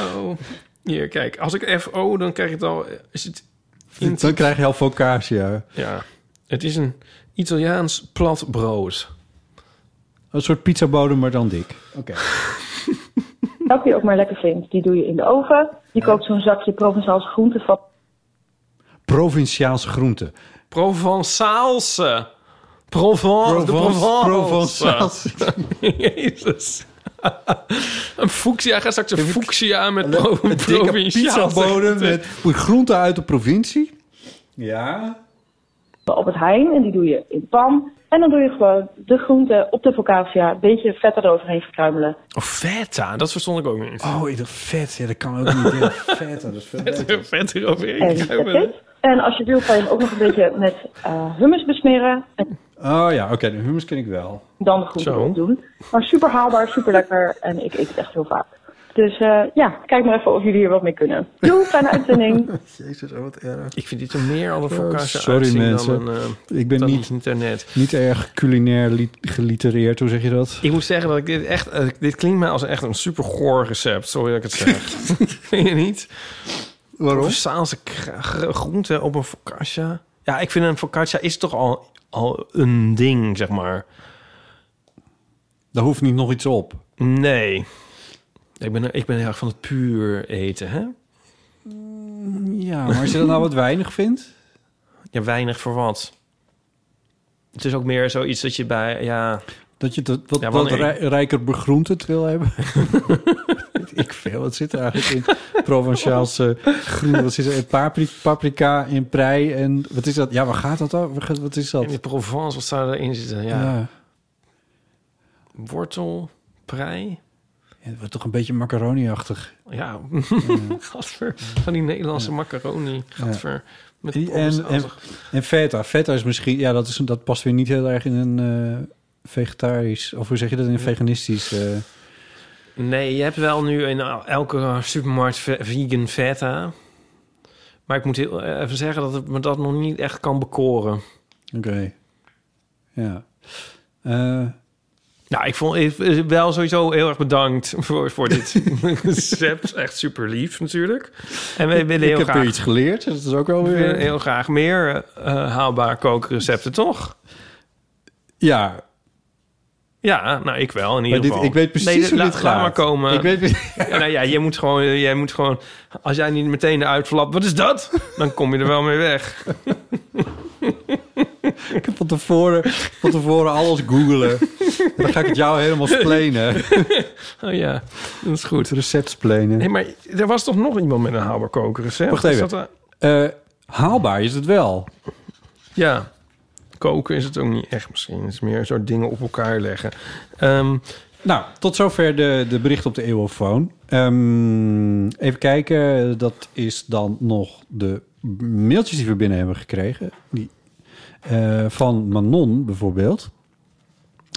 [SPEAKER 1] oh, hier, kijk. Als ik FO, dan krijg ik het al... Is het... in-
[SPEAKER 2] Dan krijg je al focaccia.
[SPEAKER 1] Ja, het is een Italiaans plat brood.
[SPEAKER 2] Een soort pizzabodem, maar dan dik. Oké.
[SPEAKER 5] Welke je ook maar lekker vindt, die doe je in de oven. Je koopt zo'n zakje Provençaals groente van.
[SPEAKER 2] Provinciaalse groenten.
[SPEAKER 1] Provençaalse. Provence, de Provence.
[SPEAKER 2] Provençaalse.
[SPEAKER 1] Jezus. een fuchsia, ga straks een fuchsia met pro-
[SPEAKER 2] Een dikke
[SPEAKER 1] provinciaal.
[SPEAKER 2] pizzabodem met groenten uit de provincie. Ja.
[SPEAKER 5] op het Heijn en die doe je in de pan. En dan doe je gewoon de groente op de focaccia, een beetje vet eroverheen verkruimelen.
[SPEAKER 1] Oh, feta, dat verstond ik ook niet.
[SPEAKER 2] Oh, ik dacht vet. Ja, dat kan ook niet. Ja, vet, dat is veel beter.
[SPEAKER 1] Vet eroverheen.
[SPEAKER 5] En that's it. En als je wil, kan je hem ook nog een beetje met eh, hummus besmeren en
[SPEAKER 2] Oh ja, oké. de hummus ken ik wel.
[SPEAKER 5] dan de groente
[SPEAKER 1] Zo.
[SPEAKER 5] erop doen. Maar super haalbaar, super lekker en ik eet het echt heel vaak. Dus eh, ja, kijk maar even of jullie hier wat mee kunnen. Doei, fijne uitzending.
[SPEAKER 1] Ik vind dit er meer al een focaccia
[SPEAKER 2] sorry,
[SPEAKER 1] uitzien
[SPEAKER 2] mensen.
[SPEAKER 1] dan een... eh,
[SPEAKER 2] Ik ben
[SPEAKER 1] dan
[SPEAKER 2] niet,
[SPEAKER 1] iets internet.
[SPEAKER 2] niet erg culinair li- gelitereerd. Hoe zeg je dat?
[SPEAKER 1] Ik moet zeggen dat ik dit echt... eh, dit klinkt mij als echt een super goor recept. Sorry dat ik het zeg. Vind je niet?
[SPEAKER 2] Waarom?
[SPEAKER 1] Provençaalse kra- gr- groente op een focaccia. Ja, ik vind een focaccia is toch al, al een ding, zeg maar.
[SPEAKER 2] Daar hoeft niet nog iets op.
[SPEAKER 1] Nee. Ik ben, ik ben heel erg van het puur eten, hè?
[SPEAKER 2] Ja, maar als je dat nou wat weinig vindt...
[SPEAKER 1] Ja, weinig voor wat. Het is ook meer zoiets dat je bij... Ja,
[SPEAKER 2] Dat je dat, wat,
[SPEAKER 1] Ja,
[SPEAKER 2] wat
[SPEAKER 1] wanneer-
[SPEAKER 2] rij- rijker begroentend wil hebben. Weet ik veel. Wat zit er eigenlijk in? Provinciaalse groen. Wat zit er in? Papri- paprika in prei. En wat is dat? Ja, waar gaat dat over? Wat is
[SPEAKER 1] in de
[SPEAKER 2] dat?
[SPEAKER 1] Provence, wat zou erin zitten? Ja.
[SPEAKER 2] Ja.
[SPEAKER 1] Wortel, prei.
[SPEAKER 2] Ja, het wordt toch een beetje macaroni-achtig.
[SPEAKER 1] Ja,
[SPEAKER 2] Mm.
[SPEAKER 1] gadver. Van die Nederlandse macaroni. Gadver. Met
[SPEAKER 2] En, en, en,
[SPEAKER 1] provençaalse-
[SPEAKER 2] en feta. Feta is misschien... Ja, dat, is, dat past weer niet heel erg in een eh, vegetarisch... Of hoe zeg je dat? In een veganistisch... eh,
[SPEAKER 1] Nee, je hebt wel nu in elke supermarkt ve- vegan feta. Maar ik moet heel eh, even zeggen dat het me dat nog niet echt kan bekoren.
[SPEAKER 2] Oké. Ja. Eh,
[SPEAKER 1] Nou, ik vond ik- eh, wel sowieso heel erg bedankt voor, voor dit recept. Echt super lief natuurlijk. En we willen
[SPEAKER 2] ik
[SPEAKER 1] heel
[SPEAKER 2] heb
[SPEAKER 1] graag,
[SPEAKER 2] er iets geleerd. Dat is ook wel
[SPEAKER 1] we willen
[SPEAKER 2] weer...
[SPEAKER 1] heel graag meer eh, haalbaar kookrecepten, toch?
[SPEAKER 2] Ja,
[SPEAKER 1] Ja, nou ik wel in
[SPEAKER 2] Maar
[SPEAKER 1] ieder
[SPEAKER 2] dit,
[SPEAKER 1] geval.
[SPEAKER 2] ik weet precies
[SPEAKER 1] Nee,
[SPEAKER 2] hoe
[SPEAKER 1] la-
[SPEAKER 2] dit gaat.
[SPEAKER 1] Laat maar komen.
[SPEAKER 2] Ik weet,
[SPEAKER 1] Ja, nou ja, jij moet, gewoon, jij moet gewoon... Als jij niet meteen eruit flapt, wat is dat? Dan kom je er wel mee weg.
[SPEAKER 2] ik heb van tevoren, van tevoren alles googelen. En dan ga ik het jou helemaal splenen.
[SPEAKER 1] Oh ja, dat is goed.
[SPEAKER 2] Het recept splenen.
[SPEAKER 1] Nee, maar er was toch nog iemand met een haalbaar kookrecept?
[SPEAKER 2] Wacht even.
[SPEAKER 1] Is dat, eh,
[SPEAKER 2] Eh, haalbaar is het wel.
[SPEAKER 1] ja, koken is het ook niet echt misschien. Het is meer een soort dingen op elkaar leggen. Ehm,
[SPEAKER 2] Nou, tot zover de, de bericht op de eeuwofoon. Ehm, even kijken, dat is dan nog de mailtjes die we binnen hebben gekregen. Die, eh, van Manon bijvoorbeeld.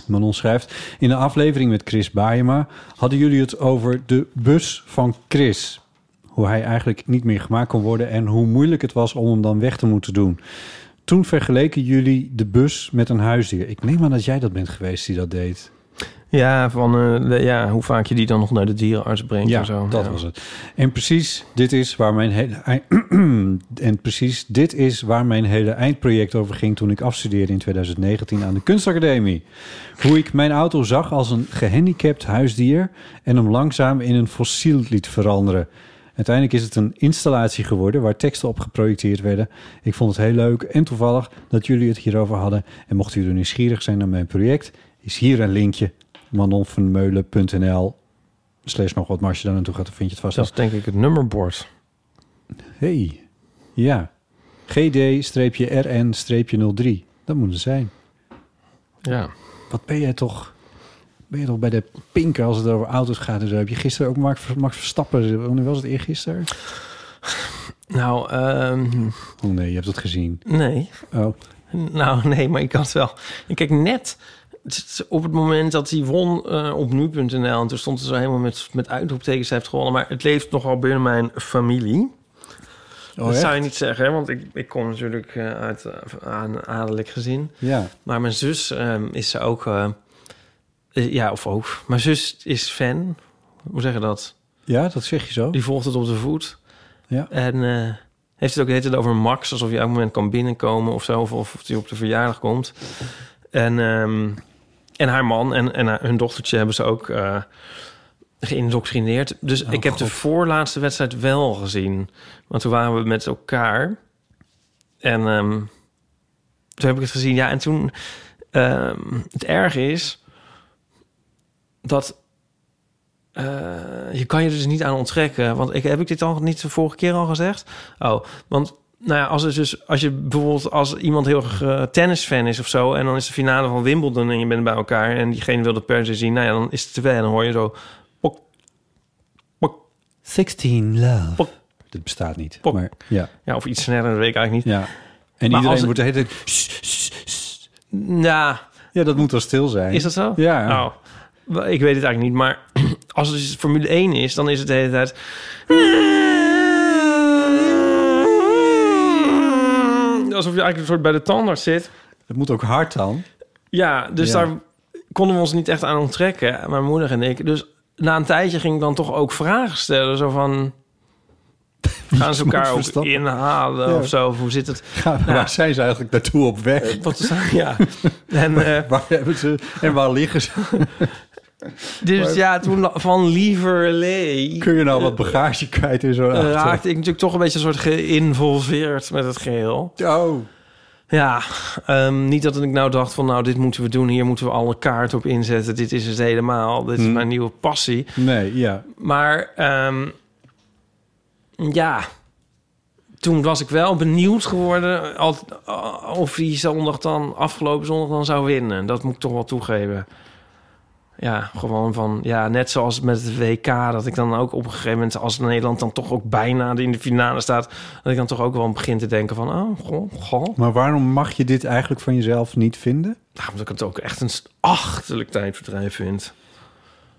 [SPEAKER 2] Manon schrijft... In de aflevering met Chris Baayema hadden jullie het over de bus van Chris. Hoe hij eigenlijk niet meer gemaakt kon worden... en hoe moeilijk het was om hem dan weg te moeten doen. Toen vergeleken jullie de bus met een huisdier. Ik neem aan dat jij dat bent geweest die dat deed.
[SPEAKER 1] Ja, van eh, de- ja, hoe vaak je die dan nog naar de dierenarts brengt
[SPEAKER 2] Ja,
[SPEAKER 1] en zo.
[SPEAKER 2] dat
[SPEAKER 1] Ja.
[SPEAKER 2] was het. En precies dit is waar mijn hele ei- en precies dit is waar mijn hele eindproject over ging toen ik afstudeerde in 2019 aan de kunstacademie. Hoe ik mijn auto zag als een gehandicapt huisdier en hem langzaam in een fossiel liet veranderen. Uiteindelijk is het een installatie geworden waar teksten op geprojecteerd werden. Ik vond het heel leuk en toevallig dat jullie het hierover hadden. En mocht u er nieuwsgierig zijn naar mijn project, is hier een linkje. manonvanmeulen.nl Slees nog wat, maar als je daar naartoe gaat, dan vind je het vast.
[SPEAKER 1] Dat is denk ik het nummerbord.
[SPEAKER 2] Hey. Ja. GD-RN-03. Dat moet het zijn.
[SPEAKER 1] Ja.
[SPEAKER 2] Wat ben jij toch... Ben je toch bij de pinken als het over auto's gaat en zo? Heb je gisteren ook Max Max Verstappen... Wanneer was het eergisteren?
[SPEAKER 1] Nou, ehm,
[SPEAKER 2] Oh nee, je hebt dat gezien.
[SPEAKER 1] nee.
[SPEAKER 2] Oh.
[SPEAKER 1] Nou, nee, maar ik had wel. En Kijk, net t- op het moment dat hij won eh, op nu.nl... en toen stond het zo helemaal met, met uitroeptekens... hij heeft gewonnen, maar het leeft nogal binnen mijn familie.
[SPEAKER 2] Oh,
[SPEAKER 1] dat zou je niet zeggen, hè? want ik, ik kom natuurlijk eh, uit eh, aan adellijk gezin.
[SPEAKER 2] Ja.
[SPEAKER 1] Maar mijn zus ehm, is ook... eh, eh, ja, of ook. Mijn zus is fan. Hoe zeg je dat?
[SPEAKER 2] Ja, dat zeg je zo.
[SPEAKER 1] Die volgt het op de voet.
[SPEAKER 2] Ja.
[SPEAKER 1] En eh, heeft het ook de hele tijd over Max, alsof je elk moment kan binnenkomen of zo, of, of die op de verjaardag komt. En, ehm, en haar man en, en haar- hun dochtertje hebben ze ook eh geïndoctrineerd. Dus
[SPEAKER 2] Oh,
[SPEAKER 1] ik heb de voorlaatste wedstrijd wel gezien. Want toen waren we met elkaar. En ehm, toen heb ik het gezien. Ja, en toen... ehm, het erg is dat eh, je kan je dus niet aan onttrekken. Want ik, heb ik dit al niet de vorige keer al gezegd? Oh, want nou ja, als, het dus, als je bijvoorbeeld als iemand heel erg eh, tennisfan is of zo... en dan is de finale van Wimbledon en je bent bij elkaar... en diegene wil dat per se zien, nou ja, dan is het twee en dan hoor je zo... Pok, pok,
[SPEAKER 6] 16 love.
[SPEAKER 2] Dit bestaat niet.
[SPEAKER 1] Pok.
[SPEAKER 2] Maar ja.
[SPEAKER 1] ja, of iets sneller, dat weet ik eigenlijk niet.
[SPEAKER 2] ja. En
[SPEAKER 1] als
[SPEAKER 2] iedereen
[SPEAKER 1] het-
[SPEAKER 2] wordt de hele tijd...
[SPEAKER 1] Nou,
[SPEAKER 2] Ja, dat moet wel stil zijn.
[SPEAKER 1] Is dat zo?
[SPEAKER 2] Ja.
[SPEAKER 1] Nou, wel, ik weet het eigenlijk niet, maar als het dus Formule 1 is, dan is het de hele tijd... Alsof je eigenlijk een soort bij de tandarts zit.
[SPEAKER 2] Het moet ook hard dan.
[SPEAKER 1] Ja, dus
[SPEAKER 2] Ja.
[SPEAKER 1] daar konden we ons niet echt aan onttrekken, mijn moeder en ik. Dus na een tijdje ging ik dan toch ook vragen stellen, zo van... Gaan ze elkaar ook
[SPEAKER 2] Verstappen.
[SPEAKER 1] inhalen
[SPEAKER 2] Ja.
[SPEAKER 1] of zo? Of hoe zit het?
[SPEAKER 2] Ga, Waar zijn ze eigenlijk naartoe op weg?
[SPEAKER 1] Wat is Ja. En, eh,
[SPEAKER 2] Waar hebben ze... En waar liggen ze?
[SPEAKER 1] dus ja, toen van lieverlee...
[SPEAKER 2] Kun je nou wat bagage kwijt in zo'n auto?
[SPEAKER 1] Eh, raakte ik natuurlijk toch een beetje een soort geïnvolveerd met het geheel.
[SPEAKER 2] Oh.
[SPEAKER 1] Ja, ehm, niet dat ik nou dacht van nou, dit moeten we doen. Hier moeten we alle kaart op inzetten. Dit is het helemaal. Dit is mijn nieuwe passie.
[SPEAKER 2] Nee, ja.
[SPEAKER 1] Maar ehm, ja, toen was ik wel benieuwd geworden al, of die zondag dan, afgelopen zondag dan zou winnen. Dat moet ik toch wel toegeven. Ja, gewoon van, ja, net zoals met het WK, dat ik dan ook op een gegeven moment, als Nederland dan toch ook bijna in de finale staat, dat ik dan toch ook wel begin te denken van, oh, goh, goh.
[SPEAKER 2] Maar waarom mag je dit eigenlijk van jezelf niet vinden?
[SPEAKER 1] Nou, omdat ik het ook echt een achterlijk tijdverdrijf vind.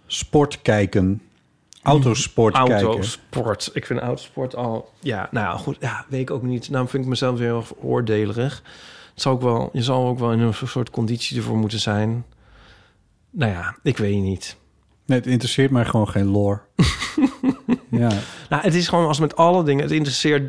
[SPEAKER 2] Sport kijken. Autosport kijken.
[SPEAKER 1] Autosport. Ik vind autosport al... Ja, nou ja, goed. Ja, weet ik ook niet. Nou vind ik mezelf weer heel erg oordelig. Het zal ook wel, je zal ook wel in een soort conditie ervoor moeten zijn. Nou ja, ik weet niet.
[SPEAKER 2] Nee, het interesseert mij gewoon geen lore. ja.
[SPEAKER 1] Nou, het is gewoon als met alle dingen. Het interesseert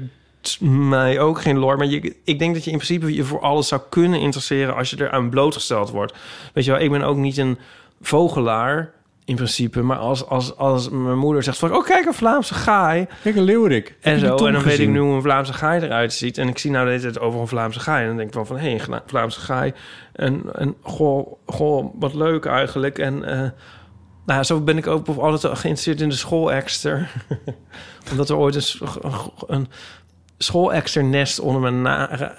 [SPEAKER 1] mij ook geen lore. Maar je, ik denk dat je in principe je voor alles zou kunnen interesseren... als je eraan blootgesteld wordt. Weet je wel, ik ben ook niet een vogelaar... In principe, maar als, als, als mijn moeder zegt van... oh, kijk, een Vlaamse gaai.
[SPEAKER 2] Kijk, een leeuwerik. Heb
[SPEAKER 1] En
[SPEAKER 2] je die
[SPEAKER 1] zo, en
[SPEAKER 2] tong
[SPEAKER 1] dan weet ik
[SPEAKER 2] gezien?
[SPEAKER 1] nu hoe een Vlaamse gaai eruit ziet. En ik zie nou de hele tijd overal Vlaamse gaai. En dan denk ik wel van, hé, hey, een Gla- Vlaamse gaai. En, en goh, goh, wat leuk eigenlijk. En eh, nou, ja, zo ben ik ook altijd al geïnteresseerd in de schoolexter. Omdat er ooit een, s- een schoolexter nest onder mijn naren...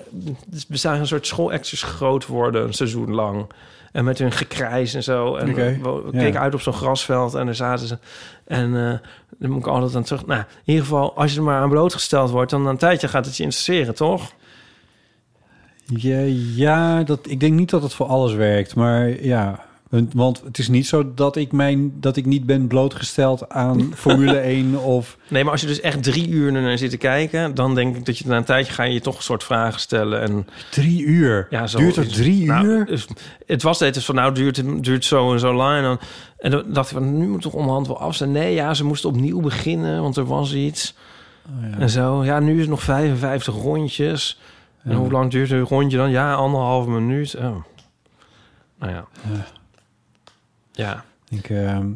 [SPEAKER 1] Dus we zagen een soort schoolexters groot worden een seizoen lang. En met hun gekrijs en zo. En
[SPEAKER 2] Oké,
[SPEAKER 1] we
[SPEAKER 2] ja.
[SPEAKER 1] keken uit op zo'n grasveld en daar zaten ze. En eh, daar moet ik altijd aan terug. Nou, in ieder geval, als je er maar aan blootgesteld wordt... dan na een tijdje gaat het je interesseren, toch?
[SPEAKER 2] Ja, ja dat, ik denk niet dat het voor alles werkt. Maar ja, En- Want het is niet zo dat ik, mijn, dat ik niet ben blootgesteld aan Formule 1 of...
[SPEAKER 1] Nee, maar als je dus echt drie uur ernaar zit te kijken... dan denk ik dat je na een tijdje ga je je toch een soort vragen stellen. En,
[SPEAKER 2] Drie uur.
[SPEAKER 1] ja, zo
[SPEAKER 2] Duurt het
[SPEAKER 1] is-
[SPEAKER 2] drie
[SPEAKER 1] nou,
[SPEAKER 2] uur?
[SPEAKER 1] dus het was steeds van, nou, duurt, het duurt zo en zo lang. En, dan, en dan dacht ik, van, nu moet toch onderhand wel af zijn. Nee, ja, ze moesten opnieuw beginnen, want er was iets.
[SPEAKER 2] Oh,
[SPEAKER 1] En zo, ja, nu is het nog 55 rondjes. En hoe lang duurt een rondje dan? Ja, anderhalve minuut. Oh. Nou ja. Ja.
[SPEAKER 2] Ik, ehm,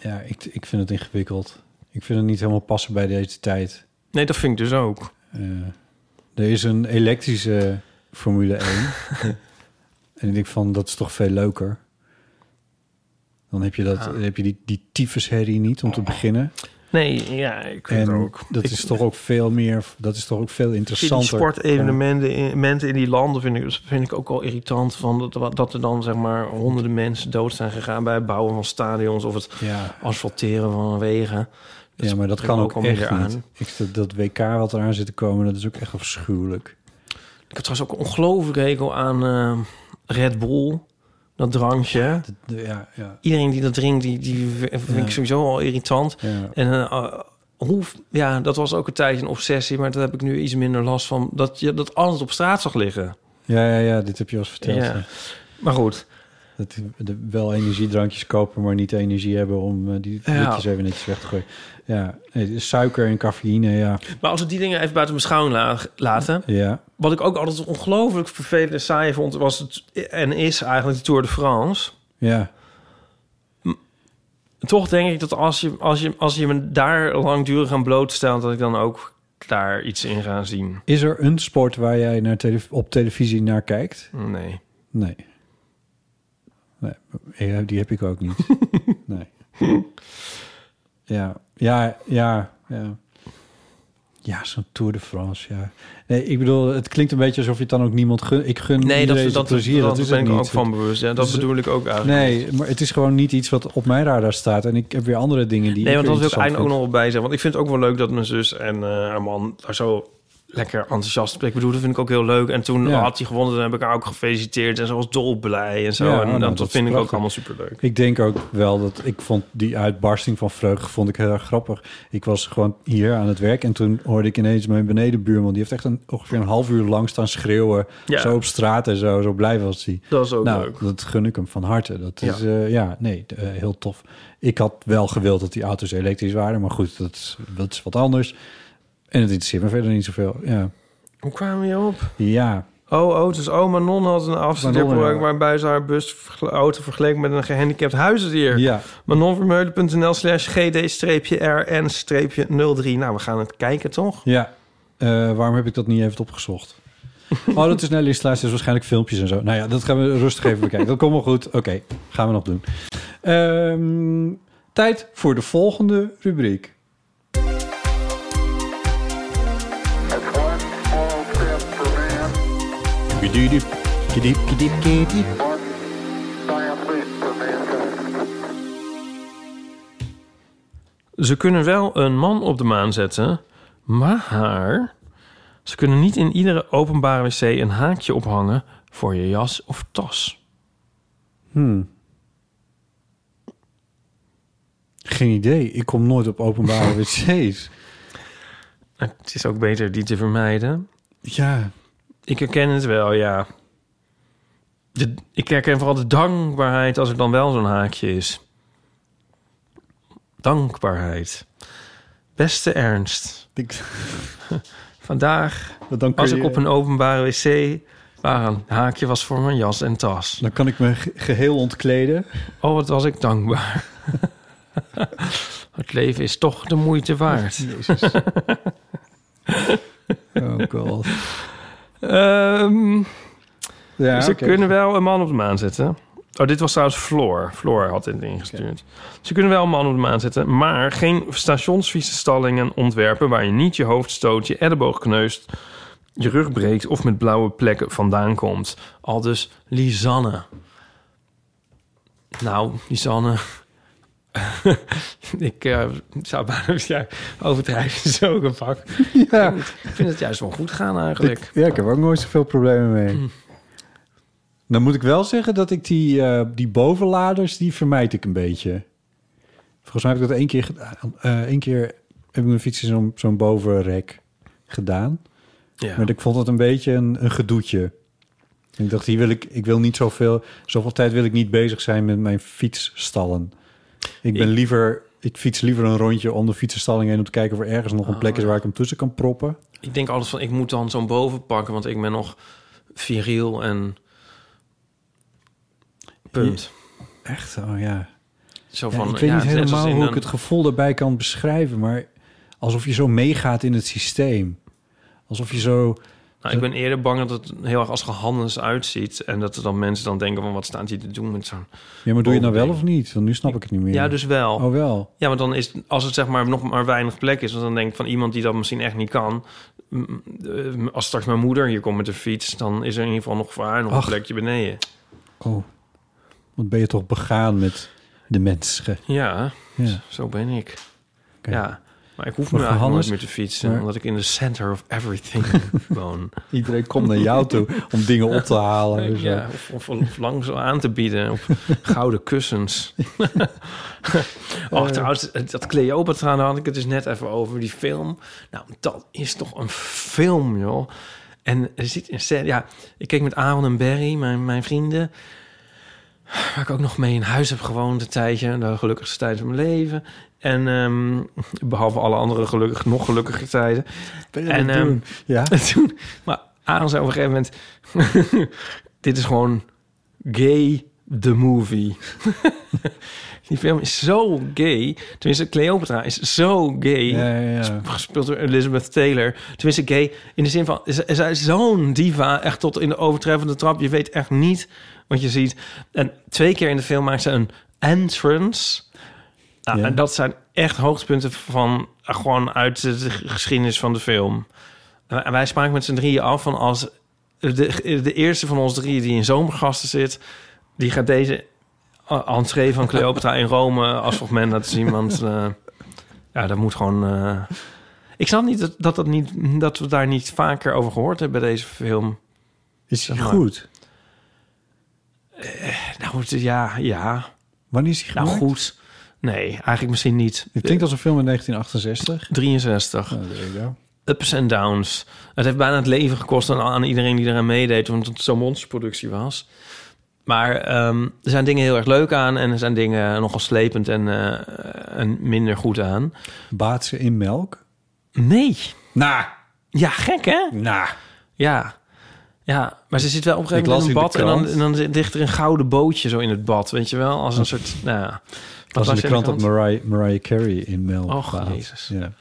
[SPEAKER 2] ja, ik, ik vind het ingewikkeld. Ik vind het niet helemaal passen bij deze tijd.
[SPEAKER 1] Nee, dat vind ik dus ook.
[SPEAKER 2] Eh, er is een elektrische Formule 1. en ik denk van, dat is toch veel leuker. Dan heb je, dat, dan heb je die, die tyfusherrie niet om te beginnen.
[SPEAKER 1] Nee, ja, ik vind het
[SPEAKER 2] En
[SPEAKER 1] Oh, ook.
[SPEAKER 2] dat
[SPEAKER 1] Ik-
[SPEAKER 2] is toch ook veel meer, dat is toch ook veel
[SPEAKER 1] Ik vind die
[SPEAKER 2] interessanter.
[SPEAKER 1] sportevenementen in, mensen in die landen vind ik, dat vind ik ook al irritant. Van dat, dat er dan zeg maar honderden mensen dood zijn gegaan bij het bouwen van stadions of het
[SPEAKER 2] Ja,
[SPEAKER 1] asfalteren van wegen.
[SPEAKER 2] ja, maar dat
[SPEAKER 1] spreekt
[SPEAKER 2] kan
[SPEAKER 1] me
[SPEAKER 2] ook,
[SPEAKER 1] allemaal
[SPEAKER 2] echt
[SPEAKER 1] weer aan.
[SPEAKER 2] niet. Ik, dat, dat WK wat eraan zit te komen, dat is ook echt afschuwelijk.
[SPEAKER 1] Ik heb trouwens ook een ongelooflijk hekel aan eh, Red Bull. Dat drankje.
[SPEAKER 2] Dat- Ja, ja,
[SPEAKER 1] Iedereen die dat drinkt, die, die vind ik
[SPEAKER 2] Ja.
[SPEAKER 1] sowieso al irritant.
[SPEAKER 2] ja.
[SPEAKER 1] En eh, hoe, ja, dat was ook een tijdje een obsessie, maar daar heb ik nu iets minder last van. Dat je dat alles op straat zag liggen.
[SPEAKER 2] Ja, ja, ja, dit heb je al eens verteld.
[SPEAKER 1] Ja.
[SPEAKER 2] ja.
[SPEAKER 1] Maar goed,
[SPEAKER 2] Dat die de- wel energiedrankjes kopen, maar niet de energie hebben om eh, die
[SPEAKER 1] Ja.
[SPEAKER 2] blikjes even netjes weg te gooien. Ja, nee, suiker en cafeïne, ja.
[SPEAKER 1] maar als we die dingen even buiten beschouwing la- laten.
[SPEAKER 2] Ja,
[SPEAKER 1] Wat ik ook altijd ongelooflijk vervelend en saai vond, was het en is eigenlijk de Tour de France.
[SPEAKER 2] ja.
[SPEAKER 1] Toch denk ik dat als je, als je, als je me daar langdurig aan blootstelt, dat ik dan ook daar iets in ga zien.
[SPEAKER 2] Is er een sport waar jij naar tele- op televisie naar kijkt?
[SPEAKER 1] Nee.
[SPEAKER 2] Nee. Nee, ja, die heb ik ook niet. nee. Ja, ja, ja, ja. Ja, zo'n Tour de France, ja. Nee, ik bedoel, het klinkt een beetje alsof je het dan ook niemand gun. Ik gun
[SPEAKER 1] Nee, dat,
[SPEAKER 2] iedereen
[SPEAKER 1] dat,
[SPEAKER 2] zijn
[SPEAKER 1] dat,
[SPEAKER 2] plezier. Dat,
[SPEAKER 1] dat
[SPEAKER 2] is
[SPEAKER 1] ben
[SPEAKER 2] het
[SPEAKER 1] ik
[SPEAKER 2] niet.
[SPEAKER 1] ook van bewust. Ja, dat
[SPEAKER 2] Dus-
[SPEAKER 1] bedoel ik ook eigenlijk.
[SPEAKER 2] Nee, maar het is gewoon niet iets wat op mijn radar staat. En ik heb weer andere dingen die.
[SPEAKER 1] Nee, want dat wil
[SPEAKER 2] is
[SPEAKER 1] ik eigenlijk ook nog wel bij zeggen. Want ik vind het ook wel leuk dat mijn zus en eh, haar man daar zo lekker enthousiast op. Ik bedoel, dat vind ik ook heel leuk. En toen
[SPEAKER 2] Ja.
[SPEAKER 1] had hij gewonnen, dan heb ik haar ook gefeliciteerd. En ze was dolblij en zo.
[SPEAKER 2] Ja,
[SPEAKER 1] en
[SPEAKER 2] nou,
[SPEAKER 1] dat,
[SPEAKER 2] dat is
[SPEAKER 1] vind ik ook
[SPEAKER 2] prachtig.
[SPEAKER 1] allemaal superleuk.
[SPEAKER 2] Ik denk ook wel dat ik vond die uitbarsting van vreugde vond ik heel erg grappig. Ik was gewoon hier aan het werk en toen hoorde ik ineens mijn benedenbuurman. Die heeft echt een, ongeveer een half uur lang staan schreeuwen.
[SPEAKER 1] Ja.
[SPEAKER 2] Zo op straat en zo. Zo blij was hij.
[SPEAKER 1] Dat is ook
[SPEAKER 2] nou,
[SPEAKER 1] leuk.
[SPEAKER 2] dat gun ik hem van harte. Dat
[SPEAKER 1] Ja.
[SPEAKER 2] is eh, ja, nee, eh, heel tof. Ik had wel gewild dat die auto's elektrisch waren, maar goed, dat, is- dat is wat anders. En het interesseert me verder niet zoveel. Ja,
[SPEAKER 1] Hoe kwamen we hierop?
[SPEAKER 2] ja.
[SPEAKER 1] Oh, oh, dus oma Non had een afstudeerproject...
[SPEAKER 2] Manon, ja.
[SPEAKER 1] waarbij ze haar bus vergel- auto vergeleek met een gehandicapt huisdier.
[SPEAKER 2] ja.
[SPEAKER 1] Manonvermeulen.nl slash gd-rn-03. Nou, we gaan het kijken, toch?
[SPEAKER 2] Ja. Eh, waarom heb ik dat niet even opgezocht? Oh, dat is snelle installatie, dus waarschijnlijk filmpjes en zo. Nou ja, dat gaan we rustig even bekijken. Dat komt wel goed. Oké, gaan we nog doen. Ehm, tijd voor de volgende rubriek. Kidiep, kidiep, kidiep, kidiep.
[SPEAKER 1] Ze kunnen wel een man op de maan zetten, maar ze kunnen niet in iedere openbare wc een haakje ophangen voor je jas of tas.
[SPEAKER 2] Hmm. Geen idee. Ik kom nooit op openbare wc's.
[SPEAKER 1] Nou, Het is ook beter die te vermijden.
[SPEAKER 2] Ja.
[SPEAKER 1] Ik herken het wel, ja. De, ik herken vooral de dankbaarheid als er dan wel zo'n haakje is. Dankbaarheid. Beste Ernst,
[SPEAKER 2] Ik,
[SPEAKER 1] vandaag
[SPEAKER 2] want dan kun
[SPEAKER 1] was ik
[SPEAKER 2] je-
[SPEAKER 1] op een openbare wc waar een haakje was voor mijn jas en tas.
[SPEAKER 2] Dan kan ik me ge- geheel ontkleden.
[SPEAKER 1] Oh, wat was ik dankbaar. Het leven is toch de moeite waard.
[SPEAKER 2] Jezus. oh god.
[SPEAKER 1] Ehm,
[SPEAKER 2] Ja,
[SPEAKER 1] ze
[SPEAKER 2] oké.
[SPEAKER 1] Dus kunnen wel een man op de maan zetten. Oh, dit was trouwens Floor. Floor had dit ingestuurd. Ze kunnen wel een man op de maan zetten, maar geen stationsvieze stallingen ontwerpen waar je niet je hoofd stoot, je elleboog kneust, je rug breekt of met blauwe plekken vandaan komt. Al dus Lisanne. Nou, Lisanne. ik eh, zou bijna ja, overdrijven is ook een vak.
[SPEAKER 2] Ja,
[SPEAKER 1] Ik vind het juist wel goed gaan eigenlijk.
[SPEAKER 2] Hm. ik, ja, ik heb ook nooit zoveel problemen mee. Dan moet ik wel zeggen dat ik die, eh, die bovenladers, die vermijd ik een beetje. Volgens mij heb ik dat één keer gedaan. Eh, Eén keer heb ik mijn fiets in zo'n zo'n bovenrek gedaan.
[SPEAKER 1] Ja.
[SPEAKER 2] Maar ik vond het een beetje een, een gedoetje. En ik dacht, hier wil ik, ik wil niet zoveel, zoveel tijd wil ik niet bezig zijn met mijn fietsstallen. Ik ben
[SPEAKER 1] Ik-
[SPEAKER 2] liever, ik fiets liever een rondje om de fietsenstalling heen om te kijken of er ergens nog een plek is waar ik hem tussen kan proppen.
[SPEAKER 1] Ik denk altijd van, ik moet dan zo'n boven pakken, want ik ben nog viriel en... Punt.
[SPEAKER 2] Echt, oh ja.
[SPEAKER 1] Zo
[SPEAKER 2] Ja,
[SPEAKER 1] van, eh,
[SPEAKER 2] ik weet
[SPEAKER 1] ja,
[SPEAKER 2] niet
[SPEAKER 1] het is net als
[SPEAKER 2] helemaal
[SPEAKER 1] in
[SPEAKER 2] hoe
[SPEAKER 1] een-
[SPEAKER 2] ik het gevoel daarbij kan beschrijven, maar alsof je zo meegaat in het systeem. Alsof je zo.
[SPEAKER 1] Nou, ik ben eerder bang dat het heel erg als gehandels uitziet. En dat er dan mensen dan denken van, wat staat hij te doen met zo'n...
[SPEAKER 2] Ja, maar doe je het nou wel
[SPEAKER 1] Bovendien.
[SPEAKER 2] of niet? Want nu snap ik het niet meer.
[SPEAKER 1] Oh, Ja, dus wel.
[SPEAKER 2] Oh, wel.
[SPEAKER 1] Ja, want dan is het- als het zeg maar nog maar weinig plek is... want dan denk ik van iemand die dat misschien echt niet kan... mm, eh, als straks mijn moeder hier komt met de fiets... dan is er in ieder geval nog voor haar nog
[SPEAKER 2] Ach.
[SPEAKER 1] een plekje beneden.
[SPEAKER 2] Oh, wat ben je toch begaan met de mensen?
[SPEAKER 1] Ja,
[SPEAKER 2] Ja.
[SPEAKER 1] zo ben ik.
[SPEAKER 2] Oké.
[SPEAKER 1] Ja, maar ik hoef
[SPEAKER 2] Maar
[SPEAKER 1] me eigenlijk
[SPEAKER 2] Johannes-
[SPEAKER 1] nooit meer te fietsen...
[SPEAKER 2] maar-
[SPEAKER 1] omdat ik in de center of everything woon.
[SPEAKER 2] Iedereen komt naar jou toe om dingen op te halen. en zo.
[SPEAKER 1] Ja, of, of, of langzaam aan te bieden. Of gouden kussens. oh, trouwens, dat Cleopatra, daar had ik het dus net even over, die film. Nou, dat is toch een film, joh. En er zit een scène... Ja, ik keek met Aaron en Barry, mijn, mijn vrienden... waar ik ook nog mee in huis heb gewoond een tijdje. De gelukkigste tijd van mijn leven. En ehm, behalve alle andere gelukkig, nog gelukkige tijden.
[SPEAKER 2] Ben je
[SPEAKER 1] En, ehm,
[SPEAKER 2] dat doen? ja.
[SPEAKER 1] En toen, maar Aaron zei op een gegeven moment... dit is gewoon gay the movie. Die film is zo gay. Tenminste, Cleopatra is zo gay.
[SPEAKER 2] Ja, ja, ja.
[SPEAKER 1] Gespeeld door Elizabeth Taylor. Tenminste, gay in de zin van... is- is Zij is zo'n diva, echt tot in de overtreffende trap. Je weet echt niet wat je ziet. En twee keer in de film maakt ze een entrance... Nou,
[SPEAKER 2] Ja.
[SPEAKER 1] En dat zijn echt hoogtepunten van eh, gewoon uit de geschiedenis van de film. En wij spraken met z'n drieën af van als de, de eerste van ons drieën die in zomergasten zit, die gaat deze eh, entree van Cleopatra in Rome als fragment laten zien. Want eh, ja, dat moet gewoon. eh, ik snap niet dat, dat, dat niet dat we daar niet vaker over gehoord hebben bij deze film.
[SPEAKER 2] Is hij
[SPEAKER 1] Zeg maar.
[SPEAKER 2] goed?
[SPEAKER 1] Nou het- ja, ja.
[SPEAKER 2] Wanneer is hij
[SPEAKER 1] Nou
[SPEAKER 2] gemaakt?
[SPEAKER 1] goed. Nee, eigenlijk misschien niet.
[SPEAKER 2] Het klinkt als een film in 1968.
[SPEAKER 1] 63.
[SPEAKER 2] Nou, there you go.
[SPEAKER 1] ups en downs. Het heeft bijna het leven gekost aan, aan iedereen die eraan meedeed, omdat het zo'n monsterproductie was. Maar ehm, er zijn dingen heel erg leuk aan en er zijn dingen nogal slepend en, eh, en minder goed aan.
[SPEAKER 2] Baat ze in melk?
[SPEAKER 1] Nee.
[SPEAKER 2] Nou,
[SPEAKER 1] Ja, gek hè?
[SPEAKER 2] nou.
[SPEAKER 1] Ja. Ja, maar ze zit wel op een gegeven
[SPEAKER 2] Ik
[SPEAKER 1] moment in een
[SPEAKER 2] las
[SPEAKER 1] bad en
[SPEAKER 2] in de
[SPEAKER 1] dan, en dan zit- ligt er een gouden bootje zo in het bad, weet je wel? Als een soort, nou ja.
[SPEAKER 2] was
[SPEAKER 1] Wat
[SPEAKER 2] in
[SPEAKER 1] las
[SPEAKER 2] de
[SPEAKER 1] je
[SPEAKER 2] krant Oh. dat Mariah, Mariah Carey in melk
[SPEAKER 1] Och,
[SPEAKER 2] baat.
[SPEAKER 1] Jezus.
[SPEAKER 2] Ja,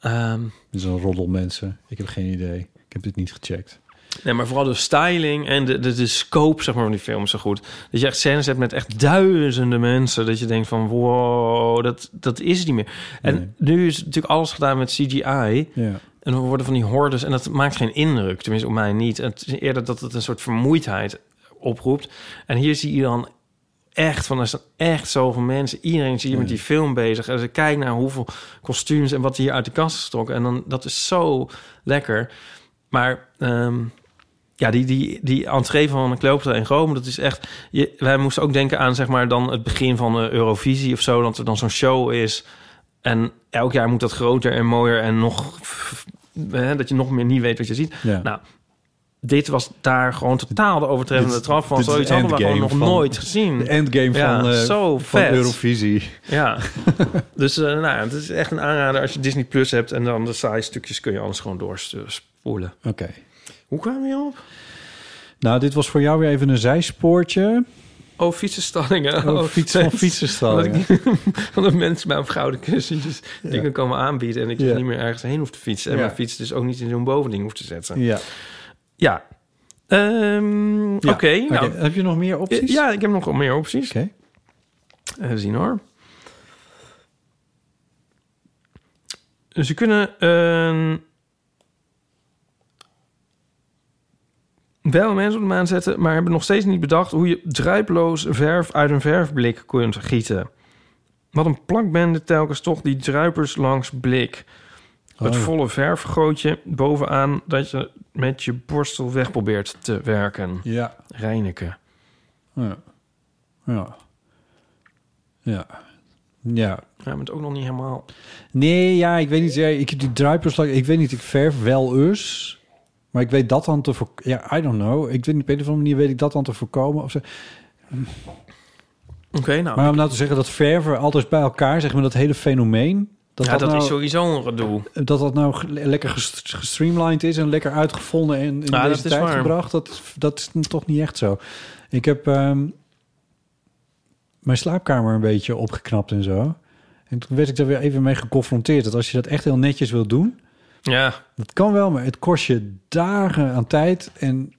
[SPEAKER 1] Ehm,
[SPEAKER 2] dit is een roddel mensen. Ik heb geen idee. Ik heb dit niet gecheckt.
[SPEAKER 1] Nee, maar vooral de styling en de, de, de scope zeg maar, van die film is zo goed. Dat je echt scènes hebt met echt duizenden mensen. Dat je denkt van, wow, dat, dat is het niet meer. En nu is natuurlijk alles gedaan met CGI.
[SPEAKER 2] Ja.
[SPEAKER 1] En we worden van die hordes. En dat maakt geen indruk, tenminste op mij niet. Het is eerder dat het een soort vermoeidheid oproept. En hier zie je dan echt van, er zijn echt zoveel mensen. Iedereen zie je met die film bezig. En ze kijken naar hoeveel kostuums en wat hier uit de kast is getrokken. En dan, dat is zo lekker. Maar ehm, ja, die, die, die entree van Cleopatra in Rome, dat is echt... Je, wij moesten ook denken aan zeg maar, dan het begin van de Eurovisie of zo. Dat er dan zo'n show is. En elk jaar moet dat groter en mooier en nog... Hè, dat je nog meer niet weet wat je ziet.
[SPEAKER 2] Ja.
[SPEAKER 1] Nou, dit was daar gewoon totaal de overtreffende
[SPEAKER 2] Dit-
[SPEAKER 1] trap van.
[SPEAKER 2] dit is
[SPEAKER 1] Zoiets hadden we
[SPEAKER 2] endgame
[SPEAKER 1] gewoon nog
[SPEAKER 2] van-
[SPEAKER 1] nooit gezien.
[SPEAKER 2] De endgame
[SPEAKER 1] Ja,
[SPEAKER 2] van, eh,
[SPEAKER 1] zo
[SPEAKER 2] van
[SPEAKER 1] vet.
[SPEAKER 2] Eurovisie.
[SPEAKER 1] Ja, dus eh, nou, ja, het is echt een aanrader als je Disney Plus hebt... en dan de saaie stukjes kun je alles gewoon doorspoelen.
[SPEAKER 2] Oké.
[SPEAKER 1] Hoe kwam je op?
[SPEAKER 2] Nou, dit was voor jou weer even een zijspoortje.
[SPEAKER 1] Oh, fietsenstallingen.
[SPEAKER 2] Oh, fiets van fietsenstalling.
[SPEAKER 1] Omdat ik niet- omdat mensen mij op gouden kussentjes dingen komen aanbieden... en ik dus
[SPEAKER 2] Ja.
[SPEAKER 1] niet meer ergens heen hoef te fietsen... en
[SPEAKER 2] Ja.
[SPEAKER 1] mijn fiets dus ook niet in zo'n bovending hoef te zetten.
[SPEAKER 2] Ja.
[SPEAKER 1] Ja. Ehm, Oké,
[SPEAKER 2] Ja.
[SPEAKER 1] nou...
[SPEAKER 2] Oké, Heb je nog meer opties?
[SPEAKER 1] Ja, ik heb nog wel meer opties.
[SPEAKER 2] Oké.
[SPEAKER 1] Even zien hoor. Ze Dus kunnen ehm, een wel mensen op de maan zetten, maar hebben nog steeds niet bedacht hoe je druiploos verf uit een verfblik kunt gieten. Wat een plankbende telkens toch die druipers langs blik. Het volle verfgootje bovenaan dat je met je borstel weg probeert te werken.
[SPEAKER 2] Ja.
[SPEAKER 1] Reineken.
[SPEAKER 2] Ja. Ja. Ja. Ja.
[SPEAKER 1] Ja, maar het ook nog niet helemaal.
[SPEAKER 2] Nee, ja, ik weet niet. Ja, ik heb die druipers, ik weet niet, ik verf wel eens. Maar ik weet dat dan te voorkomen. Ja, I don't know. Ik weet niet, op een of andere manier weet ik dat dan te voorkomen. Of zo.
[SPEAKER 1] Oké, nou.
[SPEAKER 2] Maar om nou te zeggen dat verven altijd bij elkaar, zeg maar dat hele fenomeen. Dat
[SPEAKER 1] ja, dat
[SPEAKER 2] nou,
[SPEAKER 1] is sowieso een gedoe.
[SPEAKER 2] dat dat nou ge- lekker ges- gestreamlined is en lekker uitgevonden en in
[SPEAKER 1] Ja,
[SPEAKER 2] deze
[SPEAKER 1] dat is
[SPEAKER 2] tijd
[SPEAKER 1] waar.
[SPEAKER 2] gebracht, dat, dat is toch niet echt zo. Ik heb ehm, mijn slaapkamer een beetje opgeknapt en zo. En toen werd ik daar weer even mee geconfronteerd. Dat als je dat echt heel netjes wilt doen,
[SPEAKER 1] Ja,
[SPEAKER 2] dat kan wel, maar het kost je dagen aan tijd. En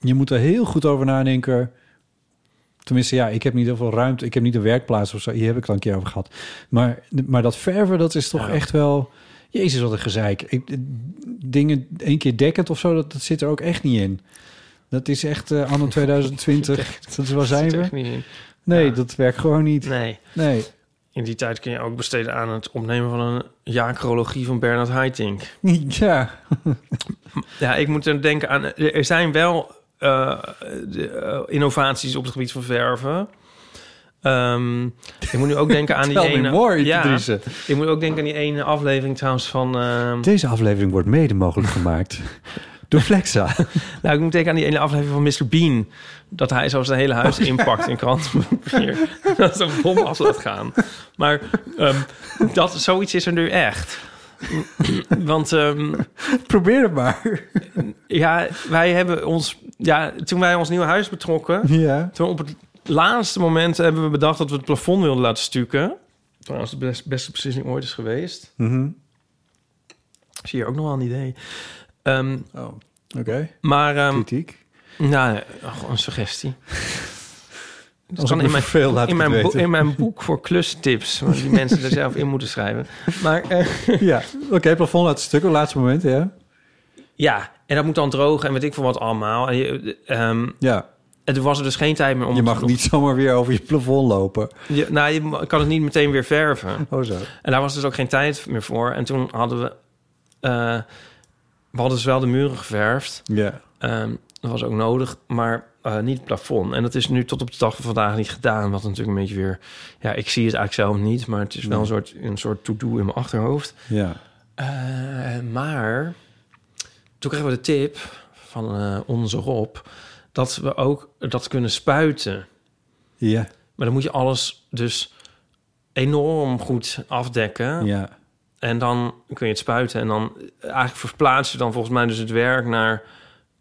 [SPEAKER 2] je moet er heel goed over nadenken. Tenminste, ja, ik heb niet heel veel ruimte. Ik heb niet een werkplaats of zo. Hier heb ik het al een keer over gehad. Maar, maar dat verven, dat is toch echt wel... Jezus, wat een gezeik. Ik, eh, dingen één keer dekkend of zo, dat, dat zit er ook echt niet in. Dat is echt eh, anno 2020. dat is waar zijn
[SPEAKER 1] zit
[SPEAKER 2] we?
[SPEAKER 1] echt niet in.
[SPEAKER 2] Nee,
[SPEAKER 1] Ja.
[SPEAKER 2] dat werkt gewoon niet.
[SPEAKER 1] Nee.
[SPEAKER 2] Nee.
[SPEAKER 1] In die tijd kun je ook besteden aan het opnemen van een jaarchronologie van Bernard Haitink.
[SPEAKER 2] ja.
[SPEAKER 1] Ja, ik moet er denken aan... Er zijn wel eh, de, eh, innovaties op het gebied van verven. Ehm, ik moet nu ook denken aan die
[SPEAKER 2] Tell me
[SPEAKER 1] ene...
[SPEAKER 2] more,
[SPEAKER 1] ja,
[SPEAKER 2] Idrisse.
[SPEAKER 1] ik moet ook denken aan die ene aflevering trouwens van... ehm,
[SPEAKER 2] Deze aflevering wordt mede mogelijk gemaakt door Flexa.
[SPEAKER 1] Nou, ik moet denken aan die ene aflevering van Mr. Bean. Dat hij zo zijn hele huis inpakt in krantenpapier. dat zo'n bom af laat gaan. Maar ehm, dat, zoiets is er nu echt. Want ehm,
[SPEAKER 2] Probeer het maar.
[SPEAKER 1] ja, wij hebben ons... Ja, toen wij ons nieuwe huis betrokken...
[SPEAKER 2] Ja.
[SPEAKER 1] Toen op het laatste moment hebben we bedacht dat we het plafond wilden laten stukken. Trouwens, de best- beste beslissing ooit is geweest.
[SPEAKER 2] Mhm.
[SPEAKER 1] Zie je ook nog wel een idee. Ehm,
[SPEAKER 2] Oh, oké.
[SPEAKER 1] maar... ehm,
[SPEAKER 2] Kritiek.
[SPEAKER 1] Nou, eh, gewoon een suggestie. Dat
[SPEAKER 2] Als ik me verveel, laat
[SPEAKER 1] in,
[SPEAKER 2] ik het
[SPEAKER 1] mijn boek-
[SPEAKER 2] weten.
[SPEAKER 1] in mijn boek voor klustips. want die mensen er zelf in moeten schrijven. Maar eh,
[SPEAKER 2] Ja, oké, plafond laat stukken, laatste moment, ja.
[SPEAKER 1] ja, en dat moet dan drogen en weet ik veel wat allemaal. En je, ehm,
[SPEAKER 2] Ja,
[SPEAKER 1] er was er dus geen tijd meer om...
[SPEAKER 2] je
[SPEAKER 1] het
[SPEAKER 2] mag
[SPEAKER 1] nog-
[SPEAKER 2] niet zomaar weer over je plafond lopen.
[SPEAKER 1] Je- nou, je ma- kan het niet meteen weer verven.
[SPEAKER 2] Oh zo.
[SPEAKER 1] En daar was dus ook geen tijd meer voor. En toen hadden we... eh, we hadden dus wel de muren geverfd.
[SPEAKER 2] Ja.
[SPEAKER 1] Ehm, dat was ook nodig, maar eh, niet het plafond. En dat is nu tot op de dag van vandaag niet gedaan. Wat natuurlijk een beetje weer... Ja, ik zie het eigenlijk zelf niet, maar het is wel een soort, een soort to-do in mijn achterhoofd.
[SPEAKER 2] Ja.
[SPEAKER 1] Eh, maar toen kregen we de tip van eh, onze Rob... dat we ook dat kunnen spuiten.
[SPEAKER 2] Ja.
[SPEAKER 1] Maar dan moet je alles dus enorm goed afdekken.
[SPEAKER 2] Ja.
[SPEAKER 1] En dan kun je het spuiten. En dan eh, eigenlijk verplaats je dan volgens mij dus het werk naar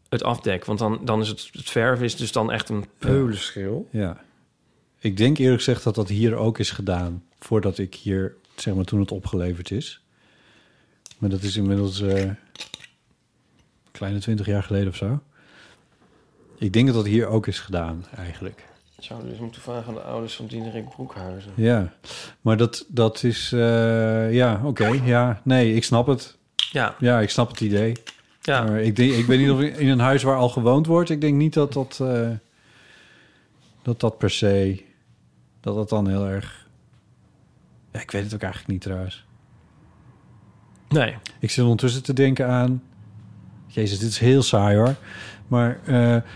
[SPEAKER 1] het afdek. Want dan, dan is het, het verf is dus dan echt een peulenschil.
[SPEAKER 2] Ja. Ik denk eerlijk gezegd dat dat hier ook is gedaan. Voordat ik hier, zeg maar, toen het opgeleverd is. Maar dat is inmiddels eh, kleine twintig jaar geleden of zo. Ik denk dat dat hier ook is gedaan, eigenlijk.
[SPEAKER 1] Ik zou dus moeten vragen aan de ouders van Diederik Broekhuizen.
[SPEAKER 2] Ja, maar dat, dat is... eh, ja, oké. ja, nee, ik snap het.
[SPEAKER 1] Ja,
[SPEAKER 2] Ja, ik snap het idee.
[SPEAKER 1] ja.
[SPEAKER 2] Maar ik, denk, ik weet niet of ik- in een huis waar al gewoond wordt... ik denk niet dat dat, eh, dat, dat per se... dat dat dan heel erg... Ja, ik weet het ook eigenlijk niet trouwens.
[SPEAKER 1] nee.
[SPEAKER 2] Ik zit ondertussen te denken aan... Jezus, dit is heel saai hoor. Maar... eh,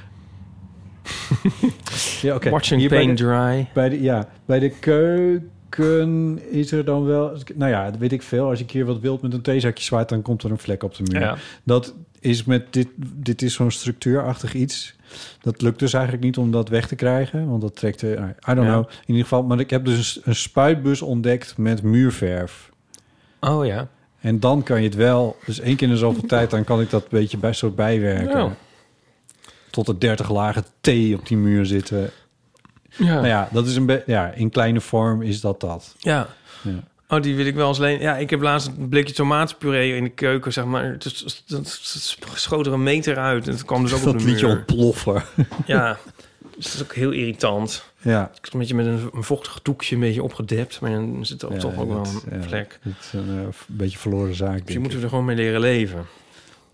[SPEAKER 2] ja, oké.
[SPEAKER 1] Watching
[SPEAKER 2] Hier bij
[SPEAKER 1] pain
[SPEAKER 2] de-
[SPEAKER 1] dry.
[SPEAKER 2] bij de, ja, bij de keuken is er dan wel... Nou ja, dat weet ik veel. Als ik hier wat wild met een theezakje zwaait... dan komt er een vlek op de muur.
[SPEAKER 1] Ja.
[SPEAKER 2] Dat is met dit... Dit is zo'n structuurachtig iets. Dat lukt dus eigenlijk niet om dat weg te krijgen. Want dat trekt... eh, nou, I don't
[SPEAKER 1] Ja.
[SPEAKER 2] know. In ieder geval... Maar ik heb dus een, een spuitbus ontdekt met muurverf.
[SPEAKER 1] Oh ja.
[SPEAKER 2] En dan kan je het wel... Dus één keer in de zoveel tijd... dan kan ik dat beetje bij, zo bijwerken.
[SPEAKER 1] Nou.
[SPEAKER 2] Tot er 30 lagen thee op die muur zitten.
[SPEAKER 1] Ja.
[SPEAKER 2] Nou ja, dat is een be- ja, in kleine vorm is dat dat.
[SPEAKER 1] Ja.
[SPEAKER 2] Ja.
[SPEAKER 1] Oh, die wil ik wel eens lenen. Ja, ik heb laatst een blikje tomatenpuree in de keuken, zeg maar. Het is- het- het- het schoot er een meter uit. En het kwam dus ook op
[SPEAKER 2] dat
[SPEAKER 1] de
[SPEAKER 2] liet je
[SPEAKER 1] muur.
[SPEAKER 2] ontploffen.
[SPEAKER 1] Ja. Dus dat is ook heel irritant.
[SPEAKER 2] Ja.
[SPEAKER 1] Ik heb het een beetje met een, een vochtig doekje een beetje opgedept. Maar dan zit er
[SPEAKER 2] Ja,
[SPEAKER 1] toch ook wel
[SPEAKER 2] dat-
[SPEAKER 1] een
[SPEAKER 2] ja,
[SPEAKER 1] vlek.
[SPEAKER 2] Dat is een eh, f- beetje verloren zaak.
[SPEAKER 1] Dus je
[SPEAKER 2] Denk
[SPEAKER 1] moet
[SPEAKER 2] ik.
[SPEAKER 1] er gewoon mee leren leven.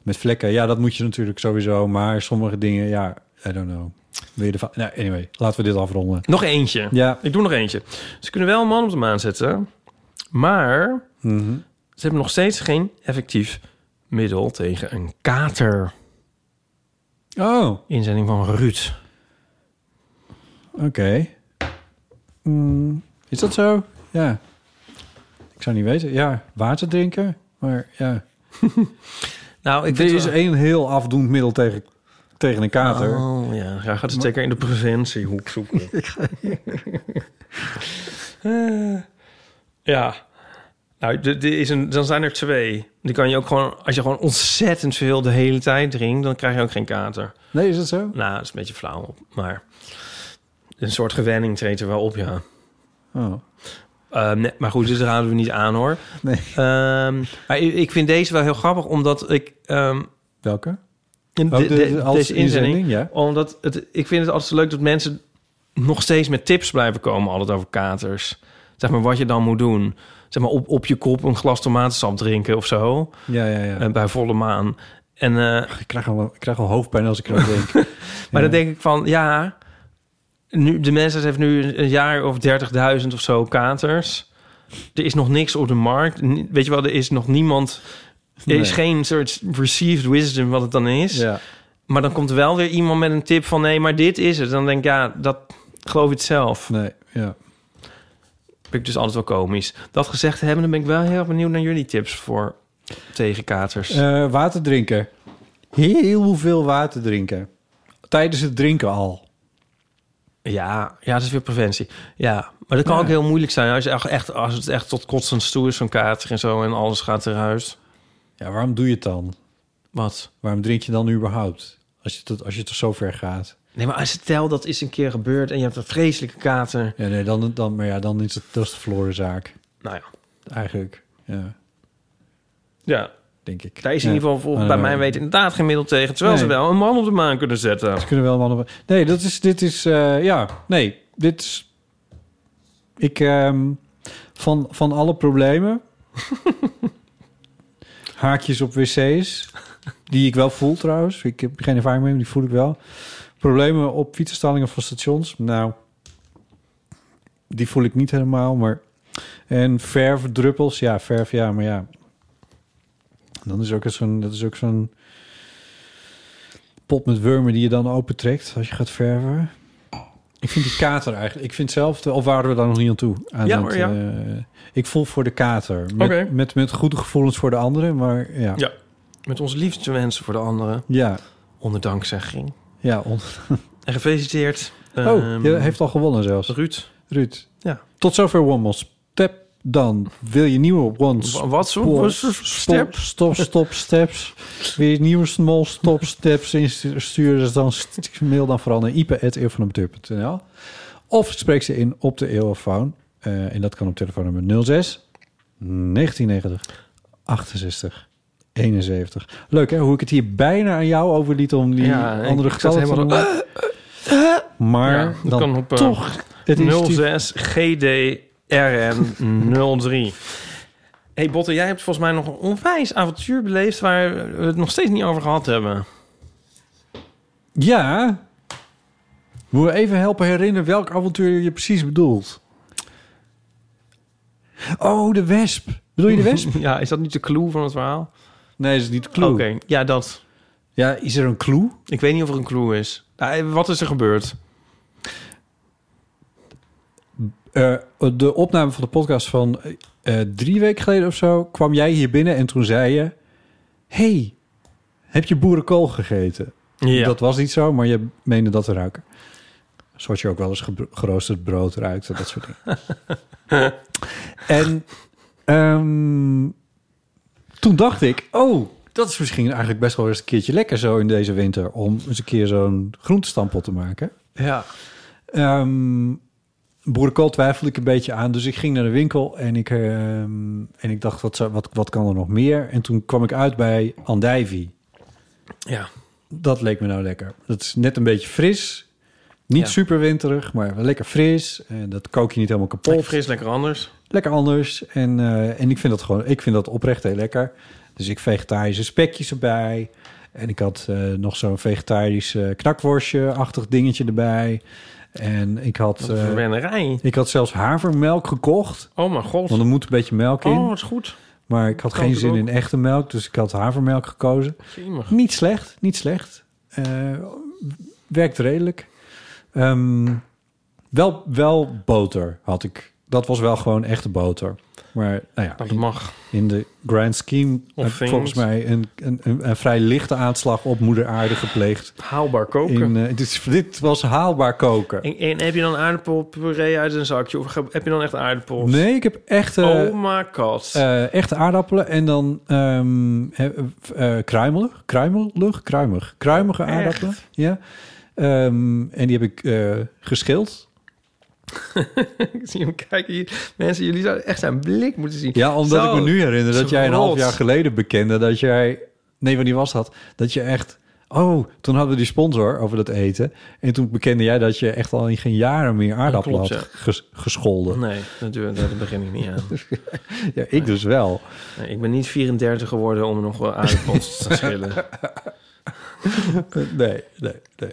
[SPEAKER 2] Met vlekken, ja, dat moet je natuurlijk sowieso. Maar sommige dingen, ja, I don't know. Wil je ervan? Nou, anyway, laten we dit afronden.
[SPEAKER 1] Nog eentje.
[SPEAKER 2] Ja.
[SPEAKER 1] Ik doe nog eentje. Ze kunnen wel een man op de maan zetten. Maar
[SPEAKER 2] Mhm.
[SPEAKER 1] ze hebben nog steeds geen effectief middel tegen een kater.
[SPEAKER 2] Oh,
[SPEAKER 1] Inzending van Ruud.
[SPEAKER 2] oké. Mm, is dat zo? Ja. Ik zou niet weten. Ja, water drinken. Maar ja.
[SPEAKER 1] Nou, ik
[SPEAKER 2] Er is één heel afdoend middel tegen, tegen een kater.
[SPEAKER 1] Oh, ja, graag gaat het zeker in de preventiehoek zoeken. Eh, ja. Nou, dit dit is een, dan zijn er twee. Die kan je ook gewoon, als je gewoon ontzettend veel de hele tijd drinkt, dan krijg je ook geen kater.
[SPEAKER 2] Nee, is dat zo?
[SPEAKER 1] Nou, dat is een beetje flauw, maar een soort gewenning treedt er wel op, ja.
[SPEAKER 2] Oh.
[SPEAKER 1] Eh, nee, maar goed, dit raden we niet aan hoor.
[SPEAKER 2] Nee.
[SPEAKER 1] Ehm, maar ik ik vind deze wel heel grappig, omdat ik. ehm,
[SPEAKER 2] Welke?
[SPEAKER 1] in
[SPEAKER 2] Oh,
[SPEAKER 1] de-
[SPEAKER 2] de-
[SPEAKER 1] de-
[SPEAKER 2] als
[SPEAKER 1] deze inzending.
[SPEAKER 2] inzending, ja.
[SPEAKER 1] Omdat het, ik vind het altijd zo leuk dat mensen nog steeds met tips blijven komen, altijd over katers. Zeg maar wat je dan moet doen. Zeg maar op, op je kop een glas tomatensap drinken of zo.
[SPEAKER 2] Ja, ja, ja.
[SPEAKER 1] eh, bij volle maan. En, eh,
[SPEAKER 2] ik, krijg al, ik krijg al hoofdpijn als ik erover denk.
[SPEAKER 1] maar dan denk ik van ja. Nu, de mensen heeft nu een- een jaar of 30.000 of zo katers. Er is nog niks op de markt. Ni- Weet je wel, er is nog niemand. Er is
[SPEAKER 2] Nee.
[SPEAKER 1] geen soort received wisdom wat het dan is.
[SPEAKER 2] ja.
[SPEAKER 1] Maar dan komt wel weer iemand met een tip van... nee, maar dit is het. Dan denk ik, ja, dat geloof ik het zelf.
[SPEAKER 2] Nee, ja.
[SPEAKER 1] Vind ik dus altijd wel komisch. Dat gezegd hebben, dan ben ik wel heel erg benieuwd naar jullie tips voor tegen katers.
[SPEAKER 2] Eh, water drinken. Heel veel water drinken. Tijdens het drinken al.
[SPEAKER 1] Ja, ja, dat is weer preventie. Ja, maar dat kan ook heel moeilijk zijn. Als, je echt- echt, als het echt tot kotsens toe is, zo'n kater en zo... en alles gaat eruit.
[SPEAKER 2] Ja, waarom doe je het dan?
[SPEAKER 1] Wat?
[SPEAKER 2] Waarom drink je dan überhaupt? Als je tot, als je tot zo ver gaat.
[SPEAKER 1] Nee, maar als het tel dat is een keer gebeurd... en je hebt een vreselijke kater...
[SPEAKER 2] Ja, nee, dan, dan, maar ja, dan is het dat is de verloren zaak.
[SPEAKER 1] Nou ja,
[SPEAKER 2] Eigenlijk, ja,
[SPEAKER 1] ja
[SPEAKER 2] denk ik.
[SPEAKER 1] daar is in
[SPEAKER 2] Ja.
[SPEAKER 1] ieder geval volgens,
[SPEAKER 2] Ah,
[SPEAKER 1] bij
[SPEAKER 2] nee.
[SPEAKER 1] mijn weten inderdaad geen middel tegen... terwijl ze
[SPEAKER 2] Nee.
[SPEAKER 1] wel een man op de maan kunnen zetten.
[SPEAKER 2] Ze kunnen wel mannen... Nee, dat is, dit is... eh, ja, nee, dit is... Ik... ehm, van, van alle problemen... haakjes op wc's... die ik wel voel trouwens. Ik heb geen ervaring mee, maar die voel ik wel. Problemen op fietsenstallingen van stations. Nou, die voel ik niet helemaal, maar... En verfdruppels, ja, verf, ja, maar ja. Dan is ook zo'n... Dat is ook zo'n pot met wurmen die je dan opentrekt als je gaat verven. Ik vind die kater eigenlijk. Ik vind zelf, de- of waren we daar nog niet aan toe? Aan
[SPEAKER 1] Ja,
[SPEAKER 2] het,
[SPEAKER 1] hoor, ja.
[SPEAKER 2] eh, ik voel voor de kater. Met,
[SPEAKER 1] Oké.
[SPEAKER 2] met, met goede gevoelens voor de anderen, maar ja.
[SPEAKER 1] Ja. Met onze liefste wensen voor de anderen.
[SPEAKER 2] Ja,
[SPEAKER 1] Onder dankzegging.
[SPEAKER 2] ja, on-
[SPEAKER 1] En gefeliciteerd. ehm,
[SPEAKER 2] oh, je heeft al gewonnen zelfs.
[SPEAKER 1] Ruud.
[SPEAKER 2] Ruud.
[SPEAKER 1] Ja.
[SPEAKER 2] Tot zover One More Step. Dan wil je nieuwe One
[SPEAKER 1] Wa- Wat zo?
[SPEAKER 2] Spoor-
[SPEAKER 1] Wat zo-
[SPEAKER 2] Stop,
[SPEAKER 1] Step.
[SPEAKER 2] stop, stop, steps. Weer nieuwe small stop steps insturen. Dus dan st- mail dan vooral naar ipe.eeuwvanamateur.nl. Of spreek ze in op de eeuwofoon. Eh en dat kan op telefoonnummer 06 1990 68 71. Leuk hè, hoe ik het hier bijna aan jou overliet om die
[SPEAKER 1] Ja, ik-
[SPEAKER 2] andere
[SPEAKER 1] ik zat
[SPEAKER 2] getallen te
[SPEAKER 1] helemaal eh,
[SPEAKER 2] noemen. Maar
[SPEAKER 1] Ja, dat
[SPEAKER 2] dan
[SPEAKER 1] kan op, eh,
[SPEAKER 2] toch het instituut
[SPEAKER 1] 06 GDRN 03. hey Botte, jij hebt volgens mij nog een onwijs avontuur beleefd... waar we het nog steeds niet over gehad hebben.
[SPEAKER 2] Ja. Moet we even helpen herinneren welk avontuur je precies bedoelt? Oh, de wesp. Bedoel je de wesp?
[SPEAKER 1] Ja, is dat niet de clue van het verhaal?
[SPEAKER 2] Nee, dat is niet de clue.
[SPEAKER 1] Oké, ja, dat.
[SPEAKER 2] Ja, is er een clue?
[SPEAKER 1] Ik weet niet of er een clue is. Nou, wat is er gebeurd?
[SPEAKER 2] Eh, de opname van de podcast van eh, drie weken geleden of zo... kwam jij hier binnen en toen zei je... hey, heb je boerenkool gegeten?
[SPEAKER 1] Ja.
[SPEAKER 2] Dat was niet zo, maar je meende dat te ruiken. Zoals je ook wel eens gebro- geroosterd brood ruikt en dat soort dingen. en ehm, toen dacht ik, oh, dat is misschien eigenlijk best wel eens een keertje lekker zo in deze winter... om eens een keer zo'n groentestampot te maken.
[SPEAKER 1] ja.
[SPEAKER 2] Ehm boerenkool twijfelde ik een beetje aan. Dus ik ging naar de winkel en ik, ehm, en ik dacht, wat, zou- wat, wat kan er nog meer? En toen kwam ik uit bij andijvie.
[SPEAKER 1] Ja.
[SPEAKER 2] Dat leek me nou lekker. Dat is net een beetje fris. Niet
[SPEAKER 1] Ja.
[SPEAKER 2] super winterig, maar wel lekker fris. En dat kook je niet helemaal kapot.
[SPEAKER 1] Lekker fris, lekker anders.
[SPEAKER 2] Lekker anders. En, eh, en ik vind dat gewoon, ik vind dat oprecht heel lekker. Dus ik vegetarische spekjes erbij. En ik had eh, nog zo'n vegetarisch eh, knakworstje-achtig dingetje erbij. En ik
[SPEAKER 1] Wat
[SPEAKER 2] had,
[SPEAKER 1] een
[SPEAKER 2] eh,
[SPEAKER 1] verwennerij.
[SPEAKER 2] ik had zelfs havermelk gekocht.
[SPEAKER 1] Oh mijn god.
[SPEAKER 2] Want er moet een beetje melk in.
[SPEAKER 1] Oh, wat goed.
[SPEAKER 2] Maar ik had
[SPEAKER 1] Kan
[SPEAKER 2] geen
[SPEAKER 1] het
[SPEAKER 2] zin
[SPEAKER 1] ook.
[SPEAKER 2] in echte melk, dus ik had havermelk gekozen.
[SPEAKER 1] Jemig.
[SPEAKER 2] Niet slecht, niet slecht. Eh, werkt redelijk. Ehm, wel, wel boter had ik. Dat was wel gewoon echte boter. Maar nou ja,
[SPEAKER 1] Dat mag.
[SPEAKER 2] in de grand scheme
[SPEAKER 1] Of
[SPEAKER 2] heb ik
[SPEAKER 1] things.
[SPEAKER 2] volgens mij een, een, een, een vrij lichte aanslag op moeder aarde gepleegd.
[SPEAKER 1] Haalbaar koken.
[SPEAKER 2] In, eh, dit, dit was haalbaar koken.
[SPEAKER 1] En, en heb je dan aardappelpuree uit een zakje? Of ge- heb je dan echt aardappels?
[SPEAKER 2] Nee, ik heb echte,
[SPEAKER 1] oh my god.
[SPEAKER 2] eh, echte aardappelen en dan ehm he- eh, eh, kruimelig, kruimelig, kruimig, kruimige
[SPEAKER 1] Echt?
[SPEAKER 2] aardappelen. Ja. Ehm, en die heb ik eh, geschild.
[SPEAKER 1] ik zie hem kijken hier. Mensen, jullie zouden echt zijn blik moeten zien.
[SPEAKER 2] Ja, omdat
[SPEAKER 1] Zo.
[SPEAKER 2] ik me nu herinner dat
[SPEAKER 1] Zo
[SPEAKER 2] jij een half
[SPEAKER 1] rot.
[SPEAKER 2] jaar geleden bekende dat jij... Nee, wanneer was dat? Dat je echt... Oh, toen hadden we die sponsor over dat eten. En toen bekende jij dat je echt al in geen jaren meer aardappelen
[SPEAKER 1] klopt, Mm.
[SPEAKER 2] had ges- gescholden.
[SPEAKER 1] Nee, natuurlijk, daar begin ik niet aan.
[SPEAKER 2] Ja, ik dus wel.
[SPEAKER 1] Nee, ik ben niet 34 geworden om nog wel aardappels te schillen.
[SPEAKER 2] Nee, nee, nee.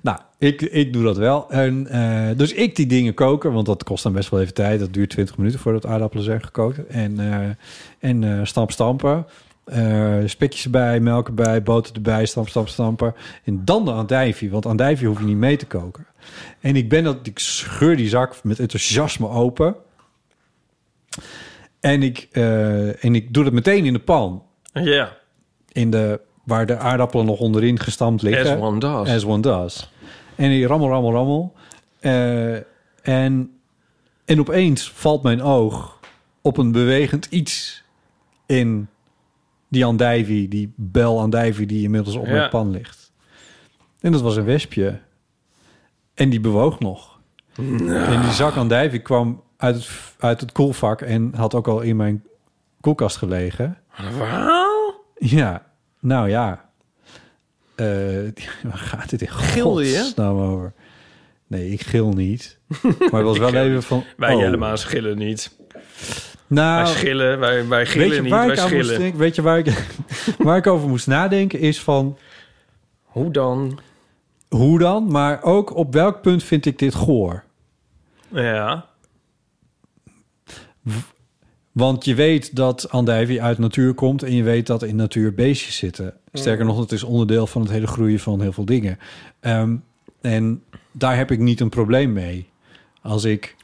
[SPEAKER 2] Nou, ik, ik doe dat wel. En, eh, dus ik die dingen koken, want dat kost dan best wel even tijd. Dat duurt 20 minuten voordat aardappelen zijn gekookt. En, eh en eh, stamp stampen. Eh, spekjes erbij, melk erbij, boter erbij, stamp, stamp, stampen. En dan de andijvie, want andijvie hoef je niet mee te koken. En ik ben dat, ik scheur die zak met enthousiasme open. En ik, eh, en ik doe dat meteen in de pan.
[SPEAKER 1] Ja,
[SPEAKER 2] In de, waar de aardappelen nog onderin gestampt
[SPEAKER 1] as
[SPEAKER 2] liggen.
[SPEAKER 1] one does.
[SPEAKER 2] eh, As one does. En die rammel, rammel, rammel. Eh, en, en opeens valt mijn oog op een bewegend iets in die andijvie, die bel andijvie die inmiddels op
[SPEAKER 1] Ja.
[SPEAKER 2] mijn pan ligt. En dat was een wespje. En die bewoog nog. En die zak andijvie kwam uit het, uit het koelvak en had ook al in mijn koelkast gelegen.
[SPEAKER 1] Verhaal?
[SPEAKER 2] Ja, nou ja. Eh, waar gaat dit in
[SPEAKER 1] Gilde je?
[SPEAKER 2] godsnaam over? Nee, ik gil niet. Maar het was wel even van...
[SPEAKER 1] Wij
[SPEAKER 2] oh.
[SPEAKER 1] helemaal schillen niet. Wij
[SPEAKER 2] Nou,
[SPEAKER 1] schillen, wij, wij
[SPEAKER 2] weet je
[SPEAKER 1] gillen niet,
[SPEAKER 2] waar
[SPEAKER 1] wij
[SPEAKER 2] ik aan moest
[SPEAKER 1] schillen.
[SPEAKER 2] denken? Weet je waar ik, waar ik over moest nadenken is van...
[SPEAKER 1] Hoe dan?
[SPEAKER 2] Hoe dan? Maar ook op welk punt vind ik dit goor? Eh,
[SPEAKER 1] Ja,
[SPEAKER 2] Want je weet dat andijvie uit natuur komt en je weet dat in natuur beestjes
[SPEAKER 1] Mm.
[SPEAKER 2] zitten. Sterker nog, dat is onderdeel van het hele groeien van heel veel dingen. Ehm, en daar heb ik niet een probleem mee. Als ik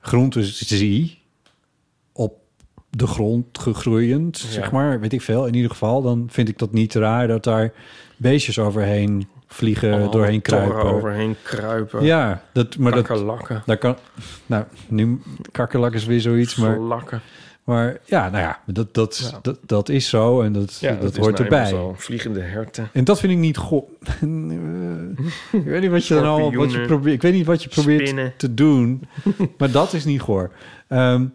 [SPEAKER 2] groenten zie op de grond gegroeiend,
[SPEAKER 1] Ja.
[SPEAKER 2] zeg maar, weet ik veel. In ieder geval, dan vind ik dat niet raar dat daar beestjes overheen vliegen,
[SPEAKER 1] Allemaal
[SPEAKER 2] doorheen
[SPEAKER 1] torren
[SPEAKER 2] kruipen.
[SPEAKER 1] overheen kruipen.
[SPEAKER 2] Ja, dat, maar dat,
[SPEAKER 1] Kakkerlakken.
[SPEAKER 2] daar kan... Nou, nu kakkerlak is weer zoiets, maar...
[SPEAKER 1] Lakken.
[SPEAKER 2] Maar ja, nou ja, dat, dat,
[SPEAKER 1] Ja.
[SPEAKER 2] Dat, dat is zo en dat, dat, hoort
[SPEAKER 1] nou
[SPEAKER 2] erbij.
[SPEAKER 1] Vliegende herten.
[SPEAKER 2] En dat vind ik niet goed. ik weet niet wat je dan al wat je
[SPEAKER 1] Schorpioenen.
[SPEAKER 2] probeert. Ik weet niet wat je probeert
[SPEAKER 1] Spinnen.
[SPEAKER 2] te doen, maar dat is niet goor. Ehm,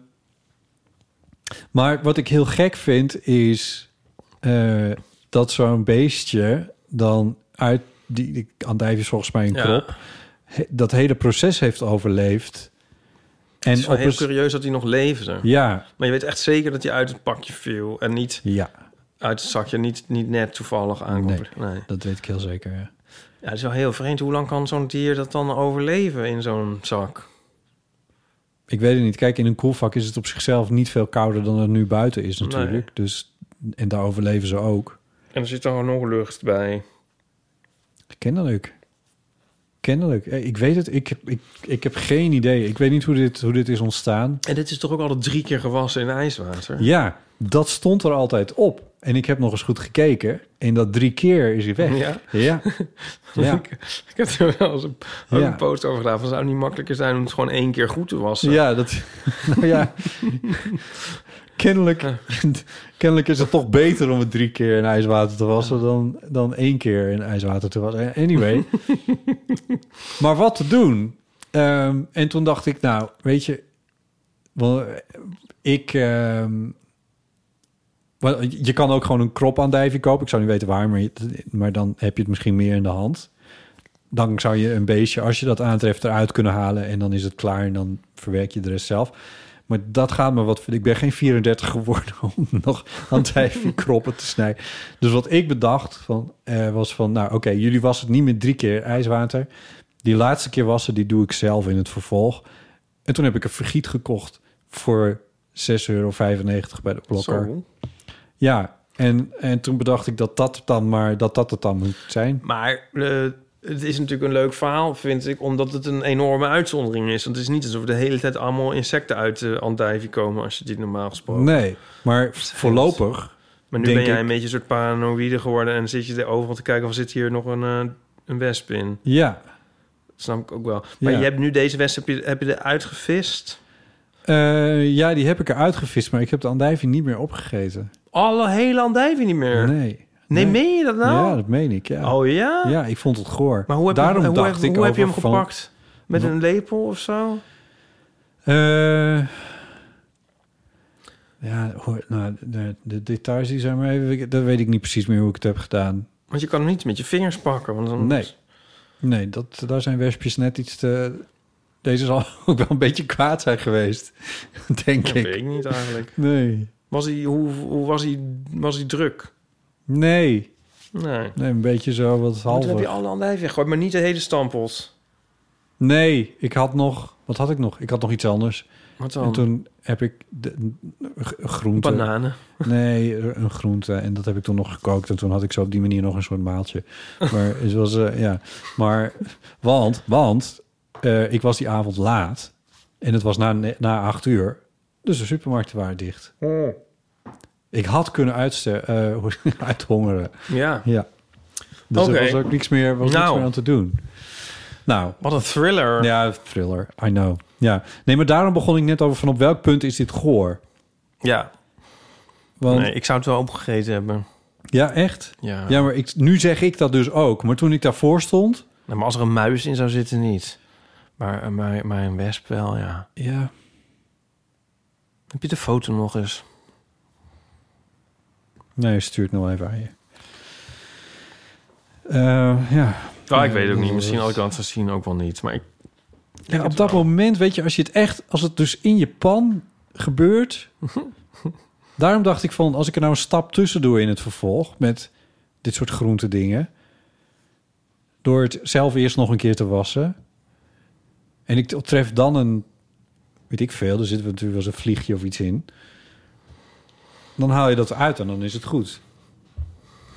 [SPEAKER 2] maar wat ik heel gek vind is eh, dat zo'n beestje dan uit die, die andijf is volgens mij een
[SPEAKER 1] Ja.
[SPEAKER 2] krop he- dat hele proces heeft overleefd.
[SPEAKER 1] Het is
[SPEAKER 2] En
[SPEAKER 1] wel
[SPEAKER 2] op
[SPEAKER 1] heel
[SPEAKER 2] een, s-
[SPEAKER 1] curieus dat hij nog leefde.
[SPEAKER 2] ja,
[SPEAKER 1] Maar je weet echt zeker dat hij uit het pakje viel. En niet
[SPEAKER 2] ja,
[SPEAKER 1] uit het zakje, niet, niet net toevallig aankomt. Nee.
[SPEAKER 2] dat weet ik heel zeker. Ja.
[SPEAKER 1] Ja, het is wel heel vreemd. Hoe lang kan zo'n dier dat dan overleven in zo'n zak?
[SPEAKER 2] Ik weet het niet. Kijk, in een koelvak is het op zichzelf niet veel kouder dan het nu buiten is natuurlijk. Dus, en daar overleven ze ook.
[SPEAKER 1] En er zit dan nog lucht bij.
[SPEAKER 2] Kennelijk. Kennelijk. Eh, Ik weet het. Ik, heb- ik, ik heb geen idee. Ik weet niet hoe dit, hoe dit is ontstaan.
[SPEAKER 1] En dit is toch ook altijd drie keer gewassen in ijswater?
[SPEAKER 2] Ja, dat stond er altijd op. En ik heb nog eens goed gekeken. En dat drie keer is hij weg.
[SPEAKER 1] Ja?
[SPEAKER 2] Ja. Ja.
[SPEAKER 1] ik, ik heb er wel eens een, ook
[SPEAKER 2] Ja.
[SPEAKER 1] een post over gedaan. Van, zou het niet makkelijker zijn om het gewoon één keer goed te wassen?
[SPEAKER 2] Ja, dat... Nou ja. kennelijk, kennelijk is het toch beter om het drie keer in ijswater te wassen... Dan, dan één keer in ijswater te wassen. Anyway. maar wat te doen? Ehm, en toen dacht ik, nou, weet je... wel, eh, Ik... ehm, wel, je kan ook gewoon een krop andijvie kopen. Ik zou niet weten waar, maar, je- maar dan heb je het misschien meer in de hand dan zou je een beestje, als je dat aantreft, eruit kunnen halen. En dan is het klaar en dan verwerk je de rest zelf. Maar dat gaat me wat... Ik ben geen 34 geworden om nog aan tijfje kroppen te snijden. Dus wat ik bedacht van, eh, was van... Nou, oké, jullie wassen het niet meer drie keer ijswater. Die laatste keer wassen, die doe ik zelf in het vervolg. En toen heb ik een vergiet gekocht voor 6,50 6,95 euro bij de blokker.
[SPEAKER 1] Zo.
[SPEAKER 2] Ja, en, en toen bedacht ik dat dat dan maar dat dat het dan moet zijn.
[SPEAKER 1] Maar eh, het is natuurlijk een leuk verhaal, vind ik, omdat het een enorme uitzondering is. Want het is niet alsof de hele tijd allemaal insecten uit de andijvie komen als je dit normaal gesproken.
[SPEAKER 2] Nee, maar voorlopig.
[SPEAKER 1] maar nu
[SPEAKER 2] denk
[SPEAKER 1] ben jij
[SPEAKER 2] ik-
[SPEAKER 1] een beetje een soort paranoïde geworden en zit je er overal te kijken of zit hier nog een, eh, een wesp in.
[SPEAKER 2] Ja.
[SPEAKER 1] Dat snap ik ook wel. Maar
[SPEAKER 2] Ja.
[SPEAKER 1] je hebt nu deze wesp, heb je, heb je eruit gevist?
[SPEAKER 2] Eh, ja, die heb ik eruit gevist, maar ik heb de andijvie niet meer opgegeten.
[SPEAKER 1] Alle hele andijvie niet meer? Nee,
[SPEAKER 2] Nee.
[SPEAKER 1] meen je dat nou?
[SPEAKER 2] Ja, dat meen ik. Ja.
[SPEAKER 1] Oh ja?
[SPEAKER 2] Ja, ik vond het goor.
[SPEAKER 1] Maar hoe heb,
[SPEAKER 2] Daarom
[SPEAKER 1] je, hoe,
[SPEAKER 2] dacht
[SPEAKER 1] heb-
[SPEAKER 2] ik
[SPEAKER 1] hoe heb je hem
[SPEAKER 2] over van-
[SPEAKER 1] gepakt? Met een lepel of zo?
[SPEAKER 2] Eh, ja, hoor, nou, de, de details die zijn maar even... Dat weet ik niet precies meer hoe ik het heb gedaan.
[SPEAKER 1] Want je kan hem niet met je vingers pakken. Want dan
[SPEAKER 2] Nee. Nee, dat, daar zijn wespjes net iets te... Deze zal ook wel een beetje kwaad zijn geweest, denk
[SPEAKER 1] Dat
[SPEAKER 2] ik.
[SPEAKER 1] weet ik niet eigenlijk.
[SPEAKER 2] Nee.
[SPEAKER 1] Was hij, hoe, hoe was hij, was hij druk?
[SPEAKER 2] Nee.
[SPEAKER 1] Nee.
[SPEAKER 2] Nee, een beetje zo wat
[SPEAKER 1] Want Toen heb je
[SPEAKER 2] halver.
[SPEAKER 1] alle andijven weggegooid, maar niet de hele stampot.
[SPEAKER 2] Nee, ik had nog... Wat had ik nog? Ik had nog iets anders.
[SPEAKER 1] Wat
[SPEAKER 2] En
[SPEAKER 1] dan?
[SPEAKER 2] toen heb ik de, g- groente...
[SPEAKER 1] Oh. Bananen.
[SPEAKER 2] Nee, een groente. En dat heb ik toen nog gekookt. En toen had ik zo op die manier nog een soort maaltje. Maar het was, eh, ja. Maar, want, want eh, ik was die avond laat. En het was na, ne- na acht uur. Dus de supermarkten waren dicht.
[SPEAKER 1] Oh.
[SPEAKER 2] Ik had kunnen uitste, eh, hoe- uithongeren.
[SPEAKER 1] Ja.
[SPEAKER 2] Ja. Dus
[SPEAKER 1] Oké.
[SPEAKER 2] er was ook niks meer, was niks
[SPEAKER 1] Nou.
[SPEAKER 2] meer aan te doen. Nou,
[SPEAKER 1] Wat een thriller.
[SPEAKER 2] ja, thriller. I know. Ja. Nee, maar daarom begon ik net over van op welk punt is dit goor?
[SPEAKER 1] Ja.
[SPEAKER 2] Want,
[SPEAKER 1] Nee, ik zou het wel opgegeten hebben.
[SPEAKER 2] Ja, echt?
[SPEAKER 1] Ja.
[SPEAKER 2] Ja, maar ik, nu zeg ik dat dus ook. Maar toen ik daarvoor stond...
[SPEAKER 1] Nou, maar als er een muis in zou zitten, niet. Maar, eh, maar, maar een wesp wel, ja.
[SPEAKER 2] Ja.
[SPEAKER 1] Heb je de foto nog eens?
[SPEAKER 2] Nee, stuur het nou even aan je. Eh, ja.
[SPEAKER 1] Ah, ik weet het ook niet. Misschien had ik dat gezien ook wel niet. Maar ik,
[SPEAKER 2] ja. Op dat moment, weet je, als je het echt... Als het dus in je pan gebeurt... daarom dacht ik van, als ik er nou een stap tussen doe in het vervolg... met dit soort groente dingen... door het zelf eerst nog een keer te wassen... en ik tref dan een... weet ik veel, er zit natuurlijk wel eens een vliegje of iets in... dan haal je dat uit en dan is het goed.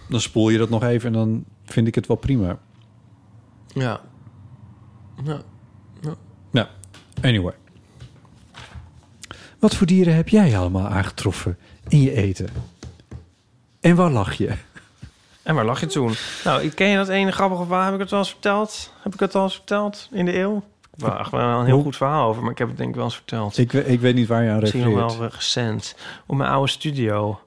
[SPEAKER 2] Dan spoel je dat nog even en dan vind ik het wel prima.
[SPEAKER 1] ja. ja.
[SPEAKER 2] Nou, anyway. Wat voor dieren heb jij allemaal aangetroffen in je eten? En waar lag je?
[SPEAKER 1] En waar lag je toen? Nou, ik ken je dat ene grappige verhaal? Heb ik het wel eens verteld? Heb ik het al eens verteld in de eeuw? Waar echt wel een heel goed verhaal over, maar ik heb het denk ik wel eens verteld.
[SPEAKER 2] Ik, we- ik weet niet waar je aan
[SPEAKER 1] Misschien nog
[SPEAKER 2] refereert.
[SPEAKER 1] wel eh, recent. Op mijn oude studio.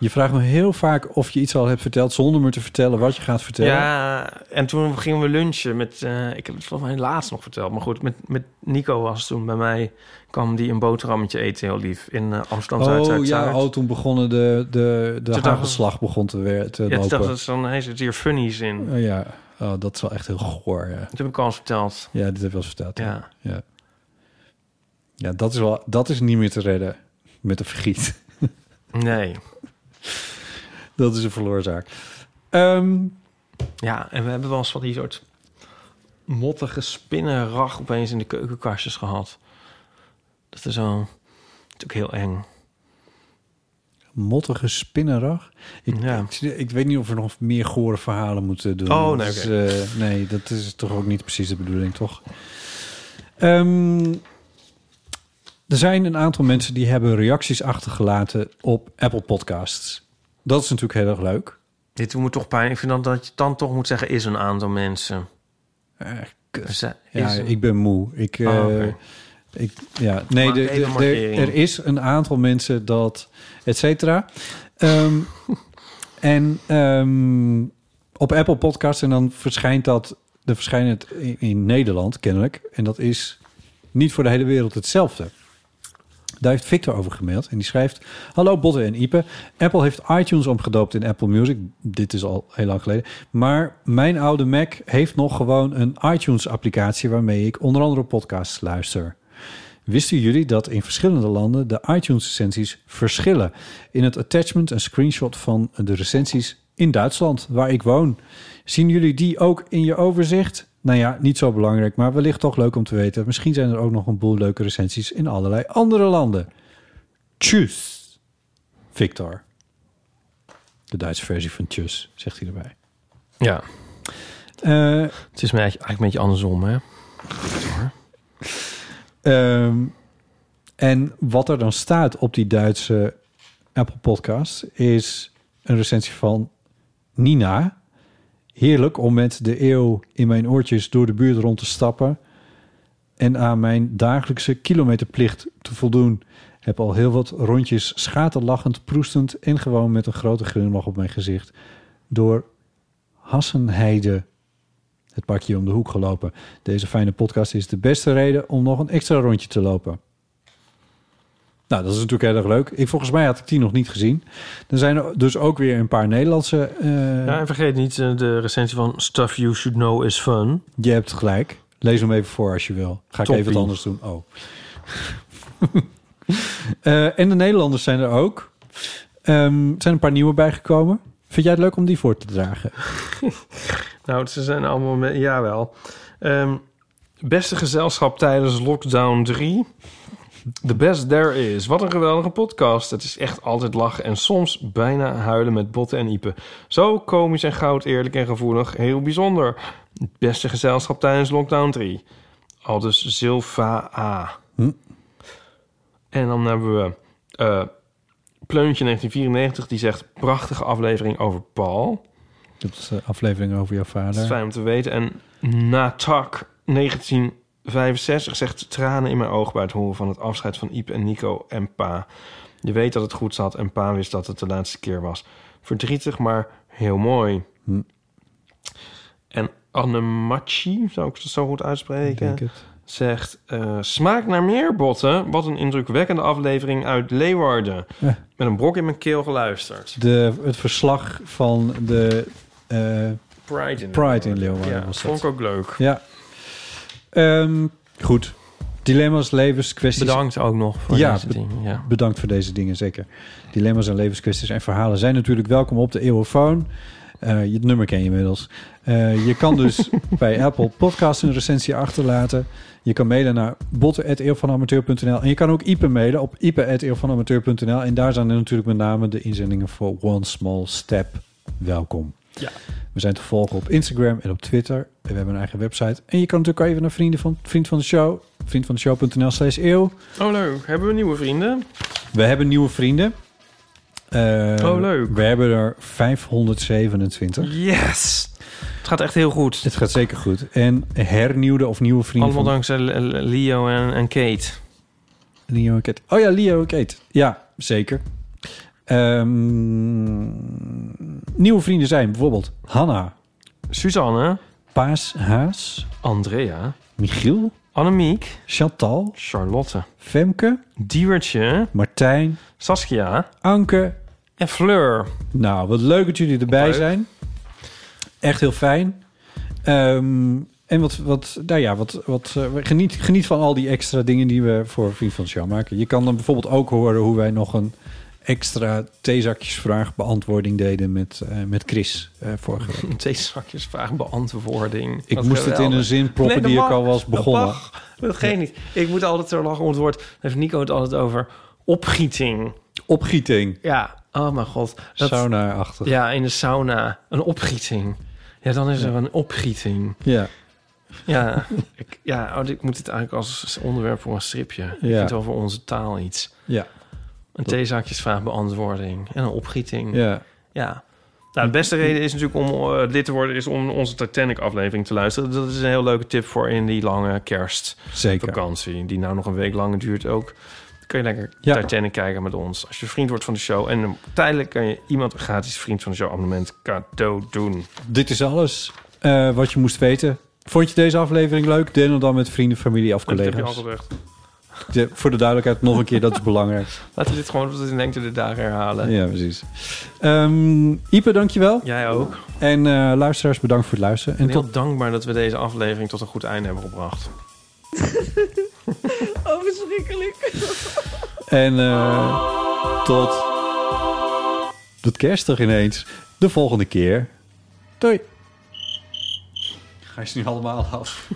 [SPEAKER 2] Je vraagt me heel vaak of je iets al hebt verteld... zonder me te vertellen wat je gaat vertellen.
[SPEAKER 1] Ja, en toen gingen we lunchen met... eh, ik heb het volgens mij laatst nog verteld. Maar goed, met, met Nico was toen bij mij... kwam die een boterhammetje eten, heel lief. In eh, Amsterdam zuid
[SPEAKER 2] oh ja,
[SPEAKER 1] Zuid-Zuid.
[SPEAKER 2] oh, toen begonnen de, de, de
[SPEAKER 1] dacht-
[SPEAKER 2] hagelslag begon te, weer, te
[SPEAKER 1] Ja, toen dacht
[SPEAKER 2] lopen.
[SPEAKER 1] ik, dat is dan, hij zit hier funnies in.
[SPEAKER 2] Oh, ja, oh, dat is wel echt heel goor. Ja,
[SPEAKER 1] Dat heb ik al eens verteld.
[SPEAKER 2] ja dit heb ik wel eens verteld.
[SPEAKER 1] Ja.
[SPEAKER 2] Ja, ja dat, is wel, dat is niet meer te redden met een vergiet.
[SPEAKER 1] Nee.
[SPEAKER 2] Dat is een verloren zaak. Ehm,
[SPEAKER 1] Ja, en we hebben wel eens van die soort mottige spinnenrag opeens in de keukenkastjes gehad. Dat is zo natuurlijk heel eng.
[SPEAKER 2] mottige spinnenrag. Ik,
[SPEAKER 1] Ja.
[SPEAKER 2] ik, ik weet niet of we nog meer gore verhalen moeten doen.
[SPEAKER 1] Oh, nee,
[SPEAKER 2] dat is,
[SPEAKER 1] oké.
[SPEAKER 2] eh, nee, dat is toch ook niet precies de bedoeling, toch? Ehm, er zijn een aantal mensen die hebben reacties achtergelaten op Apple Podcasts. Dat is natuurlijk heel erg leuk.
[SPEAKER 1] Dit doet me toch pijn. Ik vind dan dat je dan toch moet zeggen is een aantal mensen.
[SPEAKER 2] Eh, kut.
[SPEAKER 1] Ze-
[SPEAKER 2] Ja,
[SPEAKER 1] is een-
[SPEAKER 2] ik ben moe. Ik, eh,
[SPEAKER 1] Oh, oké.
[SPEAKER 2] ik, ja, nee,
[SPEAKER 1] Maak
[SPEAKER 2] de,
[SPEAKER 1] even
[SPEAKER 2] de- de-
[SPEAKER 1] een markering.
[SPEAKER 2] er is een aantal mensen dat, et cetera. Ehm, en ehm, op Apple Podcasts en dan verschijnt dat, er verschijnt het in, in Nederland kennelijk. En dat is niet voor de hele wereld hetzelfde. Daar heeft Victor over gemaild en die schrijft... Hallo Botte en Ipe. Apple heeft iTunes omgedoopt in Apple Music. Dit is al heel lang geleden. Maar mijn oude Mac heeft nog gewoon een iTunes-applicatie... waarmee ik onder andere podcasts luister. Wisten jullie dat in verschillende landen de iTunes-recensies verschillen? In het attachment een screenshot van de recensies in Duitsland, waar ik woon. Zien jullie die ook in je overzicht? Nou ja, niet zo belangrijk, maar wellicht toch leuk om te weten. Misschien zijn er ook nog een boel leuke recensies in allerlei andere landen. Tjus. Victor. De Duitse versie van tjus, zegt hij erbij.
[SPEAKER 1] Ja,
[SPEAKER 2] Eh,
[SPEAKER 1] het is me eigenlijk eigenlijk een beetje andersom, hè?
[SPEAKER 2] Ehm, en wat er dan staat op die Duitse Apple Podcast is een recensie van Nina. Heerlijk om met de eeuw in mijn oortjes door de buurt rond te stappen en aan mijn dagelijkse kilometerplicht te voldoen. Heb al heel wat rondjes schaterlachend, proestend en gewoon met een grote glimlach op mijn gezicht door Hassenheide het parkje om de hoek gelopen. Deze fijne podcast is de beste reden om nog een extra rondje te lopen. Nou, dat is natuurlijk heel erg leuk. Ik, volgens mij had ik die nog niet gezien. Er zijn er dus ook weer een paar Nederlandse. eh,
[SPEAKER 1] Ja, en vergeet niet eh, de recensie van Stuff You Should Know Is Fun.
[SPEAKER 2] Je hebt gelijk. Lees hem even voor als je wil. Ga ik
[SPEAKER 1] Toppie.
[SPEAKER 2] even wat anders doen. Oh. Eh, en de Nederlanders zijn er ook. Ehm, er zijn een paar nieuwe bijgekomen. Vind jij het leuk om die voor te dragen?
[SPEAKER 1] Nou, ze zijn allemaal... Me- Jawel. Ehm beste gezelschap tijdens lockdown 3. The best there is. Wat een geweldige podcast. Het is echt altijd lachen en soms bijna huilen met botten en iepen. Zo komisch en goud, eerlijk en gevoelig. Heel bijzonder. Het beste gezelschap tijdens lockdown 3. Al dus Silva A.
[SPEAKER 2] Hm.
[SPEAKER 1] En dan hebben we eh, Pleuntje 1994. Die zegt prachtige aflevering over Paul.
[SPEAKER 2] Dat is de aflevering dus, eh, over jouw
[SPEAKER 1] Dat is
[SPEAKER 2] vader.
[SPEAKER 1] fijn om te weten. En Natak 1965 zegt tranen in mijn ogen bij het horen van het afscheid van Iep en Nico en pa. Je weet dat het goed zat en pa wist dat het de laatste keer was. Verdrietig, maar heel mooi.
[SPEAKER 2] Hm.
[SPEAKER 1] En Annemachi, zou ik het zo goed
[SPEAKER 2] Ik denk
[SPEAKER 1] uitspreken,
[SPEAKER 2] het.
[SPEAKER 1] zegt... eh, Smaak naar meer, botten. Wat een indrukwekkende aflevering uit Leeuwarden.
[SPEAKER 2] Ja.
[SPEAKER 1] Met een brok in mijn keel geluisterd.
[SPEAKER 2] De, het verslag van de... eh,
[SPEAKER 1] Pride in
[SPEAKER 2] Pride in Leeuwarden
[SPEAKER 1] Ja,
[SPEAKER 2] was dat.
[SPEAKER 1] vond ik ook leuk.
[SPEAKER 2] ja. Ehm, goed. Dilemma's, levens, kwesties.
[SPEAKER 1] Bedankt ook nog voor
[SPEAKER 2] Ja,
[SPEAKER 1] deze
[SPEAKER 2] be-
[SPEAKER 1] dingen. Ja.
[SPEAKER 2] Bedankt voor deze dingen, zeker. Dilemma's en levenskwesties en verhalen zijn natuurlijk welkom op de Eeuwofoon. Eh, je het nummer ken je inmiddels. Eh, je kan dus bij Apple Podcasts een recensie achterlaten. Je kan mailen naar botten.eeuwvanamateur.nl. En je kan ook Ipe mailen op ipe.eeuwvanamateur.nl. En daar zijn er natuurlijk met name de inzendingen voor One Small Step. Welkom.
[SPEAKER 1] Ja.
[SPEAKER 2] We zijn te volgen op Instagram en op Twitter. En we hebben een eigen website. En je kan natuurlijk ook even naar vrienden van, vriend van de show. Vriend van de show.nl slash eeuw.
[SPEAKER 1] Oh, leuk. Hebben we nieuwe vrienden?
[SPEAKER 2] We hebben nieuwe vrienden. Eh,
[SPEAKER 1] Oh, leuk.
[SPEAKER 2] We hebben er 527.
[SPEAKER 1] Yes! Het gaat echt heel goed.
[SPEAKER 2] Het gaat zeker goed. En hernieuwde of nieuwe vrienden
[SPEAKER 1] Allemaal
[SPEAKER 2] van
[SPEAKER 1] dankzij Le- Le- Leo en, en Kate.
[SPEAKER 2] Leo en Kate. Oh ja, Leo en Kate. Ja, zeker. Ehm, nieuwe vrienden zijn bijvoorbeeld Hanna,
[SPEAKER 1] Suzanne,
[SPEAKER 2] Paas Haas,
[SPEAKER 1] Andrea,
[SPEAKER 2] Michiel,
[SPEAKER 1] Annemiek,
[SPEAKER 2] Chantal,
[SPEAKER 1] Charlotte,
[SPEAKER 2] Femke,
[SPEAKER 1] Diewertje,
[SPEAKER 2] Martijn,
[SPEAKER 1] Saskia
[SPEAKER 2] Anke.
[SPEAKER 1] en Fleur.
[SPEAKER 2] Nou, wat leuk dat jullie erbij
[SPEAKER 1] Leuk.
[SPEAKER 2] zijn. Echt heel fijn. Ehm, en wat, wat, nou ja, wat, wat eh, geniet, geniet van al die extra dingen die we voor Vriend van de Show maken. Je kan dan bijvoorbeeld ook horen hoe wij nog een extra theezakjesvraag beantwoording deden met, eh, met Chris eh, vorige week.
[SPEAKER 1] Deze zakjes vraag beantwoording.
[SPEAKER 2] Ik
[SPEAKER 1] Wat
[SPEAKER 2] moest het in
[SPEAKER 1] geweldig.
[SPEAKER 2] een zin proppen
[SPEAKER 1] Nee, dat
[SPEAKER 2] die ik
[SPEAKER 1] mag.
[SPEAKER 2] al was
[SPEAKER 1] Dat
[SPEAKER 2] begonnen.
[SPEAKER 1] mag. Dat geeft niet. Ik moet altijd zo lachen om het woord. daar heeft Nico het altijd over opgieting.
[SPEAKER 2] Opgieting.
[SPEAKER 1] Ja, oh mijn god. Dat,
[SPEAKER 2] Sauna-achtig. Ja.
[SPEAKER 1] Ja, in de sauna. Een opgieting. Ja, dan is er een opgieting. Ja, ik, ja oh, ik moet dit eigenlijk als onderwerp voor een stripje. Ik
[SPEAKER 2] Ja.
[SPEAKER 1] vind over onze taal iets.
[SPEAKER 2] Ja.
[SPEAKER 1] Een theezakjesvraag beantwoording en een opgieting. Ja.
[SPEAKER 2] ja.
[SPEAKER 1] Nou, de beste reden is natuurlijk om eh, lid te worden... is om onze Titanic-aflevering te luisteren. Dat is een heel leuke tip voor in die lange kerstvakantie...
[SPEAKER 2] Zeker.
[SPEAKER 1] die nou nog een week langer duurt ook. Dan kun je lekker
[SPEAKER 2] Ja.
[SPEAKER 1] Titanic kijken met ons. Als je vriend wordt van de show... en eh, tijdelijk kan je iemand een gratis vriend van de show abonnement cadeau doen.
[SPEAKER 2] Dit is alles eh, wat je moest weten. Vond je deze aflevering leuk? Deel hem dan met vrienden, familie of
[SPEAKER 1] Dat heb je al
[SPEAKER 2] collega's.
[SPEAKER 1] gezegd.
[SPEAKER 2] De- voor de duidelijkheid nog een keer, dat is belangrijk.
[SPEAKER 1] Laten we dit gewoon tot in lengte de dagen herhalen.
[SPEAKER 2] Ja, precies. Ehm Ipe, dankjewel.
[SPEAKER 1] Jij ook.
[SPEAKER 2] En eh, luisteraars, bedankt voor het luisteren. En
[SPEAKER 1] En
[SPEAKER 2] tot...
[SPEAKER 1] heel dankbaar dat we deze aflevering tot een goed einde hebben gebracht.
[SPEAKER 7] Oh, verschrikkelijk.
[SPEAKER 2] En eh, tot... Dat kerstig ineens. De volgende keer. Doei. Ga je ze nu allemaal af?